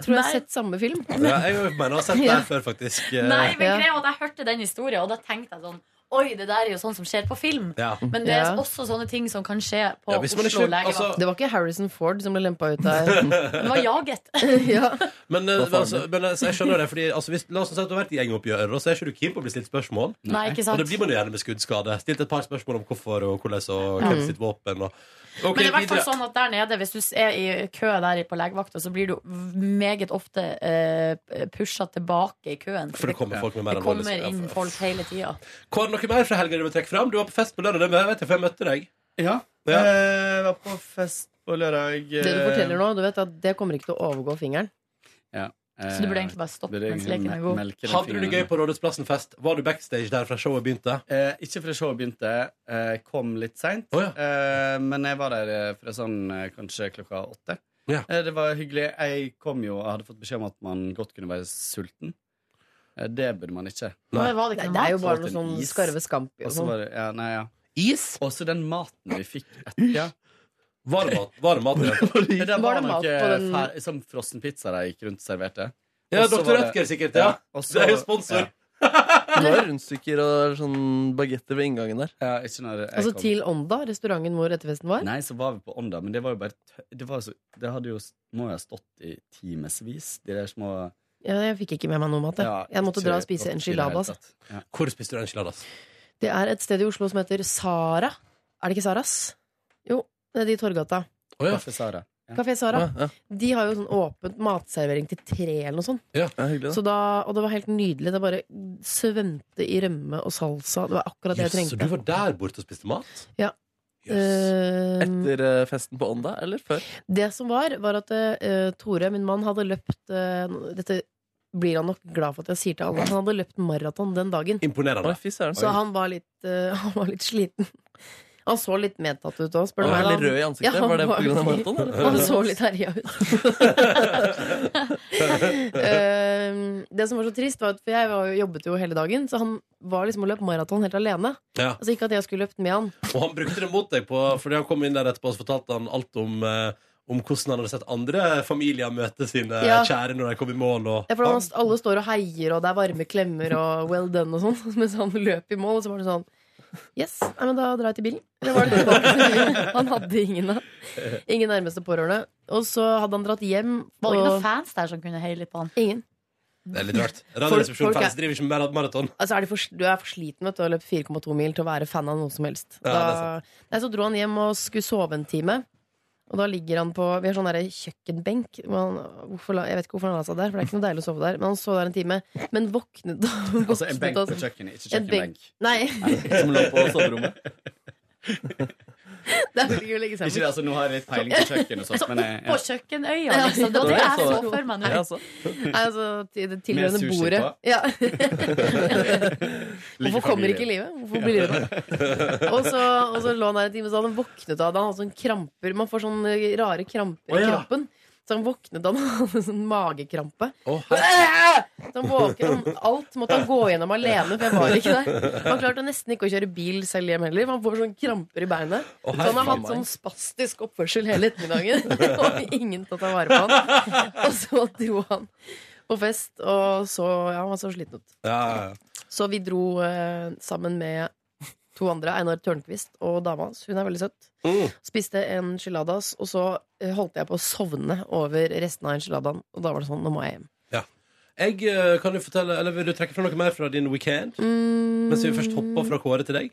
[SPEAKER 5] Jeg tror jeg har sett samme film.
[SPEAKER 2] Ja, jeg mener, jeg har sett det
[SPEAKER 5] Ja.
[SPEAKER 2] her før, faktisk.
[SPEAKER 3] Nei, men
[SPEAKER 5] Ja.
[SPEAKER 3] greia var at jeg hørte den historien, og da tenkte jeg sånn Oi, det der er jo sånn som skjer på film.
[SPEAKER 2] Ja.
[SPEAKER 3] Men det er
[SPEAKER 5] Ja.
[SPEAKER 3] også sånne ting som kan skje på
[SPEAKER 2] Ja, hvis man
[SPEAKER 3] Oslo
[SPEAKER 2] ikke-
[SPEAKER 3] legevakt.
[SPEAKER 2] altså-
[SPEAKER 5] Det var ikke Harrison Ford som ble lempa ut der.
[SPEAKER 3] Det var jaget.
[SPEAKER 5] ja.
[SPEAKER 2] Men, eh, altså, men altså, jeg skjønner det, fordi altså, hvis, La oss si at du har vært i gjengoppgjør, og så er ikke du keen på å bli stilt spørsmål.
[SPEAKER 3] Nei, ikke sant.
[SPEAKER 2] Og det blir man jo gjerne med skuddskade. Stilt et par spørsmål om hvorfor og hvordan og
[SPEAKER 3] Ja.
[SPEAKER 2] hvem sitt våpen og
[SPEAKER 3] Mm. Men
[SPEAKER 2] Ok,
[SPEAKER 3] det er i hvert fall
[SPEAKER 2] videre.
[SPEAKER 3] sånn at der nede, hvis du er i kø der på legevakta, så blir du meget ofte eh, pusha tilbake i køen.
[SPEAKER 2] For det kommer folk med mer
[SPEAKER 3] Det
[SPEAKER 2] alvorlig-
[SPEAKER 3] kommer inn folk hele tida.
[SPEAKER 2] Kåre, noe mer fra helga du vil trekke fram? Du var på fest på lørdag, men jeg vet jeg, for jeg møtte deg.
[SPEAKER 12] Ja.
[SPEAKER 2] Ja.
[SPEAKER 12] Eh, Jeg var på fest på lørdag.
[SPEAKER 5] Det du forteller nå, du vet at det kommer ikke til å overgå fingeren.
[SPEAKER 12] Eh,
[SPEAKER 3] Så du burde egentlig bare stoppe mens leken er god.
[SPEAKER 2] Hadde du det gøy på Rådhusplassen-fest? Var du backstage der fra showet begynte?
[SPEAKER 12] Eh, ikke fra showet begynte. Eh, kom litt seint. eh, men jeg var der eh, fra sånn eh, kanskje klokka åtte.
[SPEAKER 2] Ja.
[SPEAKER 12] Eh, det var hyggelig. Jeg kom jo og hadde fått beskjed om at man godt kunne være sulten. Eh, det burde man ikke.
[SPEAKER 5] Men var det, ikke noe mat? det
[SPEAKER 12] Så
[SPEAKER 5] er jo bare noe
[SPEAKER 12] var det
[SPEAKER 5] sånn
[SPEAKER 12] en is, Altså,
[SPEAKER 5] skarve skamp. sånn.
[SPEAKER 12] og så var det- ja, nei, ja.
[SPEAKER 2] Is?
[SPEAKER 12] Også den maten vi fikk etter. Ja.
[SPEAKER 2] Varm mat. Varm mat ja.
[SPEAKER 12] Det der var eh,
[SPEAKER 2] Var det mat
[SPEAKER 12] noe
[SPEAKER 2] på den-
[SPEAKER 12] fer- som frossen pizza de gikk rundt og serverte.
[SPEAKER 2] Ja,
[SPEAKER 12] Og så
[SPEAKER 2] Dr.
[SPEAKER 12] var det-
[SPEAKER 2] Oetker sikkert, ja.
[SPEAKER 12] og så-
[SPEAKER 2] Det er jo sponsor.
[SPEAKER 4] Det var rundstykker og sånn bagetter ved inngangen der.
[SPEAKER 12] Ja, ikke når jeg
[SPEAKER 5] Altså
[SPEAKER 12] kom.
[SPEAKER 5] til Ånda, restauranten hvor etterfesten var?
[SPEAKER 12] Nei, så var vi på Ånda, men det var jo bare tø- Det, var så, det hadde jo, må jo ha stått i timevis, de der små
[SPEAKER 5] Ja, jeg fikk ikke med meg noe mat. jeg.
[SPEAKER 12] Ja,
[SPEAKER 5] jeg måtte
[SPEAKER 12] ikke
[SPEAKER 5] dra og spise
[SPEAKER 12] godt i
[SPEAKER 5] altså.
[SPEAKER 12] det
[SPEAKER 5] enchiladas.
[SPEAKER 12] hele tatt. Ja.
[SPEAKER 2] Hvor spiste du enchiladas?
[SPEAKER 5] Det er et sted i Oslo som heter Sara. Er det ikke Saras? Jo, nede i Torgata.
[SPEAKER 2] Å ja.
[SPEAKER 12] Kaffe Sara. Ja.
[SPEAKER 5] Kafé Sara.
[SPEAKER 12] Ja, ja.
[SPEAKER 5] De har jo sånn åpent matservering til tre eller noe sånt.
[SPEAKER 2] Ja,
[SPEAKER 4] hyggelig,
[SPEAKER 5] Så da, og det var helt nydelig. Det bare svømte i rømme og salsa. Det var akkurat det jeg
[SPEAKER 2] Jøss, så
[SPEAKER 5] trengte.
[SPEAKER 2] du var der borte og spiste mat?
[SPEAKER 5] Ja. Eh,
[SPEAKER 4] Etter eh, festen på Ånda, eller før?
[SPEAKER 5] det som var, var at eh, Tore, min mann, hadde løpt eh, Dette blir han nok glad for at jeg sier til alle. Han hadde løpt maraton den dagen.
[SPEAKER 2] Imponerende. Oi, fy søren.
[SPEAKER 5] Så
[SPEAKER 2] Oi.
[SPEAKER 5] han var litt, eh, han var litt sliten. Han så litt medtatt ut òg, spør
[SPEAKER 4] Han
[SPEAKER 5] du
[SPEAKER 4] var
[SPEAKER 5] meg. da.
[SPEAKER 4] litt rød i ansiktet.
[SPEAKER 5] han
[SPEAKER 4] Var det på
[SPEAKER 5] var-
[SPEAKER 4] grunn av maraton, eller?
[SPEAKER 5] Han så litt herja ut. Eh, det som var så trist, var at for jeg var, jo- jobbet jo hele dagen, så han var liksom og løp maraton helt alene.
[SPEAKER 2] Ja.
[SPEAKER 5] Altså ikke at jeg skulle løpt med han.
[SPEAKER 2] Og han brukte det mot deg, på, fordi han kom inn der etterpå og så fortalte han alt om, eh, om hvordan han hadde sett andre familier møte sine
[SPEAKER 5] Ja.
[SPEAKER 2] kjære når de kom i mål. Og,
[SPEAKER 5] Ja, for han, alle står og heier, og det er varme klemmer og well done og sånn, mens han løp i mål, og så var det sånn Yes, nei, men da drar jeg til bilen. Eller var det tilbake? Han hadde ingen, da. ingen nærmeste pårørende. Og så hadde han dratt hjem.
[SPEAKER 6] Var det ikke noen
[SPEAKER 5] og-
[SPEAKER 6] fans der som kunne heie litt på han?
[SPEAKER 5] Ingen.
[SPEAKER 2] Det er litt rart.
[SPEAKER 5] Folk- folk
[SPEAKER 2] Radioresepsjonen-fans
[SPEAKER 5] er-
[SPEAKER 2] driver ikke med maraton.
[SPEAKER 5] Altså er de for, Du er for sliten vet du, å løpe 4,2 mil til å være fan av noe som helst.
[SPEAKER 2] Ja, det er
[SPEAKER 5] da, nei, så dro han hjem og skulle sove en time. Og da ligger han på Vi har sånn derre kjøkkenbenk. hvor han- hvorfor, la- jeg vet ikke hvorfor han la seg der, for det er ikke noe deilig å sove der. Men han sov der en time, men våknet da.
[SPEAKER 12] Altså en benk
[SPEAKER 5] våknet av-
[SPEAKER 12] på kjøkkenet, ikke
[SPEAKER 5] En benk.
[SPEAKER 12] kjøkkenbenk.
[SPEAKER 5] Nei.
[SPEAKER 12] Som lå på soverommet.
[SPEAKER 5] Det er veldig gøy å legge seg
[SPEAKER 12] Ikke det, altså, nå har jeg litt peiling på kjøkken og sånt, men jeg,
[SPEAKER 3] På kjøkkenøya, liksom. Det var det
[SPEAKER 12] Ja,
[SPEAKER 3] jeg
[SPEAKER 12] så-
[SPEAKER 3] så for meg
[SPEAKER 12] Ja,
[SPEAKER 3] nå.
[SPEAKER 12] altså.
[SPEAKER 5] Nei, altså, til- det
[SPEAKER 12] Med
[SPEAKER 5] tilhørende
[SPEAKER 12] sushi
[SPEAKER 5] bordet.
[SPEAKER 12] på.
[SPEAKER 5] Ja.
[SPEAKER 12] Like
[SPEAKER 5] Hvorfor kommer
[SPEAKER 12] familie.
[SPEAKER 5] ikke livet? Hvorfor blir det og så, og så lå han der en time, og så hadde han våknet av det. Han hadde sånn kramper Man får sånne rare kramper
[SPEAKER 6] Å,
[SPEAKER 5] i
[SPEAKER 6] ja.
[SPEAKER 5] kroppen. Så han våknet av det, han hadde sånn magekrampe.
[SPEAKER 2] Oh,
[SPEAKER 5] så han våken, han, alt måtte han gå gjennom alene, for jeg var ikke der. Han klarte nesten ikke å kjøre bil selv hjem heller. for Han får sånne kramper i beinet.
[SPEAKER 6] Å,
[SPEAKER 5] så han har
[SPEAKER 6] herre
[SPEAKER 5] hatt sånn spastisk oppførsel hele ettermiddagen. og ingen til å ta vare på han. Og så dro han på fest, og så Ja, han var så sliten ut.
[SPEAKER 2] Ja, ja, ja.
[SPEAKER 5] Så vi dro eh, sammen med to andre, Einar Tørnquist og dama hans. Hun er veldig søt. Spiste en chiladas, og så eh, holdt jeg på å sovne over resten av enchiladaen. Og da var det sånn, nå må jeg hjem.
[SPEAKER 2] Ja. Jeg, eh, kan du fortelle, eller Vil du trekke fra noe mer fra din weekend? Mens vi først
[SPEAKER 5] Mm.
[SPEAKER 2] hopper fra Kåre til deg?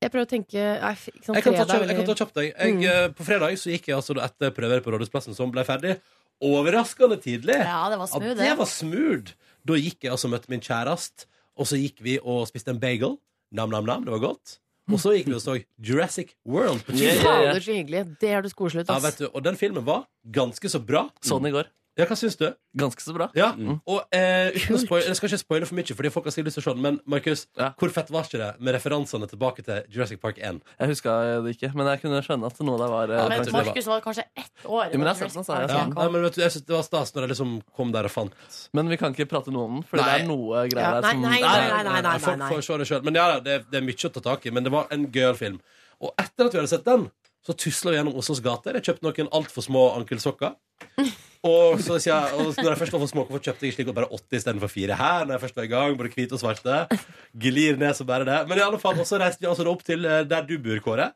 [SPEAKER 5] Jeg prøver å tenke nei, f- ikke sant,
[SPEAKER 2] Jeg kan ta
[SPEAKER 5] fredag
[SPEAKER 2] kjapt, jeg kan ta
[SPEAKER 5] eller-
[SPEAKER 2] kjapt deg. Jeg,
[SPEAKER 5] Mm.
[SPEAKER 2] eh, På fredag så gikk jeg altså da etter prøver på Rådhusplassen, som ble ferdig overraskende tidlig.
[SPEAKER 3] Ja, det var smooth,
[SPEAKER 2] det
[SPEAKER 3] det.
[SPEAKER 2] var smooth. Da gikk jeg altså og møtte min kjæreste, og så gikk vi og spiste en bagel. Nam-nam-nam, det var godt. Og så gikk vi og så Jurassic World på
[SPEAKER 5] Fy
[SPEAKER 2] kino.
[SPEAKER 5] Fader, så hyggelig. Det har du skoslet,
[SPEAKER 2] Ja,
[SPEAKER 5] ass.
[SPEAKER 2] vet du, og den filmen var ganske så bra.
[SPEAKER 4] Sånn i går.
[SPEAKER 2] Ja, hva syns du?
[SPEAKER 4] Ganske så bra.
[SPEAKER 2] Ja, og eh, uten å spoil, Jeg skal ikke spoile for mye, Fordi folk har sikkert lyst til å se den. Men Markus, hvor fett var ikke det med referansene tilbake til Jurassic Park 1?
[SPEAKER 4] Jeg huska det ikke, men jeg kunne skjønne at noe der var eh,
[SPEAKER 3] Men
[SPEAKER 4] kanskje-
[SPEAKER 3] Markus var kanskje ett år.
[SPEAKER 4] Jo, men
[SPEAKER 3] da
[SPEAKER 4] jeg ser
[SPEAKER 3] Jurassic
[SPEAKER 4] sånn, sa jeg.
[SPEAKER 3] Park
[SPEAKER 4] Ja.
[SPEAKER 3] kom.
[SPEAKER 2] Nei, men vet du, jeg synes Det var stas når jeg liksom kom der og fant
[SPEAKER 4] Men vi kan ikke prate noe om den, Fordi
[SPEAKER 2] Nei.
[SPEAKER 4] det er noe greier
[SPEAKER 2] Ja,
[SPEAKER 4] der som
[SPEAKER 2] Folk får se det selv. Men ja, da, det, det er mye å ta tak i. Men det var en gøyal film. Og etter at vi hadde sett den, så tusla vi gjennom Oslos gater. Jeg kjøpte noen altfor små ankelsokker. Og, så, sier jeg, og når jeg først var for små, hvorfor kjøpte jeg slik at bare 80 istedenfor 4 her? Når jeg først var i gang, Både hvite og svarte. Glir ned som bare det. Men i alle fall, og så reiste vi altså da opp til eh, der du bor, Kåre.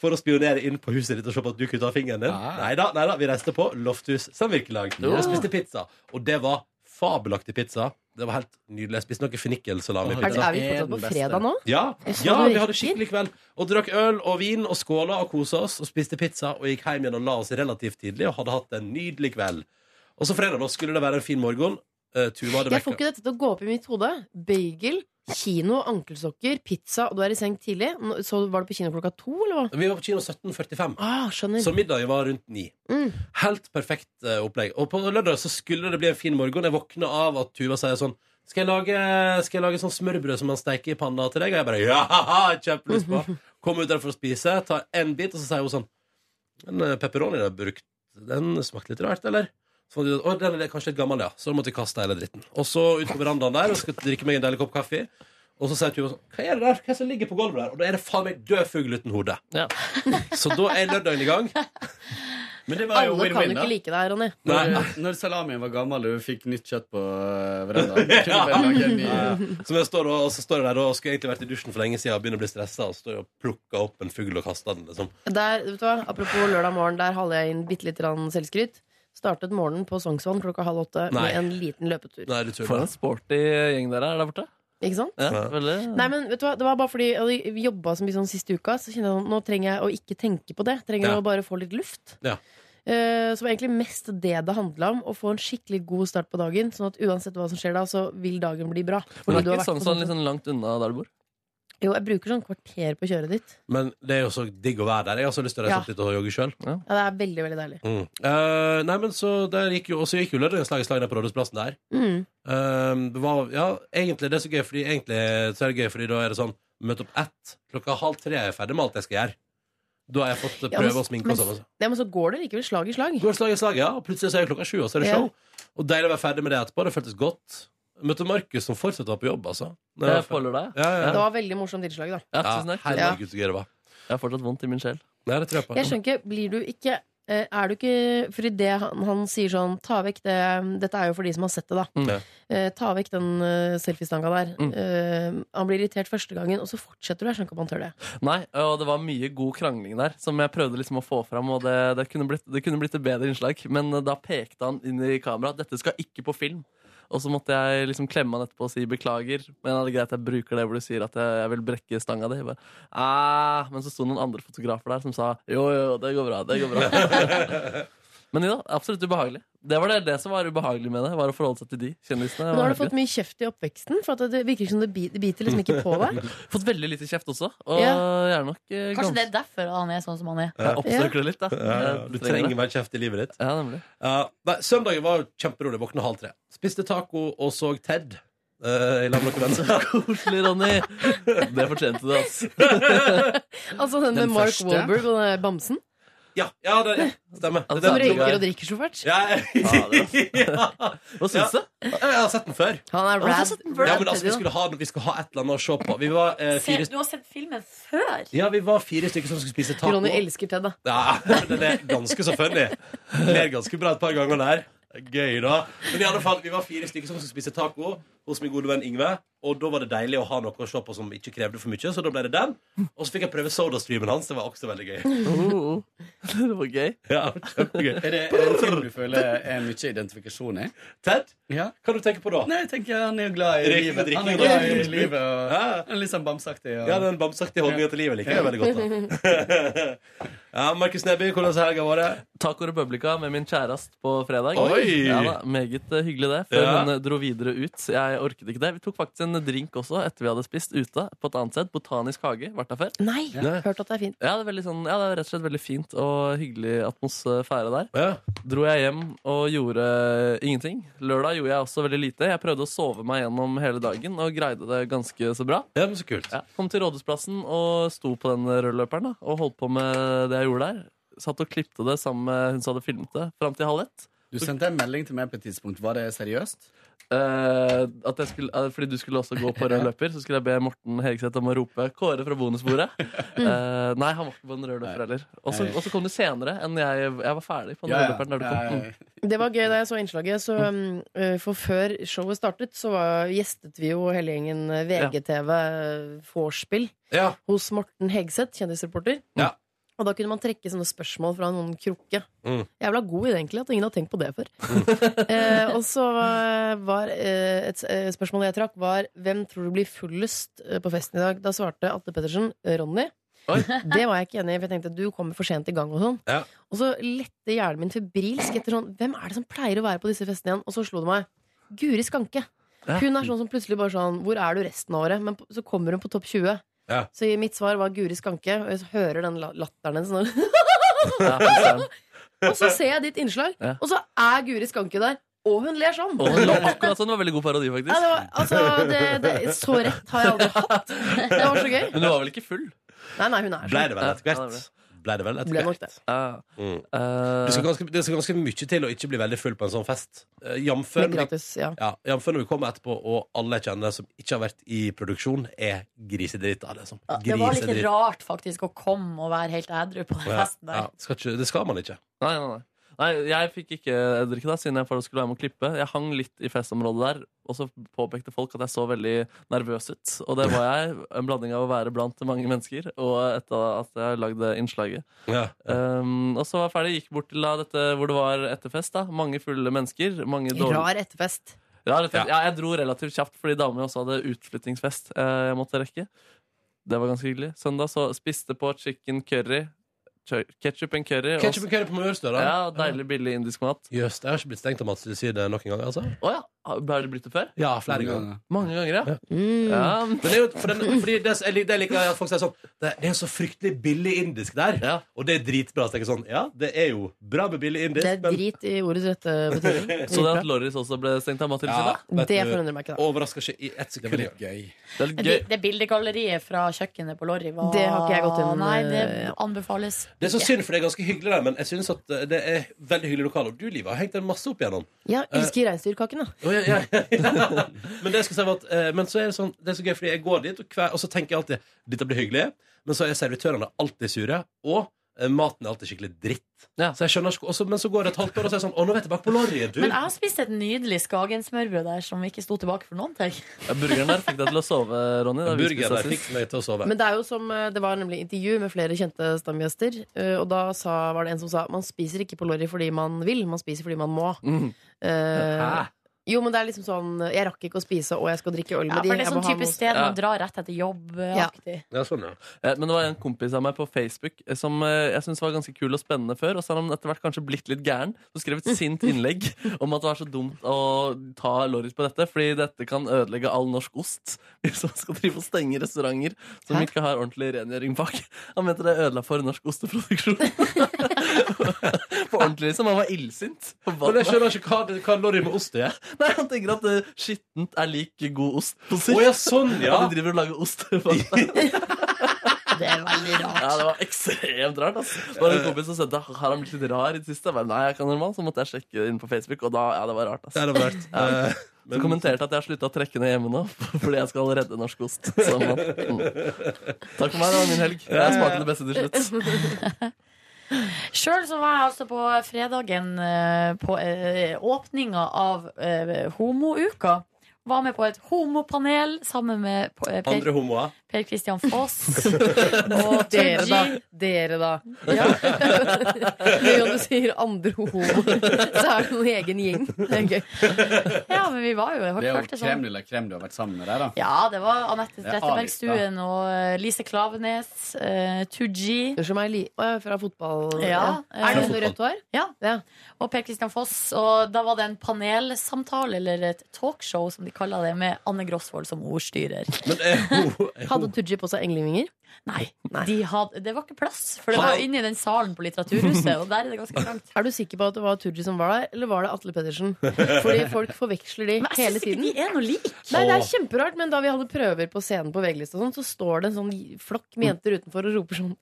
[SPEAKER 2] For å spionere inn på huset ditt og se på at du kutta fingeren din. Neida, neida, vi reiste på Lofthus samvirkelag
[SPEAKER 12] Ja.
[SPEAKER 2] og spiste pizza. Og det var fabelaktig pizza. Det var helt nydelig. Jeg spiste noe
[SPEAKER 5] Er,
[SPEAKER 2] fennikelsalami-pizza.
[SPEAKER 5] er vi fortsatt på fredag nå?
[SPEAKER 2] Ja,
[SPEAKER 5] Jeg så
[SPEAKER 2] ja
[SPEAKER 5] det
[SPEAKER 2] vi hadde skikkelig kveld. Og drakk øl og vin og skåla og kosa oss. Og spiste pizza og gikk hjem igjen og la oss relativt tidlig og hadde hatt en nydelig kveld. Og så fredag nå skulle det være en fin morgen. Eh, Tuva hadde
[SPEAKER 5] Jeg får
[SPEAKER 2] vekka.
[SPEAKER 5] ikke dette til å gå opp i mitt hode. Bagel, kino, ankelsokker, pizza, og du er i seng tidlig. Nå- Så var du på kino klokka to, eller hva?
[SPEAKER 2] Vi var på kino 17.45.
[SPEAKER 5] Ah, skjønner.
[SPEAKER 2] Så middagen var rundt ni.
[SPEAKER 5] Mm.
[SPEAKER 2] Helt perfekt eh, opplegg. Og på lørdag så skulle det bli en fin morgen. Jeg våkna av at Tuva sier sånn skal jeg, lage, skal jeg lage sånn smørbrød som man steiker i panna til deg? Og jeg bare ja, haha, kjempelyst på. Kommer ut der for å spise, tar en bit, og så sier hun sånn Den eh, pepperonien jeg har brukt, den smakte litt rart, eller? Så fant jeg ut, «Å, den er kanskje litt gammel, ja. Så da måtte jeg kaste hele dritten. Og så ut på verandaen der og skal drikke meg en deilig kopp kaffe. Og så sier Tuva sånn Hva er det der? Hva er det som ligger på gulvet der? Og da er det faen meg død fugl uten hode. Så da er lørdagen i gang.
[SPEAKER 12] Men det var jo
[SPEAKER 5] Alle kan
[SPEAKER 12] win-win,
[SPEAKER 5] jo
[SPEAKER 12] da.
[SPEAKER 5] ikke like deg, Ronny.
[SPEAKER 12] Når, når salamien var gammel og du fikk nytt kjøtt på eh, verandaen kunne du bare lage en ny-
[SPEAKER 2] Som jeg står og, og så står jeg der og skulle egentlig vært i dusjen for lenge siden og begynner å bli stressa, og så står jeg og plukker opp en fugl og kaster den, liksom.
[SPEAKER 5] Der, vet du hva? Apropos lørdag morgen, der holder jeg inn bitte litt grann selvskryt. Startet morgenen på Sognsvann klokka halv åtte
[SPEAKER 4] Nei.
[SPEAKER 5] med en liten løpetur.
[SPEAKER 2] Nei, du tuller.
[SPEAKER 4] For en sporty gjeng dere er der borte.
[SPEAKER 5] Ikke sant?
[SPEAKER 4] Ja, veldig.
[SPEAKER 5] Nei, men vet du hva, det var bare fordi jeg hadde jobba så mye sånn siste uka, så kjente jeg sånn, nå trenger jeg å ikke tenke på det. Trenger
[SPEAKER 2] Ja.
[SPEAKER 5] å bare få litt luft.
[SPEAKER 2] Ja.
[SPEAKER 5] Eh, Så var egentlig mest det det handla om, å få en skikkelig god start på dagen. Sånn at uansett hva som skjer da, så vil dagen bli bra.
[SPEAKER 4] Men det
[SPEAKER 5] Fordi du
[SPEAKER 4] er
[SPEAKER 5] har
[SPEAKER 4] ikke
[SPEAKER 5] vært
[SPEAKER 4] sånn
[SPEAKER 5] på
[SPEAKER 4] sånn
[SPEAKER 5] sånn-
[SPEAKER 4] litt sånn langt unna der du bor?
[SPEAKER 5] Jo, jeg bruker sånn kvarter på kjøret ditt.
[SPEAKER 2] Men det er jo så digg å være der. Jeg har også lyst til å reise
[SPEAKER 5] Ja.
[SPEAKER 2] opp dit og jogge sjøl.
[SPEAKER 5] Ja, det er veldig, veldig deilig.
[SPEAKER 2] Mm. Eh, nei, men så der gikk jo, og så gikk jo lørdagens slag i slag ned på Rådhusplassen der.
[SPEAKER 5] Mm.
[SPEAKER 2] Eh, det var, ja, egentlig det er så gøy, fordi egentlig så er det gøy, fordi da er det sånn Møt opp ett. Klokka halv tre er jeg ferdig med alt jeg skal gjøre. Da har jeg fått
[SPEAKER 5] Ja,
[SPEAKER 2] prøve
[SPEAKER 5] men-
[SPEAKER 2] å sminke
[SPEAKER 5] men-
[SPEAKER 2] og sånn.
[SPEAKER 5] Ja, men så går det likevel slag i slag.
[SPEAKER 2] Går slag i slag, ja. Og plutselig så er det klokka sju, og så er det
[SPEAKER 5] Ja.
[SPEAKER 2] show. Og deilig å være ferdig med det etterpå. Det føltes godt. Møtte Markus, som fortsatt var på jobb, altså. Når jeg
[SPEAKER 4] Jeg
[SPEAKER 2] var fer-
[SPEAKER 4] folder deg.
[SPEAKER 2] Ja, ja,
[SPEAKER 5] Det var
[SPEAKER 2] ja.
[SPEAKER 5] veldig morsomt innslag, da.
[SPEAKER 4] Ja, tusen takk.
[SPEAKER 2] Herregud, så gøy det var.
[SPEAKER 4] Jeg har fortsatt vondt i min sjel.
[SPEAKER 2] Nei, det tror jeg på.
[SPEAKER 5] Jeg skjønner ikke, blir du ikke eh, Er du ikke Fordi det han, han sier sånn Ta vekk det Dette er jo for de som har sett det, da.
[SPEAKER 2] Mm.
[SPEAKER 5] Eh, ta vekk den eh, selfiestanga der. Eh, han blir irritert første gangen, og så fortsetter du. Jeg skjønner ikke om han tør det.
[SPEAKER 4] Nei, og det var mye god krangling der, som jeg prøvde liksom å få fram. Og det, det, kunne blitt, det kunne blitt et bedre innslag, men eh, da pekte han inn i kameraet at dette skal ikke på film. Og så måtte jeg liksom klemme han etterpå og si beklager. Men er det greit at jeg bruker det hvor du sier at jeg, jeg vil brekke stanga di? Jeg bare, «Ah», Men så sto det noen andre fotografer der som sa jo, jo, det går bra. det går bra Men ja, absolutt ubehagelig. Det var det, det som var ubehagelig med det. Var å forholde seg til de kjendisene.
[SPEAKER 5] Men nå har du fått mye kjeft i oppveksten, for at det virker som det bi- det biter liksom ikke på deg.
[SPEAKER 4] Fått veldig lite kjeft også. Og
[SPEAKER 5] Ja.
[SPEAKER 4] jeg er nok eh,
[SPEAKER 6] Kanskje
[SPEAKER 4] ganske
[SPEAKER 6] det er derfor han er sånn som han er.
[SPEAKER 4] Jeg oppsøker det litt, da.
[SPEAKER 2] Ja, ja. Du
[SPEAKER 4] Jeg trenger
[SPEAKER 2] trenger
[SPEAKER 4] det.
[SPEAKER 2] mer kjeft i livet ditt.
[SPEAKER 4] Ja, nemlig.
[SPEAKER 2] nei, søndagen var jo kjemperolig. Våkna halv tre. Spiste taco og så Ted. eh, I lag med noen venner.
[SPEAKER 4] Koselig, Ronny. Det fortjente du, altså.
[SPEAKER 5] Altså den,
[SPEAKER 2] Den
[SPEAKER 5] med Mark
[SPEAKER 2] første?
[SPEAKER 5] Wahlberg og den der bamsen.
[SPEAKER 2] Ja, ja det ja, stemmer.
[SPEAKER 5] Som
[SPEAKER 2] Det er den jeg tror
[SPEAKER 5] røyker og
[SPEAKER 2] det er.
[SPEAKER 5] drikker så fælt.
[SPEAKER 2] Ja, Hva
[SPEAKER 4] syns
[SPEAKER 2] du? Jeg har sett den før.
[SPEAKER 5] Han er
[SPEAKER 2] Ja,
[SPEAKER 5] rad.
[SPEAKER 2] men altså, vi, skulle ha, vi skulle ha et eller annet å se på. Vi var, eh,
[SPEAKER 3] Se,
[SPEAKER 2] fire,
[SPEAKER 3] du har sett filmen før!
[SPEAKER 2] ja, vi var fire stykker som skulle spise taco.
[SPEAKER 5] Ronny elsker Ted, da.
[SPEAKER 2] Ja, den er ganske så funny. Ler ganske bra et par ganger der. Gøy, da. Men i alle fall, vi var fire stykker som skulle spise taco hos min gode venn Yngve. Og da var det deilig å ha noe å se på som ikke krevde for mye, så da ble det den. Og så fikk jeg prøve sodastreamen hans. Det var også veldig gøy.
[SPEAKER 4] Oh, det var gøy.
[SPEAKER 2] Ja, kjempegøy.
[SPEAKER 12] Er det er det en film du føler er mye identifikasjon i?
[SPEAKER 2] Ted? Hva du tenker på da?
[SPEAKER 12] Nei, jeg tenker Han er jo glad i
[SPEAKER 2] Drikke-
[SPEAKER 12] livet. Han er
[SPEAKER 2] drikking,
[SPEAKER 12] glad i
[SPEAKER 2] drikke-
[SPEAKER 12] livet og
[SPEAKER 2] Ja.
[SPEAKER 12] han er Litt sånn bamseaktig. og-
[SPEAKER 2] Ja, den bamseaktige holdninga til livet liker jeg veldig godt. da Ja, Markus Neby, hvordan har helga vært?
[SPEAKER 4] Taco Republica med min kjæreste på fredag.
[SPEAKER 2] Oi!
[SPEAKER 4] Ja, da, meget eh, hyggelig, det. Før
[SPEAKER 2] Ja.
[SPEAKER 4] hun eh, dro videre ut. Jeg orket ikke det. Vi tok faktisk en drink også etter vi hadde spist ute på et annet sted. Botanisk hage. Vært der før.
[SPEAKER 5] Nei,
[SPEAKER 4] Ja.
[SPEAKER 5] hørt at det er fint.
[SPEAKER 4] Ja, det er, veldig sånn, ja, det er rett og slett veldig fint og hyggelig atmosfære der.
[SPEAKER 2] Ja.
[SPEAKER 4] Dro jeg hjem og gjorde eh, ingenting. Lørdag gjorde jeg også veldig lite. Jeg prøvde å sove meg gjennom hele dagen og greide det ganske så bra.
[SPEAKER 2] Ja, men så kult
[SPEAKER 4] Kom til Rådhusplassen og sto på den rødløperen da, og holdt på med det jeg gjorde der. Satt og klipte det sammen med hun som hadde filmet det, fram til halv ett.
[SPEAKER 12] Du sendte en melding til meg på et tidspunkt. Var det seriøst?
[SPEAKER 4] Eh, at jeg skulle, eh, fordi du skulle også gå på rød løper, så skulle jeg be Morten Hegseth om å rope 'Kåre fra bonusbordet'. Eh, nei, han var ikke på den røde løperen heller. Og så og så kom du senere enn jeg, jeg var ferdig på den
[SPEAKER 12] Ja,
[SPEAKER 4] røde
[SPEAKER 12] ja.
[SPEAKER 4] løperen. der du
[SPEAKER 12] Ja,
[SPEAKER 4] kom.
[SPEAKER 12] ja,
[SPEAKER 4] Mm.
[SPEAKER 5] Det var gøy da jeg så innslaget. Så, um, uh, for før showet startet, så var, gjestet vi jo hele gjengen uh, VGTV uh, vorspiel
[SPEAKER 2] Ja.
[SPEAKER 5] hos Morten Hegseth, kjendisreporter.
[SPEAKER 2] Ja.
[SPEAKER 5] Og da kunne man trekke sånne spørsmål fra noen krukke.
[SPEAKER 2] Mm.
[SPEAKER 5] Jævla god idé, egentlig, at ingen har tenkt på det før. eh, og så eh, var eh, et s- eh, spørsmål jeg trakk, var hvem tror du blir fullest eh, på festen i dag? Da svarte Atle Pettersen eh, Ronny. Det var jeg ikke enig i, for jeg tenkte du kommer for sent i gang og sånn.
[SPEAKER 2] Ja.
[SPEAKER 5] Og så lette hjernen min febrilsk etter sånn Hvem er det som pleier å være på disse festene igjen? Og så slo det meg. Guri Skanke.
[SPEAKER 4] Ja.
[SPEAKER 5] Hun er sånn som plutselig bare sånn Hvor er du resten av året? Men p- så kommer hun på topp 20.
[SPEAKER 2] Ja.
[SPEAKER 5] Så i mitt svar var Guri Skanke, og jeg så hører den la- latteren hennes nå. og så ser jeg ditt innslag,
[SPEAKER 4] Ja.
[SPEAKER 5] og så er Guri Skanke der. Og hun ler sånn!
[SPEAKER 4] Og hun lå akkurat sånn. Det var veldig god parodi, faktisk.
[SPEAKER 5] Ja, det var, altså, det, det, så rett har jeg aldri hatt. Det var så gøy.
[SPEAKER 4] Men du var vel ikke full?
[SPEAKER 5] Nei, nei, hun er
[SPEAKER 2] Ble
[SPEAKER 5] sånn.
[SPEAKER 2] det vel etter
[SPEAKER 4] Ja, det
[SPEAKER 2] hvert? ble det vel etter
[SPEAKER 5] Ble nok det.
[SPEAKER 4] Ja.
[SPEAKER 2] Mm.
[SPEAKER 4] Eh,
[SPEAKER 2] Det skal, ganske, det skal ganske mye til å ikke bli veldig full på en sånn fest. Eh, Jamfør
[SPEAKER 5] Men
[SPEAKER 2] når vi-
[SPEAKER 5] gratis, ja.
[SPEAKER 2] Ja, jamfør når vi kommer etterpå, og alle jeg kjenner som ikke har vært i produksjon, er grisedrita. Liksom.
[SPEAKER 3] Det var litt
[SPEAKER 2] Grisedritt.
[SPEAKER 3] rart faktisk å komme og være helt ædru på den
[SPEAKER 2] Ja,
[SPEAKER 3] festen der.
[SPEAKER 2] ja. Skal ikke, det skal man ikke.
[SPEAKER 4] Nei, nei, nei. nei jeg fikk ikke drikke da, siden jeg for- skulle være med å klippe. Jeg hang litt i festområdet der, og så påpekte folk at jeg så veldig nervøs ut. Og det var jeg. En blanding av å være blant mange mennesker og etter at jeg lagde innslaget.
[SPEAKER 2] Ja.
[SPEAKER 4] Um, og så var jeg ferdig, gikk bort til da, dette hvor det var etterfest. da Mange fulle mennesker. Mange dårlige
[SPEAKER 5] Rar etterfest.
[SPEAKER 4] Rar etterfest. Ja, jeg dro relativt kjapt fordi damene også hadde utflyttingsfest eh, jeg måtte rekke. Det var ganske hyggelig. Søndag så spiste på chicken curry. Ketsjup and curry.
[SPEAKER 2] Ketchup and curry på Maurstø, da?
[SPEAKER 4] Ja, og deilig billig indisk mat.
[SPEAKER 2] Jøss, det har ikke blitt stengt om at du sier det noen ganger, altså?
[SPEAKER 4] Å ja. Har det blitt det før?
[SPEAKER 2] Ja, flere ganger.
[SPEAKER 4] Mange ganger, ja. Mm. Ja.
[SPEAKER 2] Men det er jo, for den, fordi det, jeg lik- det jeg liker er at folk sier sånn Det, det er jo så fryktelig billig indisk der, og det er dritbra. Så tenker jeg sånn, ja, det er jo bra med billig indisk,
[SPEAKER 5] Det er drit i ordets rette betydning.
[SPEAKER 4] Så det at Lorris også ble stengt av Mathilde
[SPEAKER 2] Ja,
[SPEAKER 4] sin, da?
[SPEAKER 5] Det forundrer meg ikke, da.
[SPEAKER 2] Overrasker ikke i ett sekund. Det
[SPEAKER 12] var gøy.
[SPEAKER 4] Det er litt
[SPEAKER 3] Det,
[SPEAKER 4] gøy.
[SPEAKER 3] det bildegalleriet fra kjøkkenet på Lorry var
[SPEAKER 5] Det har ikke jeg gått inn,
[SPEAKER 3] Nei, det
[SPEAKER 5] eh,
[SPEAKER 3] anbefales.
[SPEAKER 2] Det er så
[SPEAKER 3] ikke.
[SPEAKER 2] synd, for det er ganske hyggelig der, men jeg synes at eh, det er veldig hyggelig lokal. Og du, Liva, har hengt den masse opp igjennom.
[SPEAKER 5] Jeg elsker reinsdyrkakene.
[SPEAKER 2] Å, ja, ja, ja. men det jeg skal si var at eh, Men så er det sånn Det er så gøy, fordi jeg går dit, og, hver, og så tenker jeg alltid dette blir hyggelig, men så er servitørene alltid sure, og eh, maten er alltid skikkelig dritt. Så jeg skjønner ikke og så- Men så går det et halvt år, og så er jeg sånn Å, nå er jeg tilbake på Lorry, du.
[SPEAKER 3] Men jeg har spist et nydelig Skagen-smørbrød der som ikke sto tilbake for noen ting.
[SPEAKER 4] Ja, burgeren der fikk deg til å sove, Ronny. da vi
[SPEAKER 2] Burgeren
[SPEAKER 4] spiste
[SPEAKER 2] der fikk
[SPEAKER 4] sist.
[SPEAKER 2] meg til å sove.
[SPEAKER 5] Men det er jo som eh, Det var nemlig intervju med flere kjente stamgjester, eh, og da sa, var det en som sa man spiser ikke på Lorry fordi man vil, man spiser fordi man må.
[SPEAKER 4] Mm.
[SPEAKER 5] Eh,
[SPEAKER 3] Hæ?
[SPEAKER 5] jo, men det er liksom sånn Jeg rakk ikke å spise, og jeg skal drikke øl med
[SPEAKER 3] Ja,
[SPEAKER 5] de.
[SPEAKER 3] for det er
[SPEAKER 5] jeg
[SPEAKER 3] sånn
[SPEAKER 5] må ha noe-
[SPEAKER 3] typisk sted
[SPEAKER 4] Ja.
[SPEAKER 3] man drar rett etter jobb-aktig.
[SPEAKER 2] sånn,
[SPEAKER 4] Eh, Men det var en kompis av meg på Facebook eh, som eh, jeg syntes var ganske kul og spennende før. Og så har han etter hvert kanskje blitt litt gæren og skrev et sint innlegg om at det var så dumt å ta Lorris på dette, fordi dette kan ødelegge all norsk ost hvis man skal drive og stenge restauranter som ikke har ordentlig rengjøring bak. Han mente det ødela for norsk osteproduksjon. på ordentlig, liksom. Han var illsint.
[SPEAKER 2] Men jeg skjønner ikke hva, det- hva Lorry med ost er.
[SPEAKER 4] Nei, Han tenker at eh, skittent er lik god ost på sikt.
[SPEAKER 2] Å, ja, sånn, ja.
[SPEAKER 4] At de driver og lager ost.
[SPEAKER 3] Det er veldig rart.
[SPEAKER 4] Ja, det var ekstremt rart. ass. Det var en kompis som sendte Har han blitt litt rar i det siste. Jeg bare, nei, jeg kan normal, Så måtte jeg sjekke inn på Facebook, og da, ja, det var rart. Ass.
[SPEAKER 2] Ja, det var rart. Eh,
[SPEAKER 4] Så kommenterte jeg at jeg har slutta å trekke ned hjemme nå fordi jeg skal redde norsk ost. Så, man- mm. Takk for meg, det var min helg. Jeg smakte det beste til slutt.
[SPEAKER 3] Sjøl så var jeg altså på fredagen eh, på eh, åpninga av eh, homouka. Var med på et homopanel sammen med på- eh,
[SPEAKER 2] Andre
[SPEAKER 3] Per,
[SPEAKER 2] homoer.
[SPEAKER 3] per Christian Foss og
[SPEAKER 5] Dere, da.
[SPEAKER 3] Tooji.
[SPEAKER 5] Dere, da. Ja. Men når du sier andre homoer, så er det noen egen gjeng. Det er gøy.
[SPEAKER 3] Ja, men vi var jo
[SPEAKER 12] Det er jo
[SPEAKER 3] hørt det
[SPEAKER 12] krem
[SPEAKER 3] sånn.
[SPEAKER 12] de la krem du har vært sammen med der, da.
[SPEAKER 3] Ja, det var Anette
[SPEAKER 12] Det er
[SPEAKER 3] Trettebergstuen og eh, Lise Klavenes, uh, Tooji
[SPEAKER 5] Som er li Å, ja, fra fotball...
[SPEAKER 3] Ja.
[SPEAKER 5] Er det noe rødt hår?
[SPEAKER 3] Ja. Og Per Christian Foss. Og da var det en panelsamtale, eller et talkshow, som de kaller det, med Anne Grosvold som ordstyrer.
[SPEAKER 2] eh,
[SPEAKER 5] Hadde Tooji på seg englevinger?
[SPEAKER 3] Nei. De hadde, det var ikke plass, for det var inne i den salen på Litteraturhuset, og der er det ganske trangt.
[SPEAKER 5] Er du sikker på at det var Tooji som var der, eller var det Atle Pedersen? Fordi folk forveksler de
[SPEAKER 3] Men jeg
[SPEAKER 5] hele
[SPEAKER 3] synes ikke
[SPEAKER 5] tiden.
[SPEAKER 3] de er noe like.
[SPEAKER 5] Nei, det er kjemperart, men da vi hadde prøver på scenen på VG-lista, og sånn, så står det en sånn flokk med jenter utenfor og roper sånn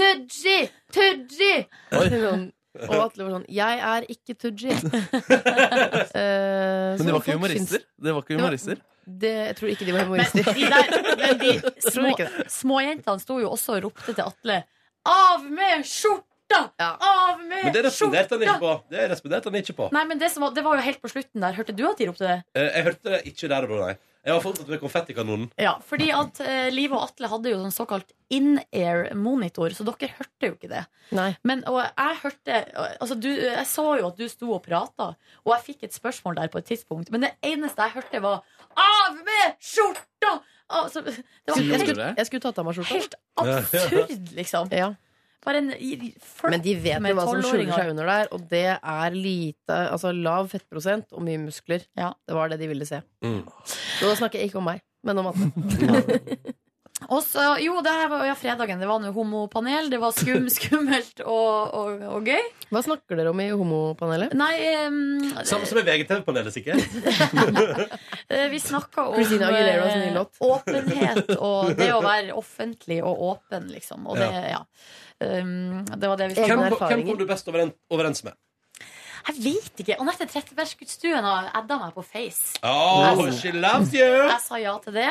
[SPEAKER 5] Tooji! Tooji! Sånn. Og Atle var sånn Jeg er ikke Tooji. Eh,
[SPEAKER 4] Men
[SPEAKER 5] så
[SPEAKER 4] de var
[SPEAKER 5] folk
[SPEAKER 4] ikke
[SPEAKER 5] syns-
[SPEAKER 4] humorister. De var ikke
[SPEAKER 5] Det var-
[SPEAKER 4] humorister.
[SPEAKER 5] Det, jeg tror ikke de var humorister.
[SPEAKER 3] De der, men de
[SPEAKER 5] Jeg tror
[SPEAKER 3] små,
[SPEAKER 5] ikke
[SPEAKER 3] småjentene sto jo også og ropte til Atle Av med skjorta! Av med
[SPEAKER 2] Men det responderte han
[SPEAKER 3] skjorta!
[SPEAKER 2] ikke på. Det responderte han ikke på.
[SPEAKER 3] Nei, men det, som var, det var jo helt på slutten der. Hørte du at de ropte det?
[SPEAKER 2] Eh, Jeg hørte det ikke der og da, nei. Jeg var fortsatt med konfettikanonen.
[SPEAKER 3] Ja, fordi at eh, Liv og Atle hadde jo sånn såkalt in-air-monitor, så dere hørte jo ikke det.
[SPEAKER 5] Nei.
[SPEAKER 3] Men og jeg hørte altså du, Jeg så jo at du sto og prata, og jeg fikk et spørsmål der på et tidspunkt. Men det eneste jeg hørte, var 'av med skjorta'! Altså, det var
[SPEAKER 5] jeg,
[SPEAKER 3] helt,
[SPEAKER 5] skulle, jeg skulle tatt av meg skjorta.
[SPEAKER 3] helt absurd, liksom.
[SPEAKER 5] Ja.
[SPEAKER 3] Bare en i- flørt
[SPEAKER 5] Men de vet
[SPEAKER 3] med
[SPEAKER 5] jo hva som skjuler
[SPEAKER 3] 12-åringer.
[SPEAKER 5] seg under der, og det er lite, altså lav fettprosent og mye muskler.
[SPEAKER 3] Ja.
[SPEAKER 5] Det var det de ville se.
[SPEAKER 2] Mm.
[SPEAKER 5] Og da snakker jeg ikke om meg, men om Atle.
[SPEAKER 3] Og så, jo, det her var ja, fredagen. Det var noe homopanel. Det var skum, skummelt og, og, og gøy.
[SPEAKER 5] Hva snakker dere om i homopanelet?
[SPEAKER 3] Nei, em,
[SPEAKER 2] Samme som i VGTV-panelet, sikkert.
[SPEAKER 3] eh, vi snakka om
[SPEAKER 5] Christina Aguilera sin nye
[SPEAKER 3] eh,
[SPEAKER 5] låt.
[SPEAKER 3] åpenhet og det å være offentlig og åpen, liksom. Og det, ja. Um, det var det vi
[SPEAKER 2] Hvem,
[SPEAKER 3] snakket om.
[SPEAKER 2] hvem kom du best overens, overens med?
[SPEAKER 3] Jeg vet ikke. Og neste Trettebergstuen har adda meg på Face.
[SPEAKER 2] Oh,
[SPEAKER 3] Jeg-
[SPEAKER 2] she loves you!
[SPEAKER 3] Jeg sa ja til det.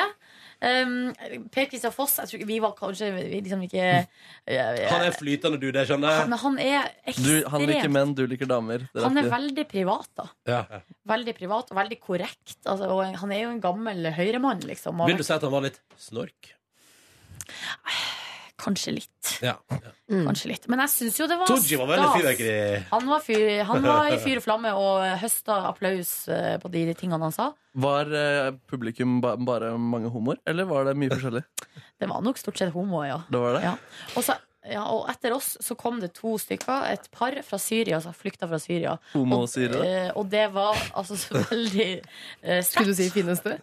[SPEAKER 3] Um, per Christian Foss jeg tror, ikke- Vi var kanskje vi liksom ikke
[SPEAKER 2] Han er flytende du, det skjønner
[SPEAKER 3] Men
[SPEAKER 2] jeg.
[SPEAKER 3] han er
[SPEAKER 4] Du,
[SPEAKER 3] ekstremt
[SPEAKER 4] han liker menn, du liker damer. Det
[SPEAKER 3] Han er
[SPEAKER 4] riktig.
[SPEAKER 3] veldig privat, da.
[SPEAKER 2] Ja.
[SPEAKER 3] Veldig privat og veldig korrekt. Altså, og han er jo en gammel høyremann, liksom. Og har
[SPEAKER 2] Vil du si at han var litt snork?
[SPEAKER 3] vært- Kanskje litt.
[SPEAKER 2] Ja.
[SPEAKER 5] Mm.
[SPEAKER 3] Kanskje litt. Men jeg syns jo det var
[SPEAKER 2] Tooji var veldig
[SPEAKER 3] stas.
[SPEAKER 2] fyrverkeri.
[SPEAKER 3] Han var, fyr, han var i fyr og flamme og høsta applaus eh, på de tingene han sa.
[SPEAKER 4] Var eh, publikum ba bare mange homoer, eller var det mye forskjellig?
[SPEAKER 3] Det var nok stort sett homoer, ja.
[SPEAKER 4] Det var det?
[SPEAKER 3] Og, så, ja, og etter oss så kom det to stykker, et par fra Syria som flykta fra Syria.
[SPEAKER 4] Homo
[SPEAKER 3] og,
[SPEAKER 4] sier det.
[SPEAKER 3] eh, og det var altså så veldig eh, sterkt.
[SPEAKER 5] Skulle du si fineste?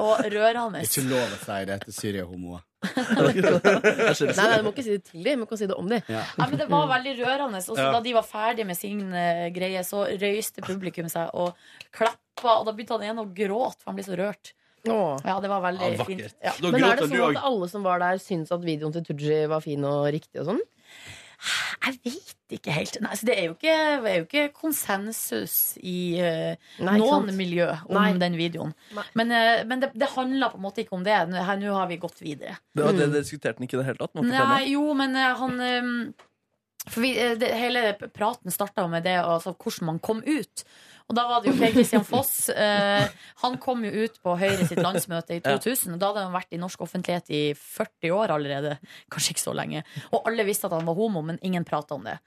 [SPEAKER 3] og rørende.
[SPEAKER 12] Ikke lov å si det til syriahomoer.
[SPEAKER 5] Nei, nei, du må ikke si det til dem, men du kan si det om dem.
[SPEAKER 12] Ja.
[SPEAKER 3] Ja, men det var veldig rørende. Og så
[SPEAKER 5] Ja.
[SPEAKER 3] da de var ferdig med sin eh, greie, så røyste publikum seg og klappa. Og da begynte han ene å gråte, for han ble så rørt. Ja, det var veldig
[SPEAKER 5] Ja, vakkert.
[SPEAKER 3] fint. Ja.
[SPEAKER 5] Men er det sånn at alle som var der, syns at videoen til Tooji var fin og riktig og sånn?
[SPEAKER 3] Jeg vet ikke helt. Nei, så det er jo ikke, det er jo ikke konsensus i eh,
[SPEAKER 5] Nei, ikke
[SPEAKER 3] noen
[SPEAKER 5] sant.
[SPEAKER 3] miljø om
[SPEAKER 5] Nei.
[SPEAKER 3] den videoen. Men, eh, men det, det handla på en måte ikke om det. Nå her- nå har vi gått videre.
[SPEAKER 4] Det var det Dere diskuterte den ikke i det hele tatt? må jeg fortelle.
[SPEAKER 3] Nei, jo, men eh, han ehm, For vi, eh, det, hele praten starta med det altså, hvordan man kom ut. Og da var det jo Per Christian Foss. eh, han kom jo ut på Høyre sitt landsmøte i
[SPEAKER 6] Ja.
[SPEAKER 3] 2000. Og da hadde han vært i norsk offentlighet i 40 år allerede. Kanskje ikke så lenge. Og alle visste at han var homo, men ingen prata om det.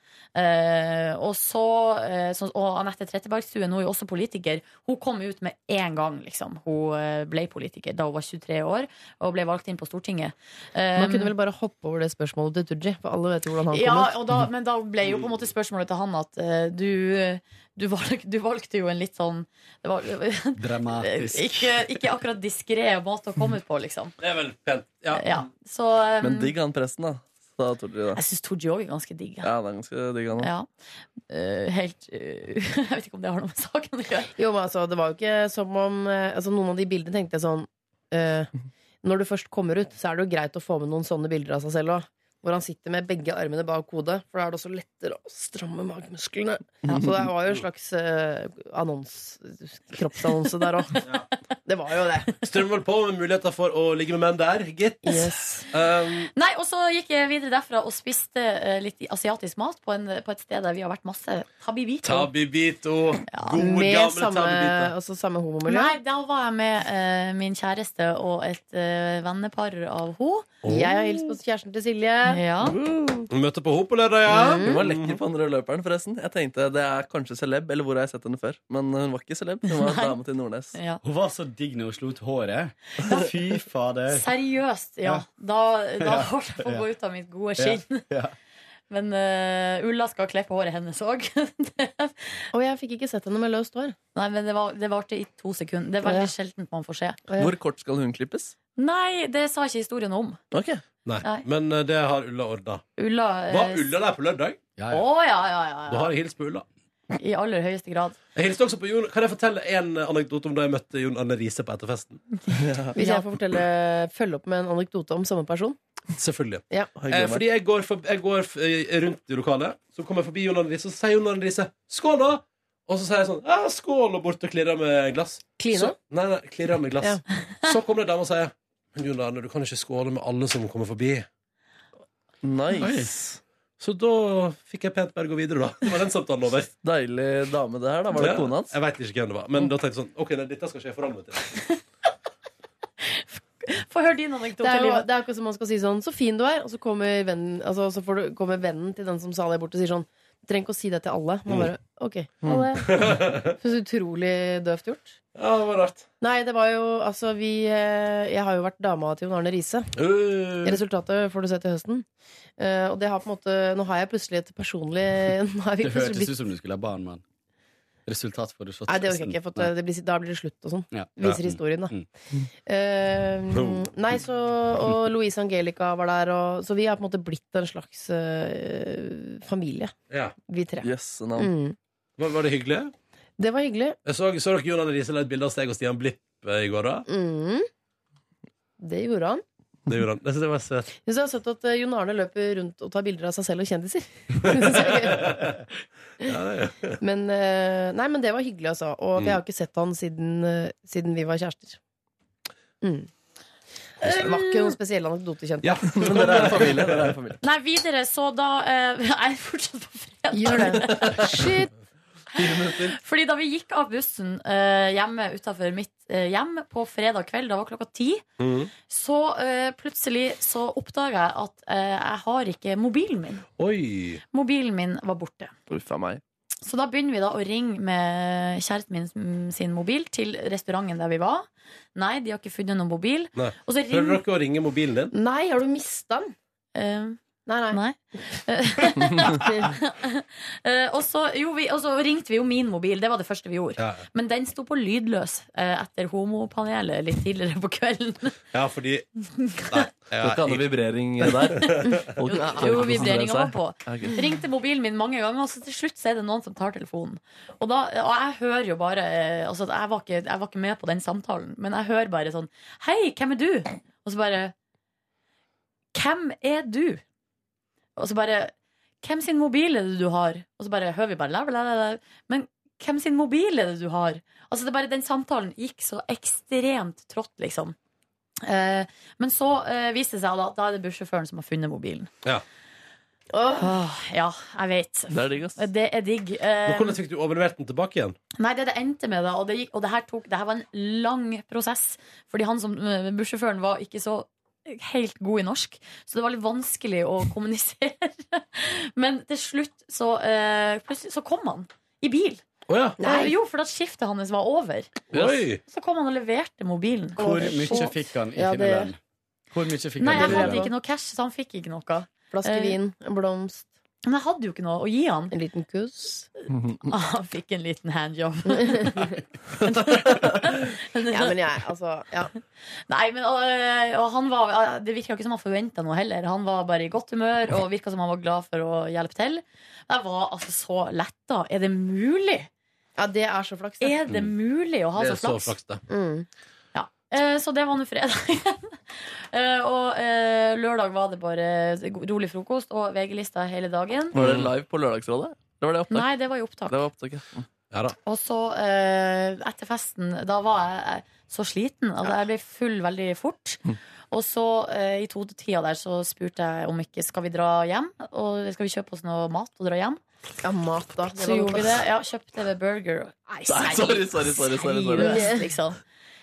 [SPEAKER 3] Eh, og så, eh, så Og Anette Trettebergstuen, hun er jo også politiker, hun kom ut med én gang, liksom. Hun eh, ble politiker da hun var 23 år, og ble valgt inn på Stortinget.
[SPEAKER 5] Man
[SPEAKER 3] Eh,
[SPEAKER 5] kunne vel bare hoppe over det spørsmålet til Tooji, for alle vet jo hvordan han
[SPEAKER 3] ja,
[SPEAKER 5] kom
[SPEAKER 3] og da, men da ble jo på en måte spørsmålet til han at eh, du, du, valg, du valgte jo en litt sånn det var,
[SPEAKER 2] Eh,
[SPEAKER 12] Dramatisk.
[SPEAKER 3] ikke, ikke akkurat diskré måte å komme ut på, liksom.
[SPEAKER 2] Det er vel pent. Ja.
[SPEAKER 3] Ja, så eh,
[SPEAKER 4] Men digg han presten, da. Sa Tordi, da.
[SPEAKER 3] Jeg syns Tooji òg er ganske digg.
[SPEAKER 4] Ja, det er ganske digg han da.
[SPEAKER 3] Ja. Eh, helt eh, Jeg vet ikke om det har noe med saken å gjøre.
[SPEAKER 5] Jo, men altså, det var jo ikke som om eh, altså, Noen av de bildene tenkte jeg sånn eh, Når du først kommer ut, så er det jo greit å få med noen sånne bilder av seg selv òg. Hvor han sitter med begge armene bak hodet, for da er det også lettere å stramme magemusklene.
[SPEAKER 3] Ja.
[SPEAKER 5] Så det var jo en slags eh, annonse, kroppsannonse der òg. Det var jo det.
[SPEAKER 2] Strømmer vel på med muligheter for å ligge med menn der, gitt. Um,
[SPEAKER 3] Nei, og så gikk jeg videre derfra og spiste eh, litt asiatisk mat på, en, på et sted der vi har vært masse. Tabibito.
[SPEAKER 2] Tabibito. Gode, gamle
[SPEAKER 5] Med samme,
[SPEAKER 2] Tabibito.
[SPEAKER 5] altså, samme homomiljø.
[SPEAKER 3] Nei, da var jeg med eh, min kjæreste og et eh, vennepar av henne.
[SPEAKER 5] Jeg har hilst på kjæresten til Silje.
[SPEAKER 3] Oh. Ja.
[SPEAKER 2] Møte på henne på lørdag, ja.
[SPEAKER 4] Hun var lekker på den røde løperen, forresten. Jeg tenkte det er kanskje celeb, eller hvor har jeg sett henne før? Men hun var ikke celeb. Hun var dame til Nordnes.
[SPEAKER 3] Ja.
[SPEAKER 12] Hun var så digg når hun slo ut håret. Fy fader.
[SPEAKER 3] Seriøst,
[SPEAKER 12] Ja.
[SPEAKER 3] ja. Da, da
[SPEAKER 12] Ja.
[SPEAKER 3] holdt jeg på å
[SPEAKER 12] Ja.
[SPEAKER 3] gå ut av mitt gode skinn.
[SPEAKER 12] Ja.
[SPEAKER 3] Men eh, Ulla skal klippe håret hennes òg.
[SPEAKER 5] Og jeg fikk ikke sett henne med løst hår.
[SPEAKER 3] Nei, men det, var, det varte i to sekunder. Det er
[SPEAKER 5] Ja.
[SPEAKER 3] veldig sjeldent man får se.
[SPEAKER 4] Hvor kort skal hun klippes?
[SPEAKER 3] Nei, det sa ikke historien om.
[SPEAKER 4] Ok.
[SPEAKER 2] Nei.
[SPEAKER 3] Nei.
[SPEAKER 2] Men eh, det har Ulla ordna.
[SPEAKER 3] Ulla eh,
[SPEAKER 2] Var Ulla der på lørdag?
[SPEAKER 3] Å, ja, ja, ja,
[SPEAKER 2] Da har jeg hilst på Ulla.
[SPEAKER 3] ja. I aller høyeste grad.
[SPEAKER 2] Jeg hilste også på Jon. Kan jeg fortelle en anekdote om da jeg møtte Jon Arne Riise på etterfesten?
[SPEAKER 5] Hvis jeg får fortelle, følge opp med en anekdote om samme person.
[SPEAKER 2] Selvfølgelig.
[SPEAKER 5] Ja.
[SPEAKER 2] Eh, fordi jeg går, for, jeg går eh, rundt i lokalet, så kommer jeg forbi Jon Arne Riise, og så sier Jon Arne Riise 'skål', da! Og så sier jeg sånn «Ja, 'skål', og bort og klirrer med glass.
[SPEAKER 5] Klina?
[SPEAKER 2] Så, nei, nei, klirrer med glass. så kommer det en dame og sier 'Men Jon Arne, du kan ikke skåle med alle som kommer forbi'.
[SPEAKER 4] Nice.
[SPEAKER 2] Så da fikk jeg pent bare gå videre, da. Det var den samtalen over.
[SPEAKER 4] Deilig dame det her, da. Var det
[SPEAKER 2] Ja,
[SPEAKER 4] kona hans?
[SPEAKER 2] Jeg veit ikke hvem det var. Men da tenkte jeg sånn OK, nei, dette skal ikke jeg forholde meg til.
[SPEAKER 3] Få høre din anekdote.
[SPEAKER 5] Det er jo
[SPEAKER 3] Liv.
[SPEAKER 5] det er akkurat som man skal si sånn 'så fin du er', og så kommer vennen, altså, så får du, kommer vennen til den som sa deg bort og sier sånn 'du trenger ikke å si det til alle'. Man bare OK. Alle. Så utrolig døvt gjort.
[SPEAKER 2] Ja, det var rart.
[SPEAKER 5] Nei, det var jo altså vi eh, Jeg har jo vært dama til Jon Arne Riise.
[SPEAKER 12] Mm.
[SPEAKER 5] Resultatet får du se til høsten. Eh, og det har på en måte Nå har jeg plutselig et personlig Nå har vi
[SPEAKER 12] Det hørtes
[SPEAKER 5] plutselig
[SPEAKER 12] ut
[SPEAKER 5] blitt
[SPEAKER 12] som du skulle ha barn med han. Resultat får du se
[SPEAKER 5] Nei, det orker jeg ikke. For at det blir, da blir det slutt og sånn.
[SPEAKER 12] Ja.
[SPEAKER 5] Viser
[SPEAKER 12] Ja.
[SPEAKER 5] historien, da.
[SPEAKER 12] Mm.
[SPEAKER 5] Eh, nei, så Og Louise Angelica var der, og Så vi har på en måte blitt en slags eh, familie,
[SPEAKER 2] Ja.
[SPEAKER 5] vi tre.
[SPEAKER 4] Jøsse
[SPEAKER 5] Mm.
[SPEAKER 2] Var, Eh, var det hyggelig?
[SPEAKER 5] Det var hyggelig.
[SPEAKER 2] Jeg så, så dere Jon Arne Riise la ut bilde av seg og Stian Blipp eh, i går, da?
[SPEAKER 5] Mm. Det gjorde han.
[SPEAKER 2] Det gjorde han. Jeg synes det var søtt.
[SPEAKER 5] Jeg synes det er søtt at eh, Jon Arne løper rundt og tar bilder av seg selv og kjendiser.
[SPEAKER 2] Ja, det er.
[SPEAKER 5] Men, eh, nei, men det var hyggelig, altså. Og
[SPEAKER 2] Mm.
[SPEAKER 5] vi har ikke sett han siden, eh, siden vi var kjærester. Mm. Det var ikke noen spesiell anekdote, kjente
[SPEAKER 4] Ja, men dere
[SPEAKER 3] Mm.
[SPEAKER 4] er en familie. Dere er en familie.
[SPEAKER 3] Nei, videre, så da eh, Jeg er fortsatt på fredag.
[SPEAKER 5] Shit.
[SPEAKER 3] Fordi da vi gikk av bussen eh, hjemme utafor mitt eh, hjem på fredag kveld, da var klokka ti, så eh, plutselig så oppdaga jeg at eh, jeg har ikke mobilen min.
[SPEAKER 2] Oi.
[SPEAKER 3] Mobilen min var borte.
[SPEAKER 4] Uff a meg.
[SPEAKER 3] Så da begynner vi da å ringe med kjæresten min sin mobil til restauranten der vi var. Nei, de har ikke funnet noen mobil.
[SPEAKER 2] Nei.
[SPEAKER 3] Og så
[SPEAKER 2] Prøvde
[SPEAKER 3] ring-
[SPEAKER 2] dere å ringe mobilen din?
[SPEAKER 5] Nei, har du mista den? nei, nei.
[SPEAKER 3] Eh, og, så, jo, vi, og så ringte vi jo min mobil, det var det første vi gjorde.
[SPEAKER 2] Ja.
[SPEAKER 3] Men den sto på lydløs eh, etter homopanelet litt tidligere på kvelden.
[SPEAKER 2] Ja, fordi Nei.
[SPEAKER 4] Det var ikke annet vibrering der. Folk kan ikke sånn
[SPEAKER 3] Jo,
[SPEAKER 4] konsentrere
[SPEAKER 3] vibreringa var
[SPEAKER 4] seg.
[SPEAKER 3] på.
[SPEAKER 4] Ja, ok.
[SPEAKER 3] Ringte mobilen min mange ganger, og så til slutt så er det noen som tar telefonen. Og, da, og jeg hører jo bare eh, altså, at jeg, var ikke, jeg var ikke med på den samtalen, men jeg hører bare sånn Hei, hvem er du? Og så bare Hvem er du? Og så bare Hvem sin mobil er det du har? Og så bare hører vi bare la, la, la, la. Men hvem sin mobil er det du har? Altså det er bare Den samtalen gikk så ekstremt trått, liksom. Eh, men så eh, viste det seg da at da er det bussjåføren som har funnet mobilen.
[SPEAKER 2] Ja.
[SPEAKER 3] Åh, ja, jeg vet.
[SPEAKER 2] Det er digg, ass.
[SPEAKER 3] Det er digg. Eh,
[SPEAKER 2] Men hvordan fikk du overlevert den tilbake igjen?
[SPEAKER 3] Nei, det det endte med, da, og, det gikk, og det, her tok, det her var en lang prosess. Fordi han som eh, bussjåføren var ikke så helt god i norsk, så det var litt vanskelig å kommunisere. Men til slutt så, eh, plutselig, så kom han i bil.
[SPEAKER 2] Å ja.
[SPEAKER 3] Eh, Jo, for at skiftet hans var over.
[SPEAKER 12] Oi.
[SPEAKER 3] Så kom han og leverte mobilen.
[SPEAKER 12] Hvor
[SPEAKER 3] Og-
[SPEAKER 12] mye fikk han i
[SPEAKER 3] Ja, det-
[SPEAKER 12] finnerlønn? Hvor mye fikk han
[SPEAKER 3] Nei,
[SPEAKER 12] i
[SPEAKER 3] jeg hadde
[SPEAKER 12] finnerlønn?
[SPEAKER 3] ikke noe cash, så han fikk ikke noe.
[SPEAKER 5] Flaske
[SPEAKER 3] Eh,
[SPEAKER 5] vin, en blomst.
[SPEAKER 3] Men jeg hadde jo ikke noe å gi han.
[SPEAKER 5] En liten kuss.
[SPEAKER 3] Ah, han fikk en liten handjob.
[SPEAKER 5] Ja, men jeg, altså ja.
[SPEAKER 3] Nei, men og, og han var, Det virka ikke som han forventa noe heller. Han var bare i godt humør og virka som han var glad for å hjelpe til. Jeg var altså så letta. Er det mulig?
[SPEAKER 5] Ja, det Mm. er så flaks.
[SPEAKER 3] Er Mm. det mulig å ha så flaks?
[SPEAKER 2] det.
[SPEAKER 3] Ja. Eh, Så det var nå fredag. Eh, og eh, lørdag var det bare rolig frokost og VG-lista hele dagen.
[SPEAKER 4] Var det live på Lørdagsrådet? Det var det opptak.
[SPEAKER 3] mm. Nei, det var i opptak.
[SPEAKER 4] Det var opptak, ja.
[SPEAKER 3] Og så, eh, etter festen, da var jeg eh, så sliten. Altså, jeg ble full veldig fort.
[SPEAKER 4] Mm.
[SPEAKER 3] Og så, eh, i to-tida der, så spurte jeg om ikke skal vi dra hjem. Og skal vi kjøpe oss noe mat og dra hjem?
[SPEAKER 5] Ja, mat, da.
[SPEAKER 3] Så gjorde vi det. Ja, kjøpte vi burger. Nei,
[SPEAKER 4] Nei, sorry, sorry, sorry, sorry, sorry.
[SPEAKER 3] seriøst, liksom.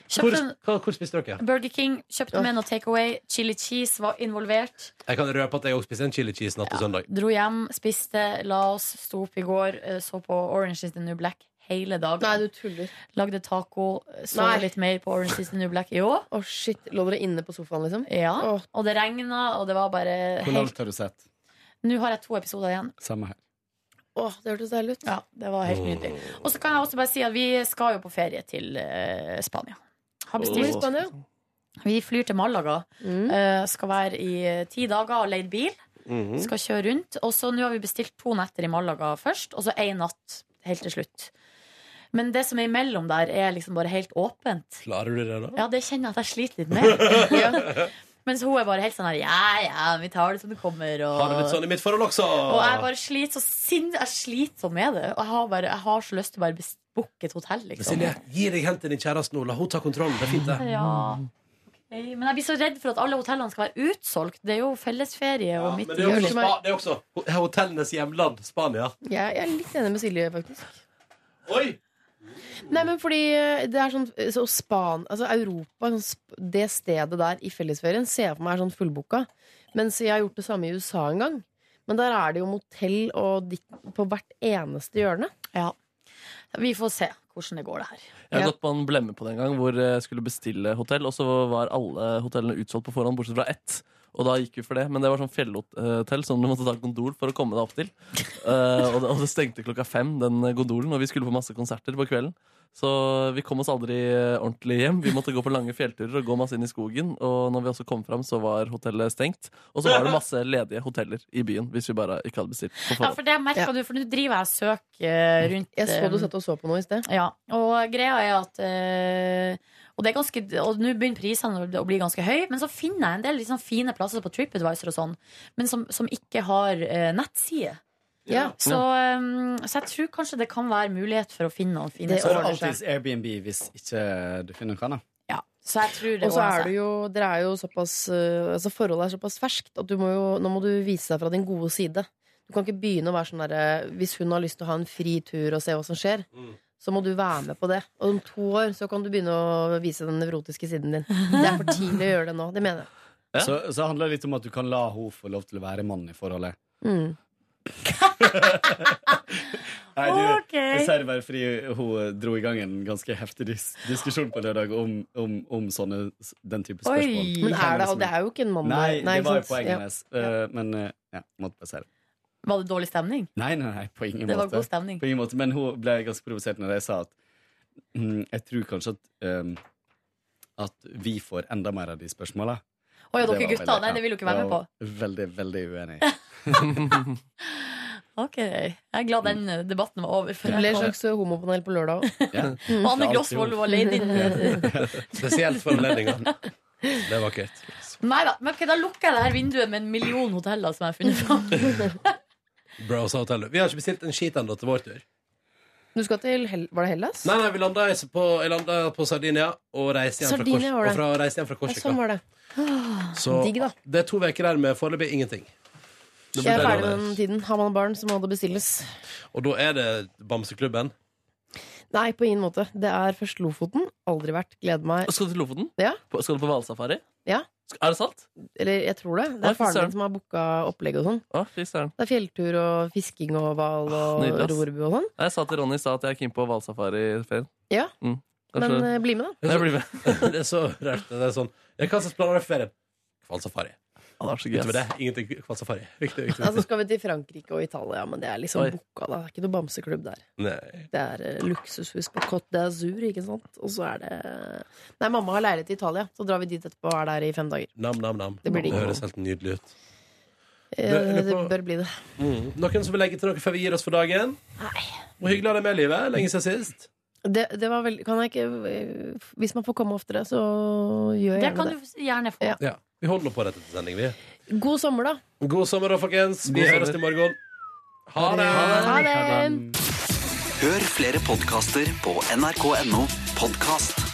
[SPEAKER 2] Hvor,
[SPEAKER 3] Kjøpte en
[SPEAKER 2] hva- hvor spiste dere?
[SPEAKER 3] Burger King, kjøpte med noe takeaway. Chili cheese var involvert.
[SPEAKER 2] Jeg kan røpe at jeg også spiste en chili cheese natt til søndag.
[SPEAKER 3] Dro hjem, spiste, la oss, sto opp i går, eh, så på Orange is the New Black hele dagen.
[SPEAKER 5] Nei, du tuller.
[SPEAKER 3] Lagde taco, så
[SPEAKER 5] Nei.
[SPEAKER 3] litt mer på Orange is the New Black i år.
[SPEAKER 5] Å, shit. Lå dere inne på sofaen, liksom?
[SPEAKER 3] Ja,
[SPEAKER 5] Åh.
[SPEAKER 3] og det regna, og det var bare
[SPEAKER 12] Hvor
[SPEAKER 3] helt
[SPEAKER 12] langt har du sett?
[SPEAKER 3] Nå har jeg to episoder igjen.
[SPEAKER 12] Samme her.
[SPEAKER 5] Åh, det hørtes deilig ut.
[SPEAKER 3] Ja, det var helt nydelig. Og så kan jeg også bare si at vi skal jo på ferie til eh, Spania. Har
[SPEAKER 5] Hvor i
[SPEAKER 3] bestilt.
[SPEAKER 5] Spania?
[SPEAKER 3] Vi flyr til Malaga. Eh, skal være i eh, ti dager og leid bil.
[SPEAKER 12] Mhm.
[SPEAKER 3] Skal kjøre rundt. Og så nå har vi bestilt to netter i Malaga først, og så én natt helt til slutt. Men det som er imellom der, er liksom bare helt åpent.
[SPEAKER 2] Klarer du det, da?
[SPEAKER 3] Ja, det kjenner jeg at jeg sliter litt med. ja. Mens hun er bare helt sånn her Ja, ja, vi tar det som det kommer. Og...
[SPEAKER 2] Har det litt sånn i mitt forhold også?
[SPEAKER 3] Og jeg bare sliter så sinn... Jeg sliter så med det. Og jeg har, bare, jeg har så lyst til å bare bes- booke et hotell, liksom.
[SPEAKER 2] Silje, gi deg hen til din kjæreste nå. La hun ta kontrollen. Det er fint, det.
[SPEAKER 3] Ja. Ok, Men jeg blir så redd for at alle hotellene skal være utsolgt. Det er jo fellesferie. og midt
[SPEAKER 2] Men
[SPEAKER 3] i
[SPEAKER 2] det er også,
[SPEAKER 3] juli.
[SPEAKER 2] spa, det er også ho- hotellenes hjemland, Spania.
[SPEAKER 5] Jeg, jeg er litt enig med Silje, faktisk.
[SPEAKER 2] Oi!
[SPEAKER 5] Nei, men fordi eh, det er sånn så Span, altså Europa, sånn sp- det stedet der i fellesferien, ser jeg for meg er sånn fullboka. Mens jeg har gjort det samme i USA en gang. Men der er det jo motell og ditt på hvert eneste hjørne.
[SPEAKER 3] Ja. Vi får se hvordan det går, det her.
[SPEAKER 4] Jeg har gått på en eh, blemme på det en gang, hvor jeg skulle bestille hotell, og så var alle hotellene utsolgt på forhånd, bortsett fra ett. Og da gikk vi for det, men det var sånn fjellhotell som du måtte ta gondol for å komme deg opp til. Eh, og, det, og det stengte klokka fem, den gondolen, og vi skulle på masse konserter på kvelden. Så vi kom oss aldri eh, ordentlig hjem. Vi måtte gå på lange fjellturer og gå masse inn i skogen. Og når vi også kom fram, så var hotellet stengt. Og så var det masse ledige hoteller i byen, hvis vi bare ikke hadde bestilt på
[SPEAKER 3] Ja, for
[SPEAKER 4] forhånd.
[SPEAKER 3] det merka du, for nå driver jeg og søker rundt
[SPEAKER 5] Jeg så du
[SPEAKER 3] eh,
[SPEAKER 5] satt og så på noe i sted.
[SPEAKER 3] Ja, og greia er at eh, Og det er ganske Og nå begynner prisene å bli ganske høye, men så finner jeg en del litt sånn fine plasser på TripAdvisor og sånn, men som, som ikke har eh, nettside.
[SPEAKER 12] Ja.
[SPEAKER 3] Så, eh, så jeg tror kanskje det kan være mulighet for å finne noen fine
[SPEAKER 12] Så er det
[SPEAKER 3] steder.
[SPEAKER 12] alltids Airbnb hvis ikke du finner noe annet.
[SPEAKER 3] Så jeg tror det
[SPEAKER 5] Og så
[SPEAKER 3] ordner
[SPEAKER 5] er
[SPEAKER 3] seg.
[SPEAKER 5] du jo, dere er jo såpass eh, altså Forholdet er såpass ferskt at du må jo, nå må du vise deg fra din gode side. Du kan ikke begynne å være sånn derre Hvis hun har lyst til å ha en fri tur og se hva som skjer,
[SPEAKER 12] Mm.
[SPEAKER 5] så må du være med på det. Og om to år så kan du begynne å vise den nevrotiske siden din. Det er for tidlig å gjøre det nå. Det mener jeg.
[SPEAKER 12] Så, så handler det litt om at du kan la henne få lov til å være mannen i forholdet.
[SPEAKER 5] Mm.
[SPEAKER 12] Nei, du,
[SPEAKER 5] Ok.
[SPEAKER 12] Reserverfri hun dro i gang en ganske heftig dis diskusjon på lørdag om, om, om sånne, den type
[SPEAKER 5] Oi.
[SPEAKER 12] spørsmål.
[SPEAKER 5] Men
[SPEAKER 3] liksom
[SPEAKER 5] er det, og det er jo ikke en mann
[SPEAKER 12] Nei,
[SPEAKER 5] der.
[SPEAKER 12] det var jo
[SPEAKER 5] ikke sant?
[SPEAKER 12] poenget
[SPEAKER 5] Ja.
[SPEAKER 12] hennes. Eh, men eh, ja, måtte bare si det.
[SPEAKER 3] Var det dårlig stemning?
[SPEAKER 12] Nei, nei, nei, på ingen
[SPEAKER 3] Det var
[SPEAKER 12] måte.
[SPEAKER 3] god stemning.
[SPEAKER 12] På ingen måte. Men hun ble ganske provosert når jeg sa at mm, jeg tror kanskje at, ehm, at vi får enda mer av de spørsmåla.
[SPEAKER 3] Å ja, dere gutter, nei, det vil du ikke være med på.
[SPEAKER 12] Veldig, veldig uenig.
[SPEAKER 3] Ok, Jeg er glad den eh, debatten var over.
[SPEAKER 5] Det ble et slags homopanel på lørdag òg.
[SPEAKER 3] Og Anne Grosvold var leid inn.
[SPEAKER 2] Spesielt for anledninga. Det er vakkert.
[SPEAKER 3] Nei da. Men ok, da lukker jeg det her vinduet med en million hoteller som jeg har funnet fram.
[SPEAKER 2] Browse Hotel. Vi har ikke bestilt en skit ennå til vår tur.
[SPEAKER 5] Du skal til Hel Var det Hellas?
[SPEAKER 2] Nei, nei, vi landa på, jeg landet på Sardinia og reiste igjen fra
[SPEAKER 5] Sardinia
[SPEAKER 2] Kors-
[SPEAKER 5] var det.
[SPEAKER 2] og fra, reiste igjen fra
[SPEAKER 5] Ja, sånn
[SPEAKER 2] Korsika.
[SPEAKER 5] var det.
[SPEAKER 2] Så
[SPEAKER 5] Digg, da.
[SPEAKER 2] det er to uker der med foreløpig ingenting. Det
[SPEAKER 5] Jeg er
[SPEAKER 2] blir
[SPEAKER 5] ferdig
[SPEAKER 2] bedre.
[SPEAKER 5] med den tiden. Har man barn, så må det bestilles.
[SPEAKER 2] Og da er det Bamseklubben.
[SPEAKER 5] Nei, på ingen måte. Det er først Lofoten. Aldri vært. Gleder meg.
[SPEAKER 4] Skal du til Lofoten?
[SPEAKER 5] Ja.
[SPEAKER 4] På- Skal du på hvalsafari?
[SPEAKER 5] Ja.
[SPEAKER 4] Er det sant?
[SPEAKER 5] Eller jeg tror det. Det
[SPEAKER 4] Oi,
[SPEAKER 5] er
[SPEAKER 4] fy
[SPEAKER 5] faren
[SPEAKER 4] søren.
[SPEAKER 5] min som har booka opplegg og sånn.
[SPEAKER 4] Å, fy søren.
[SPEAKER 5] Det er fjelltur og fisking og hval og
[SPEAKER 4] Ah, nydelig, ass.
[SPEAKER 5] rorbu og sånn.
[SPEAKER 4] Jeg sa til Ronny i stad at jeg er keen på hvalsafari i ferien.
[SPEAKER 5] Ja,
[SPEAKER 4] Mm.
[SPEAKER 5] men
[SPEAKER 4] Kanskje-
[SPEAKER 5] eh, bli med, da.
[SPEAKER 4] Jeg blir med.
[SPEAKER 2] det er så rart. Det er sånn Jeg kan sette planer for ferien. Kvalsafari. Utover det, ingenting kvalsafari. Viktig, viktig.
[SPEAKER 5] Ja, så Altså, skal vi til Frankrike og Italia, men det er liksom
[SPEAKER 2] Oi.
[SPEAKER 5] booka, da. Det er ikke noe bamseklubb der.
[SPEAKER 2] Nei.
[SPEAKER 5] Det er eh, luksushus på Côte d'Azur, ikke sant. Og så er det eh, Nei, mamma har leilighet i Italia, så drar vi dit etterpå og er der i fem dager.
[SPEAKER 2] Nam, nam, nam.
[SPEAKER 5] Det blir digg.
[SPEAKER 2] høres helt nydelig ut.
[SPEAKER 5] Eh,
[SPEAKER 2] Det- det
[SPEAKER 5] Det
[SPEAKER 2] på-
[SPEAKER 5] bør bli det.
[SPEAKER 2] Mm. Noen som vil legge til noe før vi gir oss for dagen? Hvor hyggelig er det med livet? Lenge siden sist.
[SPEAKER 5] Det, det var veldig Kan jeg ikke eh, Hvis man får komme oftere, så gjør jeg
[SPEAKER 3] Det
[SPEAKER 5] gjerne
[SPEAKER 3] kan
[SPEAKER 5] det.
[SPEAKER 3] du gjerne få.
[SPEAKER 2] Ja. Vi holder nå på dette til sending, vi.
[SPEAKER 5] God sommer, da.
[SPEAKER 2] God sommer da, folkens. Vi
[SPEAKER 5] God
[SPEAKER 2] høres
[SPEAKER 5] sommer.
[SPEAKER 2] i morgen. Ha det!
[SPEAKER 5] Ha det.
[SPEAKER 15] Hør flere podkaster på nrk.no podkast.